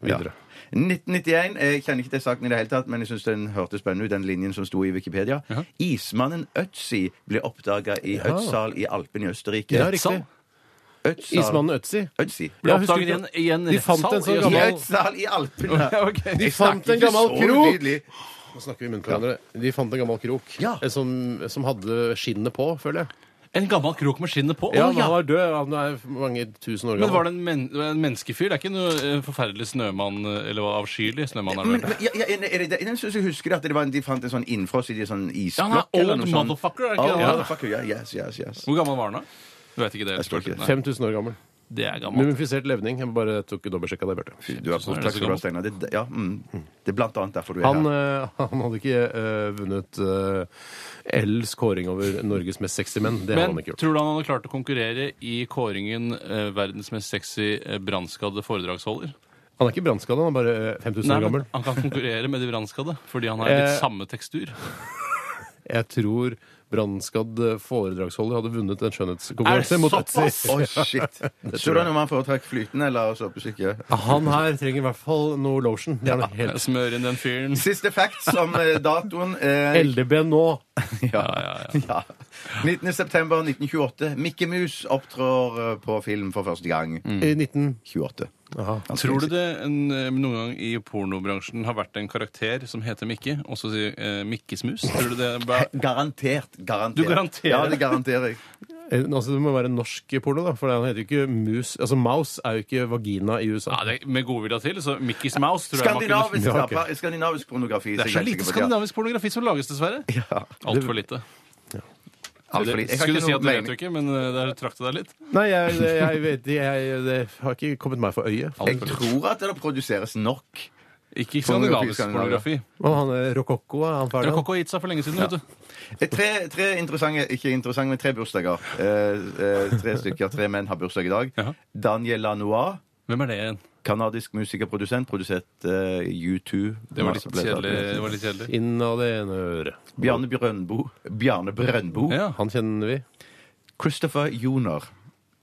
C: Videre.
D: Ja. 1991. eh, Jeg kjenner ikke til saken i det hele tatt, men jeg syns den hørtes spennende ut, den linjen som sto i Wikipedia. Ismannen Ötzi ble oppdaga i Øtzal i Alpen i Østerrike.
C: Ja, riktig.
D: Ötzal.
C: Ismannen Ötzi.
D: Ötzi.
C: Ja,
E: Ble
C: husker
E: oppdaget
C: du
E: i en, i en
C: De fant en sånn
E: rettssal i
D: I
C: gammel-
E: Østfold.
D: Øtzal i Alpene!
E: Ok.
C: De fant
D: Jeg snakker
C: en
D: ikke
C: gammel
D: så
C: krok!
D: utydelig.
C: Nå snakker vi i munnen på hverandre. De fant en gammel krok
D: Ja.
C: eh, som, som hadde skinnet på, føler jeg.
E: En gammel krok med skinnet på? Å,
C: Ja,
E: Ja,
C: men han var død. Han er mange tusen år
E: Men var
C: gammel.
E: det en, men, det var en menneskefyr? Det er ikke noe eh, forferdelig snømann eh, Eller hva, avskyelig snømann?
D: Men,
E: Er
D: men
E: det.
D: ja, ja, er det, jeg synes jeg husker at det var en, de fant en sånn innfrost i en sånn
E: Ja, han
D: isblokk.
E: er
D: eller
E: old
D: noe sånt.
E: motherfucker, er det
D: Old
E: ikke det?
D: motherfucker, ja, yes, yes, yes.
E: Hvor gammel var han da? Du vet ikke det?
D: Jeg tror ikke det.
E: Nei,
C: 5000 år gammel.
E: det er gammelt.
C: Mumifisert levning. Jeg bare tok dobbeltsjekka det, Bjarte.
D: Du er på,
E: sånn er det
D: takk
E: så
D: skal du ha,
E: gammelt.
D: Steinar. Det, ja, mm. det er blant annet derfor du er
C: Han,
D: her.
C: eh, han hadde ikke eh, vunnet eh, L's kåring over Norges mest sexy menn. Det hadde
E: Men
C: han ikke gjort.
E: tror du han hadde klart å konkurrere i kåringen eh, verdens mest sexy eh, brannskadde foredragsholder?
C: Han er ikke brannskadet, han er bare eh, 5000 år
E: Nei, men
C: gammel.
E: Han kan konkurrere med de brannskadde fordi han har litt
C: Eh,
E: samme tekstur.
C: Jeg tror brannskadd eh, foredragsholder hadde vunnet en skjønnhetskonkurranse mot Etsy.
D: Å, shit. Så da når man foretrakk flytende eller såpesyke?
C: Han her trenger i hvert fall noe lotion. Gjerne
E: Jeg
C: helt
E: smører Eh, inn den fyren.
D: Siste fact som eh, datoen eh,
C: LDB nå.
D: ja. 19. september 1928. Mikke Mus opptrår eh, på film for første gang.
E: Mm.
C: I 19...
D: 28. Han
E: Tror du
D: spiller-
E: det en, eh, noen gang i pornobransjen har vært en karakter som heter Mikke, og så sier eh, Mikkesmus? Tror du det bare
D: Garantert. garantert.
E: Du garanterer?
D: Ja, det garanterer jeg.
C: Eh, Altså, det må være norsk porno, da. For han heter jo ikke mus. Altså, Mouse er jo ikke vagina i USA.
E: ja, det, Med godvilja til, så Mikkis Mouse tror jeg man kunne
D: Skandinavisk,
C: Ja, ok.
D: rappa- skandinavisk pornografi.
E: Det er så
D: jeg
E: lite
D: helt sikker på, ja.
E: skandinavisk pornografi som lages, dessverre. Altfor lite.
D: Alt for lite. Jeg har
E: Skulle du
D: ikke
E: si
D: noe
E: at du vet
D: mening.
E: jo ikke, men eh, der trakk du deg litt.
C: Nei, jeg, det- jeg vet jeg, jeg, Det har ikke kommet meg for øye.
D: Jeg tror at det produseres nok.
E: Ikke
D: Pornografi,
E: skandinavisk
D: Skandinavia.
E: pornografi.
C: Og han eh, Rokokko, han
E: Dere har
C: ferdig?
E: kokko gitt seg for lenge siden, vet du.
D: Eh, Tre, tre interessante Ikke interessante, men tre bursdager. Eh, eh, tre stykker, tre menn har bursdag i dag.
E: Jaha.
D: Daniel Lanois,
E: Hvem er det igjen?
D: canadisk musikerprodusent, produsert eh, U2.
E: Det var litt
D: Masse ble-
E: kjedelig. Det var litt kjedelig.
C: Inn av det ene øret.
D: Bjarne Brøndbo. Bjarne Brøndbo.
E: Ja.
C: Han kjenner vi.
D: Christopher Joner.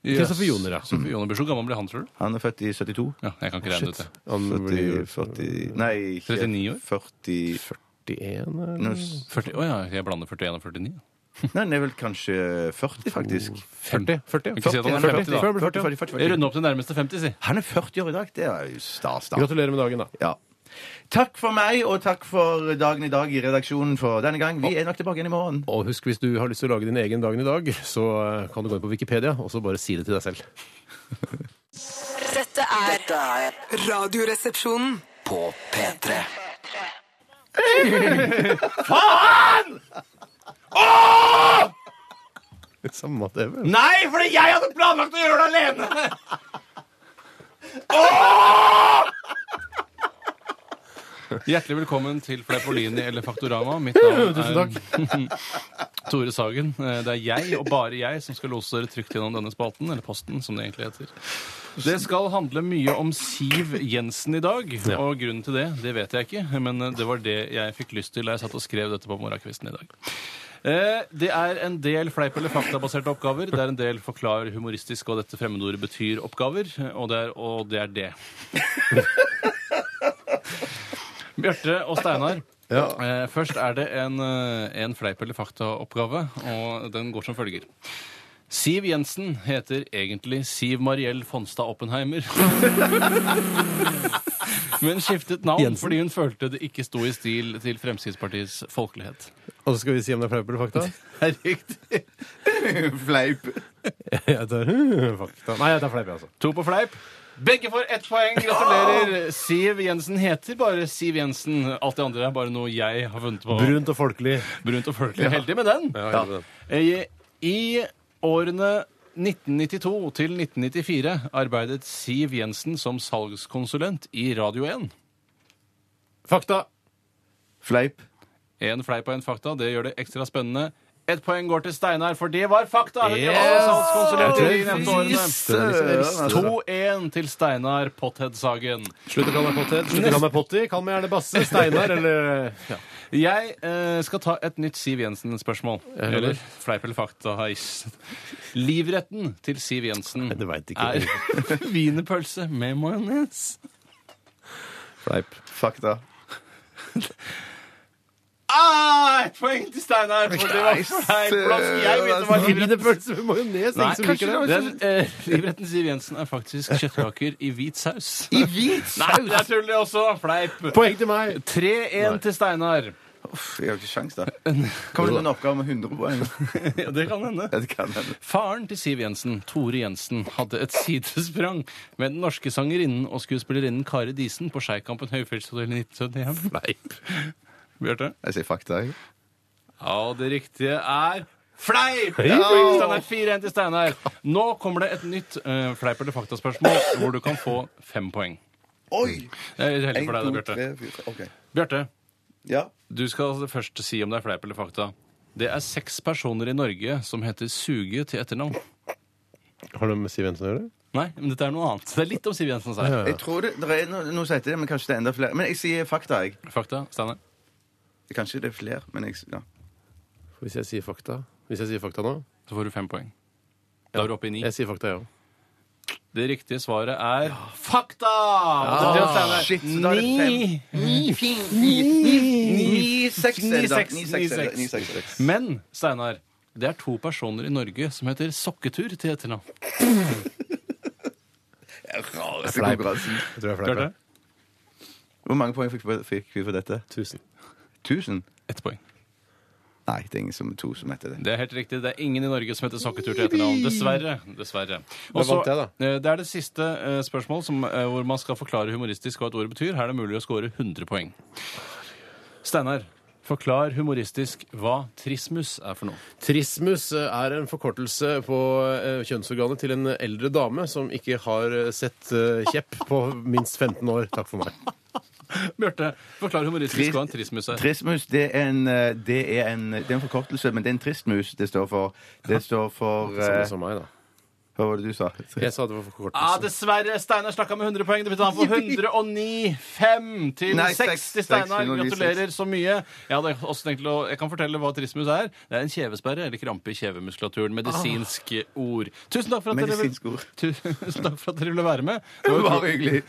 C: Kristoffer Joner, ja.
E: Kristoffer Joner blir så gammel, blir han, tror du?
D: Han er født i 72.
E: Ja, jeg kan ikke regne ut det.
C: Han
D: 40,
C: blir
D: 40 Nei, ikke
E: 39 år?
D: 40
C: 41, eller?
D: Nå s-
E: 40, å ja, jeg blander 41 og 49.
D: Nei, han er vel kanskje 40, faktisk.
C: 40, 40,
E: Mm. Ikke si at han er 50, da.
D: 40, 40, 40,
E: Jeg runder opp til nærmeste 50, si.
D: Han er 40 år i dag. Det er jo stas, da.
C: Gratulerer med dagen, da.
D: Ja. Takk for meg, og takk for dagen i dag i redaksjonen for denne gang. Vi er nok tilbake igjen i morgen.
C: Og husk, hvis du har lyst til å lage din egen dagen i dag, så eh, kan du gå inn på Wikipedia og så bare si det til deg selv.
F: Dette er
B: Dette er
A: Radioresepsjonen.
B: på P3.
C: Samme TV.
D: Nei, fordi jeg hadde planlagt å gjøre det alene!
E: Hjertelig velkommen til Fleipolini eller Faktorama. Mitt navn er Tore Sagen. Eh, Det er jeg, og bare jeg, som skal lose dere trygt gjennom denne spalten, eller posten, som det egentlig heter. Det skal handle mye om Siv Jensen i dag, og grunnen til det, det vet jeg ikke, men eh, det var det jeg fikk lyst til da jeg satt og skrev dette på morgenkvisten i dag. Eh, Det er en del fleip- eller faktabaserte oppgaver. Det er en del forklar humoristisk hva dette fremmedordet betyr-oppgaver. Og det er og det. Er det. Bjarte og Steinar. Eh, Først er det en, eh, en fleip- eller faktaoppgave, og den går som følger. Siv Jensen heter egentlig Siv Mariell Fonstad Oppenheimer. Men skiftet navn
C: Jensen?
E: fordi hun følte det ikke sto i stil til Fremskrittspartiets folkelighet.
C: Og så skal vi si om det er fleip eller fakta?
D: Det er riktig. Fleip.
C: Jeg tar fakta. Nei, jeg tar fleip, jeg, altså.
E: To på fleip. Begge får ett poeng. Gratulerer. Siv Jensen heter bare Siv Jensen. Alt det andre er bare noe jeg har funnet på.
C: Brunt og folkelig.
E: Brunt og folkelig. Heldig med den. Eh, I årene 1992 til 1994 arbeidet Siv Jensen som salgskonsulent i Radio 1.
C: Fakta.
D: Fleip.
E: En fleip og en fakta. Det gjør det ekstra spennende. Ett poeng går til Steinar, for det var fakta! Hun
C: Yes!
E: var salgskonsulent i de
C: Jeg
E: nevnte
C: tror jeg
E: årene.
D: visste det.
E: 2-1 til Steinar Potthead-sagen.
C: Slutt å kalle meg pottet. Slutt å kalle meg potty. Kall meg gjerne Basse, Steinar eller ja.
E: Jeg eh, skal ta et nytt Siv Jensen-spørsmål.
C: hører.
E: Eller fleip eller fakta. Heis. Livretten til Siv Jensen
C: det vet jeg
E: er wienerpølse med majones.
C: Fleip.
D: Fakta.
E: Ah, et poeng til Steinar, for det var
D: Nice.
E: fleip. Flask. Jeg vet det var livretten.
C: Wienerpølse med majones.
E: Nei,
C: Ingen som
E: kanskje
C: liker det.
E: det var- Den, eh, livretten Siv Jensen er faktisk kjøttkaker i hvit saus.
D: I hvit
E: Nei, det er tull, det også. Fleip.
C: Poeng til meg.
E: 3-1 til Steinar.
D: Uff, jeg har ikke sjans, da. Kommer det en oppgave med 100 poeng?
E: Ja, det kan hende.
D: Ja, det kan hende.
E: Faren til Siv Jensen, Tore Jensen, hadde et sidesprang med den norske sangerinnen og skuespillerinnen Kari Disen på Skeikampen høyfjellshotell i 1971. Fleip. Bjarte?
D: Jeg sier fakta, jeg.
E: Ja, det riktige er fleip! Steinar 4-1 til Steinar. Nå kommer det et nytt eh, fleip eller faktaspørsmål hvor du kan få fem poeng.
D: Oi!
E: Det er heldig
D: En,
E: for deg,
D: to,
E: da, Bjarte.
D: tre, fire OK.
E: Bjarte,
D: Ja.
E: du skal først si om det er fleip eller fakta. Det er seks personer i Norge som heter Suge til etternavn.
C: Har det med Siv Jensen å gjøre?
E: Nei, men dette er noe annet. Det er litt om Siv Jensen, sa jeg.
D: Jeg tror det, det er no, noe som heter det, men kanskje det er enda flere. Men jeg sier fakta, jeg.
E: Fakta, Steinar.
D: Kanskje det er flere, men jeg ja.
C: Hvis jeg sier fakta Hvis jeg sier fakta nå?
E: Så får du fem poeng. Da er du oppe i ni.
C: Jeg sier fakta, jeg ja. òg.
E: Det riktige svaret er fakta! Og det er Steinar.
D: Shit, så da er det
E: Ah, Ni.
D: Ni, seks,
E: Ni,
D: er det da.
E: seks,
D: Ni,
E: ni,
D: seks, er det da.
E: seks.
D: Ni, seks, seks.
E: Men, Steinar, det er to personer i Norge som heter Sokketur til etternavn.
D: Rareste konkurransen.
C: Jeg tror jeg
E: Hørte
C: fleiper.
E: du?
D: Hvor mange poeng fikk, fikk vi for dette?
C: Tusen.
D: 1000?
E: Ett poeng.
D: Nei, det er ingen som, to som heter det.
E: Det er helt riktig. Det er ingen i Norge som heter Sokketur til etternavn. Dessverre. Dessverre.
C: Da
E: Og
C: vant
E: så,
C: jeg, da.
E: eh, Det er det siste eh, spørsmål som, eh, hvor man skal forklare humoristisk hva et ord betyr. Her er det mulig å score 100 poeng. Steinar, Forklar humoristisk hva trismus er for noe.
C: Trismus eh, er en forkortelse på eh, kjønnsorganet til en eldre dame som ikke har eh, sett eh, kjepp på minst 15 år. Takk for meg.
E: Bjarte, forklar humoristisk hva en trismus er.
D: Trismus det er, en, eh, det, er en, det er en forkortelse, men det er en tristmus det står for. Det står for
C: Samme
D: eh,
C: som meg, da.
D: Hva var det du sa?
C: Jeg sa det var
E: Ah,
C: forkortelse.
E: dessverre. Steinar snakka med 100 poeng. Det betyr han får 109. 5 til
D: Nei,
E: 60,
D: seks,
E: Steinar.
D: seks, 109,
E: Gratulerer så mye. Jeg, hadde også tenkt til å, jeg kan fortelle hva trismus er. Det er en kjevesperre eller krampe i kjevemuskulaturen. Medisinske ord. Tusen takk, for at dere,
D: Medisinske ord.
E: Tusen takk for at dere ville være med.
D: Det var hyggelig.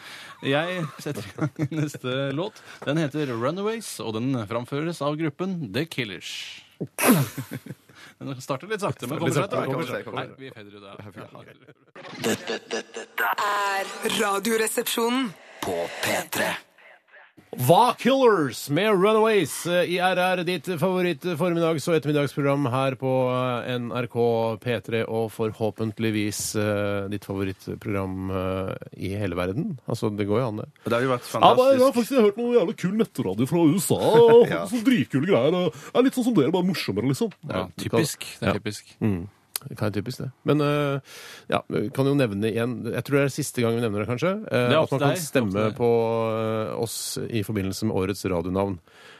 E: Jeg setter i gang neste låt. Den heter Runaways, og den framføres av gruppen The Killers. Den starter litt sakte, men kommer seg etter
D: Kommer seg,
E: hvert.
D: kommer
E: Nei,
D: seg.
E: vi fader ut der.
B: Dette, dette, dette
F: Er Radioresepsjonen.
B: på P3
C: Hva Killers med Runaways eh, i RR, ditt favoritt-formiddags- og ettermiddagsprogram her på eh, NRK P3, og forhåpentligvis eh, ditt favorittprogram eh, i hele verden. Altså, det går jo an, det.
D: Og det har jo vært
C: Ja, bare, jeg har
D: fantastisk.
C: faktisk hørt noe jævlig kul nettradio fra USA. Og
D: Ja.
C: Sånn dritkule greier. og Det er litt sånn som dere, bare morsommere, liksom.
E: Ja, typisk. Det
C: Ja. Mm.
E: er typisk.
C: Det kan være typisk, det. Men øh, ja, vi kan jo nevne igjen Jeg tror det er siste gang vi nevner det, kanskje. øh,
E: Det er opp
C: at man
E: til
C: kan
E: deg. Det
C: stemme
E: er opp til deg.
C: på øh, oss i forbindelse med årets radionavn.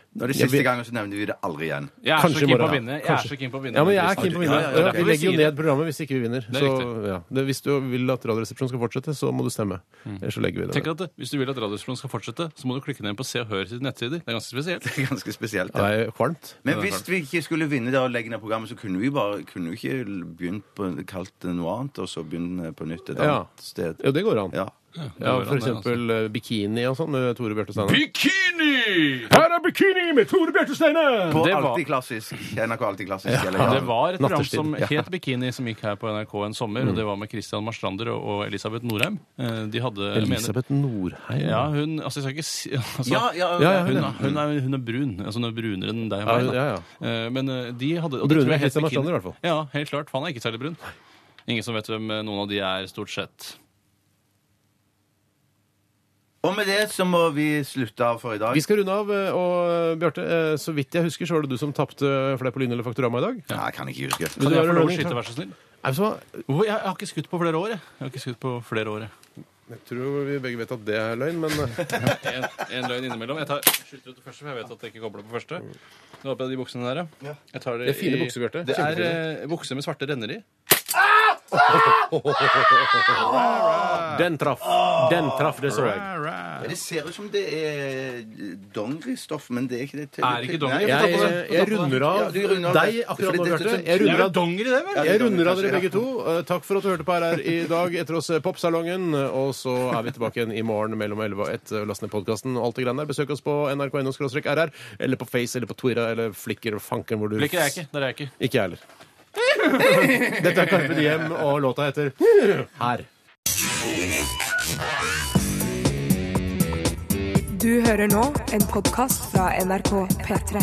D: Når det er
C: Jeg
D: siste
C: vet-
D: gangen, så nevner vi det aldri igjen.
E: Jeg er
C: Kanskje
E: så
C: i
E: keen på
C: morgen,
E: å
C: ja.
E: vinne. Jeg
C: Kanskje.
E: er så keen på å vinne.
C: Ja, men jeg er keen på å vinne.
E: Ja, ja,
C: Ja,
E: det
C: vi
E: er derfor
C: legger jo
E: sier det.
C: ned programmet hvis ikke vi vinner.
E: er
C: Så, ja. det, hvis du vil at Radioresepsjonen skal fortsette, så må du stemme.
E: Mm.
C: Ellers så legger vi det.
E: Tenk at Hvis du vil at Radiosporen skal fortsette, så må du klikke ned på Se og Hør sine nettsider. Det er ganske spesielt.
D: Det er ganske spesielt.
C: Det
D: Det.
C: er kvalmt.
D: Men hvis vi ikke skulle vinne det og legge ned programmet, så kunne vi bare kunne vi ikke begynt på kalt det noe annet, og så begynne på nytt et
C: Ja.
D: annet sted.
C: Jo, det går an.
D: Ja.
C: Ja,
E: går an,
C: for
E: det, altså.
C: eksempel øh, bikini og sånn med Tore Bjarte Steinar.
E: Bikini!
C: Her er bikini med Tore Bjarte Steinar!
D: På
E: Det var-
D: Alltid klassisk. NRK Alltid klassisk. eller
E: Ja,
D: ja.
E: det var et program
C: Nattetid,
E: som
C: ja. Mm.
E: het Bikini, som gikk her på NRK en sommer. Og det var med Christian Marstrander og- og Elisabeth Norheim. Eh, De hadde jeg mener-
C: Elisabeth Norheim.
E: Ja, hun Altså, jeg skal ikke si altså,
D: Ja, ja,
C: Ja, ja,
E: Hun,
C: hun,
E: er- hun, er, hun er brun. altså Hun er brunere enn deg og
C: Ja,
E: meg. da.
C: ja,
E: Eh, Men eh, de hadde og det
C: Brunere
E: tror
C: enn
E: jeg het
C: Christian
E: Bikini.
C: Marstrander, i hvert fall.
E: Ja, helt klart. For han er ikke særlig brun. Ingen som vet hvem eh, noen av de er, stort sett.
D: Og med det så må vi slutte av for i dag.
C: Vi skal runde av, eh, og eh, Bjarte, eh, så vidt jeg husker, så var det du som tapte Fleip og lyn eller Faktorama i dag.
D: Nei, jeg kan ikke huske.
E: Kan
C: du
E: jeg
C: være
E: få lov å
C: running,
E: skyte,
C: kan-
E: vær så snill?
C: Nei, så,
E: Hvorfor? Jeg jeg har ikke skutt på flere år, jeg. jeg har ikke skutt på flere år, jeg.
C: jeg tror vi begge vet at det er løgn, men eh,
E: En, en løgn innimellom. Jeg tar skyter ut det første, for jeg vet at jeg ikke kobler på første. Nå håper jeg de buksene der, ja. Jeg tar det,
C: Det er fine
E: i-
C: bukser, Bjarte.
E: Det er
C: Kjempefine.
E: eh, bukser med svarte renner i.
C: den traff.
D: Ah.
C: Den traff, det så jeg.
D: Det ser ut som det er dongeristoff, men det er ikke det.
E: Er det ikke dongeri?
D: Nei, jeg får ta
C: Jeg,
D: på det.
C: jeg runder av
D: Ja, du runder av
C: deg
D: det.
C: akkurat nå,
D: Fordi det-
C: Bjarte.
D: det-
C: Jeg runder av
E: dongeri, det, vel?
D: Ja, det
C: jeg
D: er
C: runder av
D: kanskje,
C: dere
D: ja.
C: begge to. Eh, Takk for at du hørte på RR i dag. Etter oss eh, Popsalongen. eh, Og så er vi tilbake igjen i morgen mellom 11 og 1. eh, Last ned podkasten og alt det greiene der. Besøk oss på nrk.no-rr, eller på Face, eller på Twira, eller Flikker og fanken hvor du
E: Blikker jeg ikke. Der er jeg ikke.
C: Ikke jeg heller. Dette er Carpe Diem, og låta heter Her.
A: Du hører nå en podkast fra NRK P3.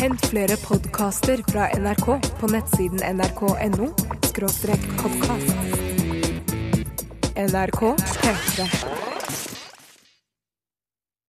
A: Hent flere podkaster fra NRK på nettsiden nrk.no podkast. NRK P3.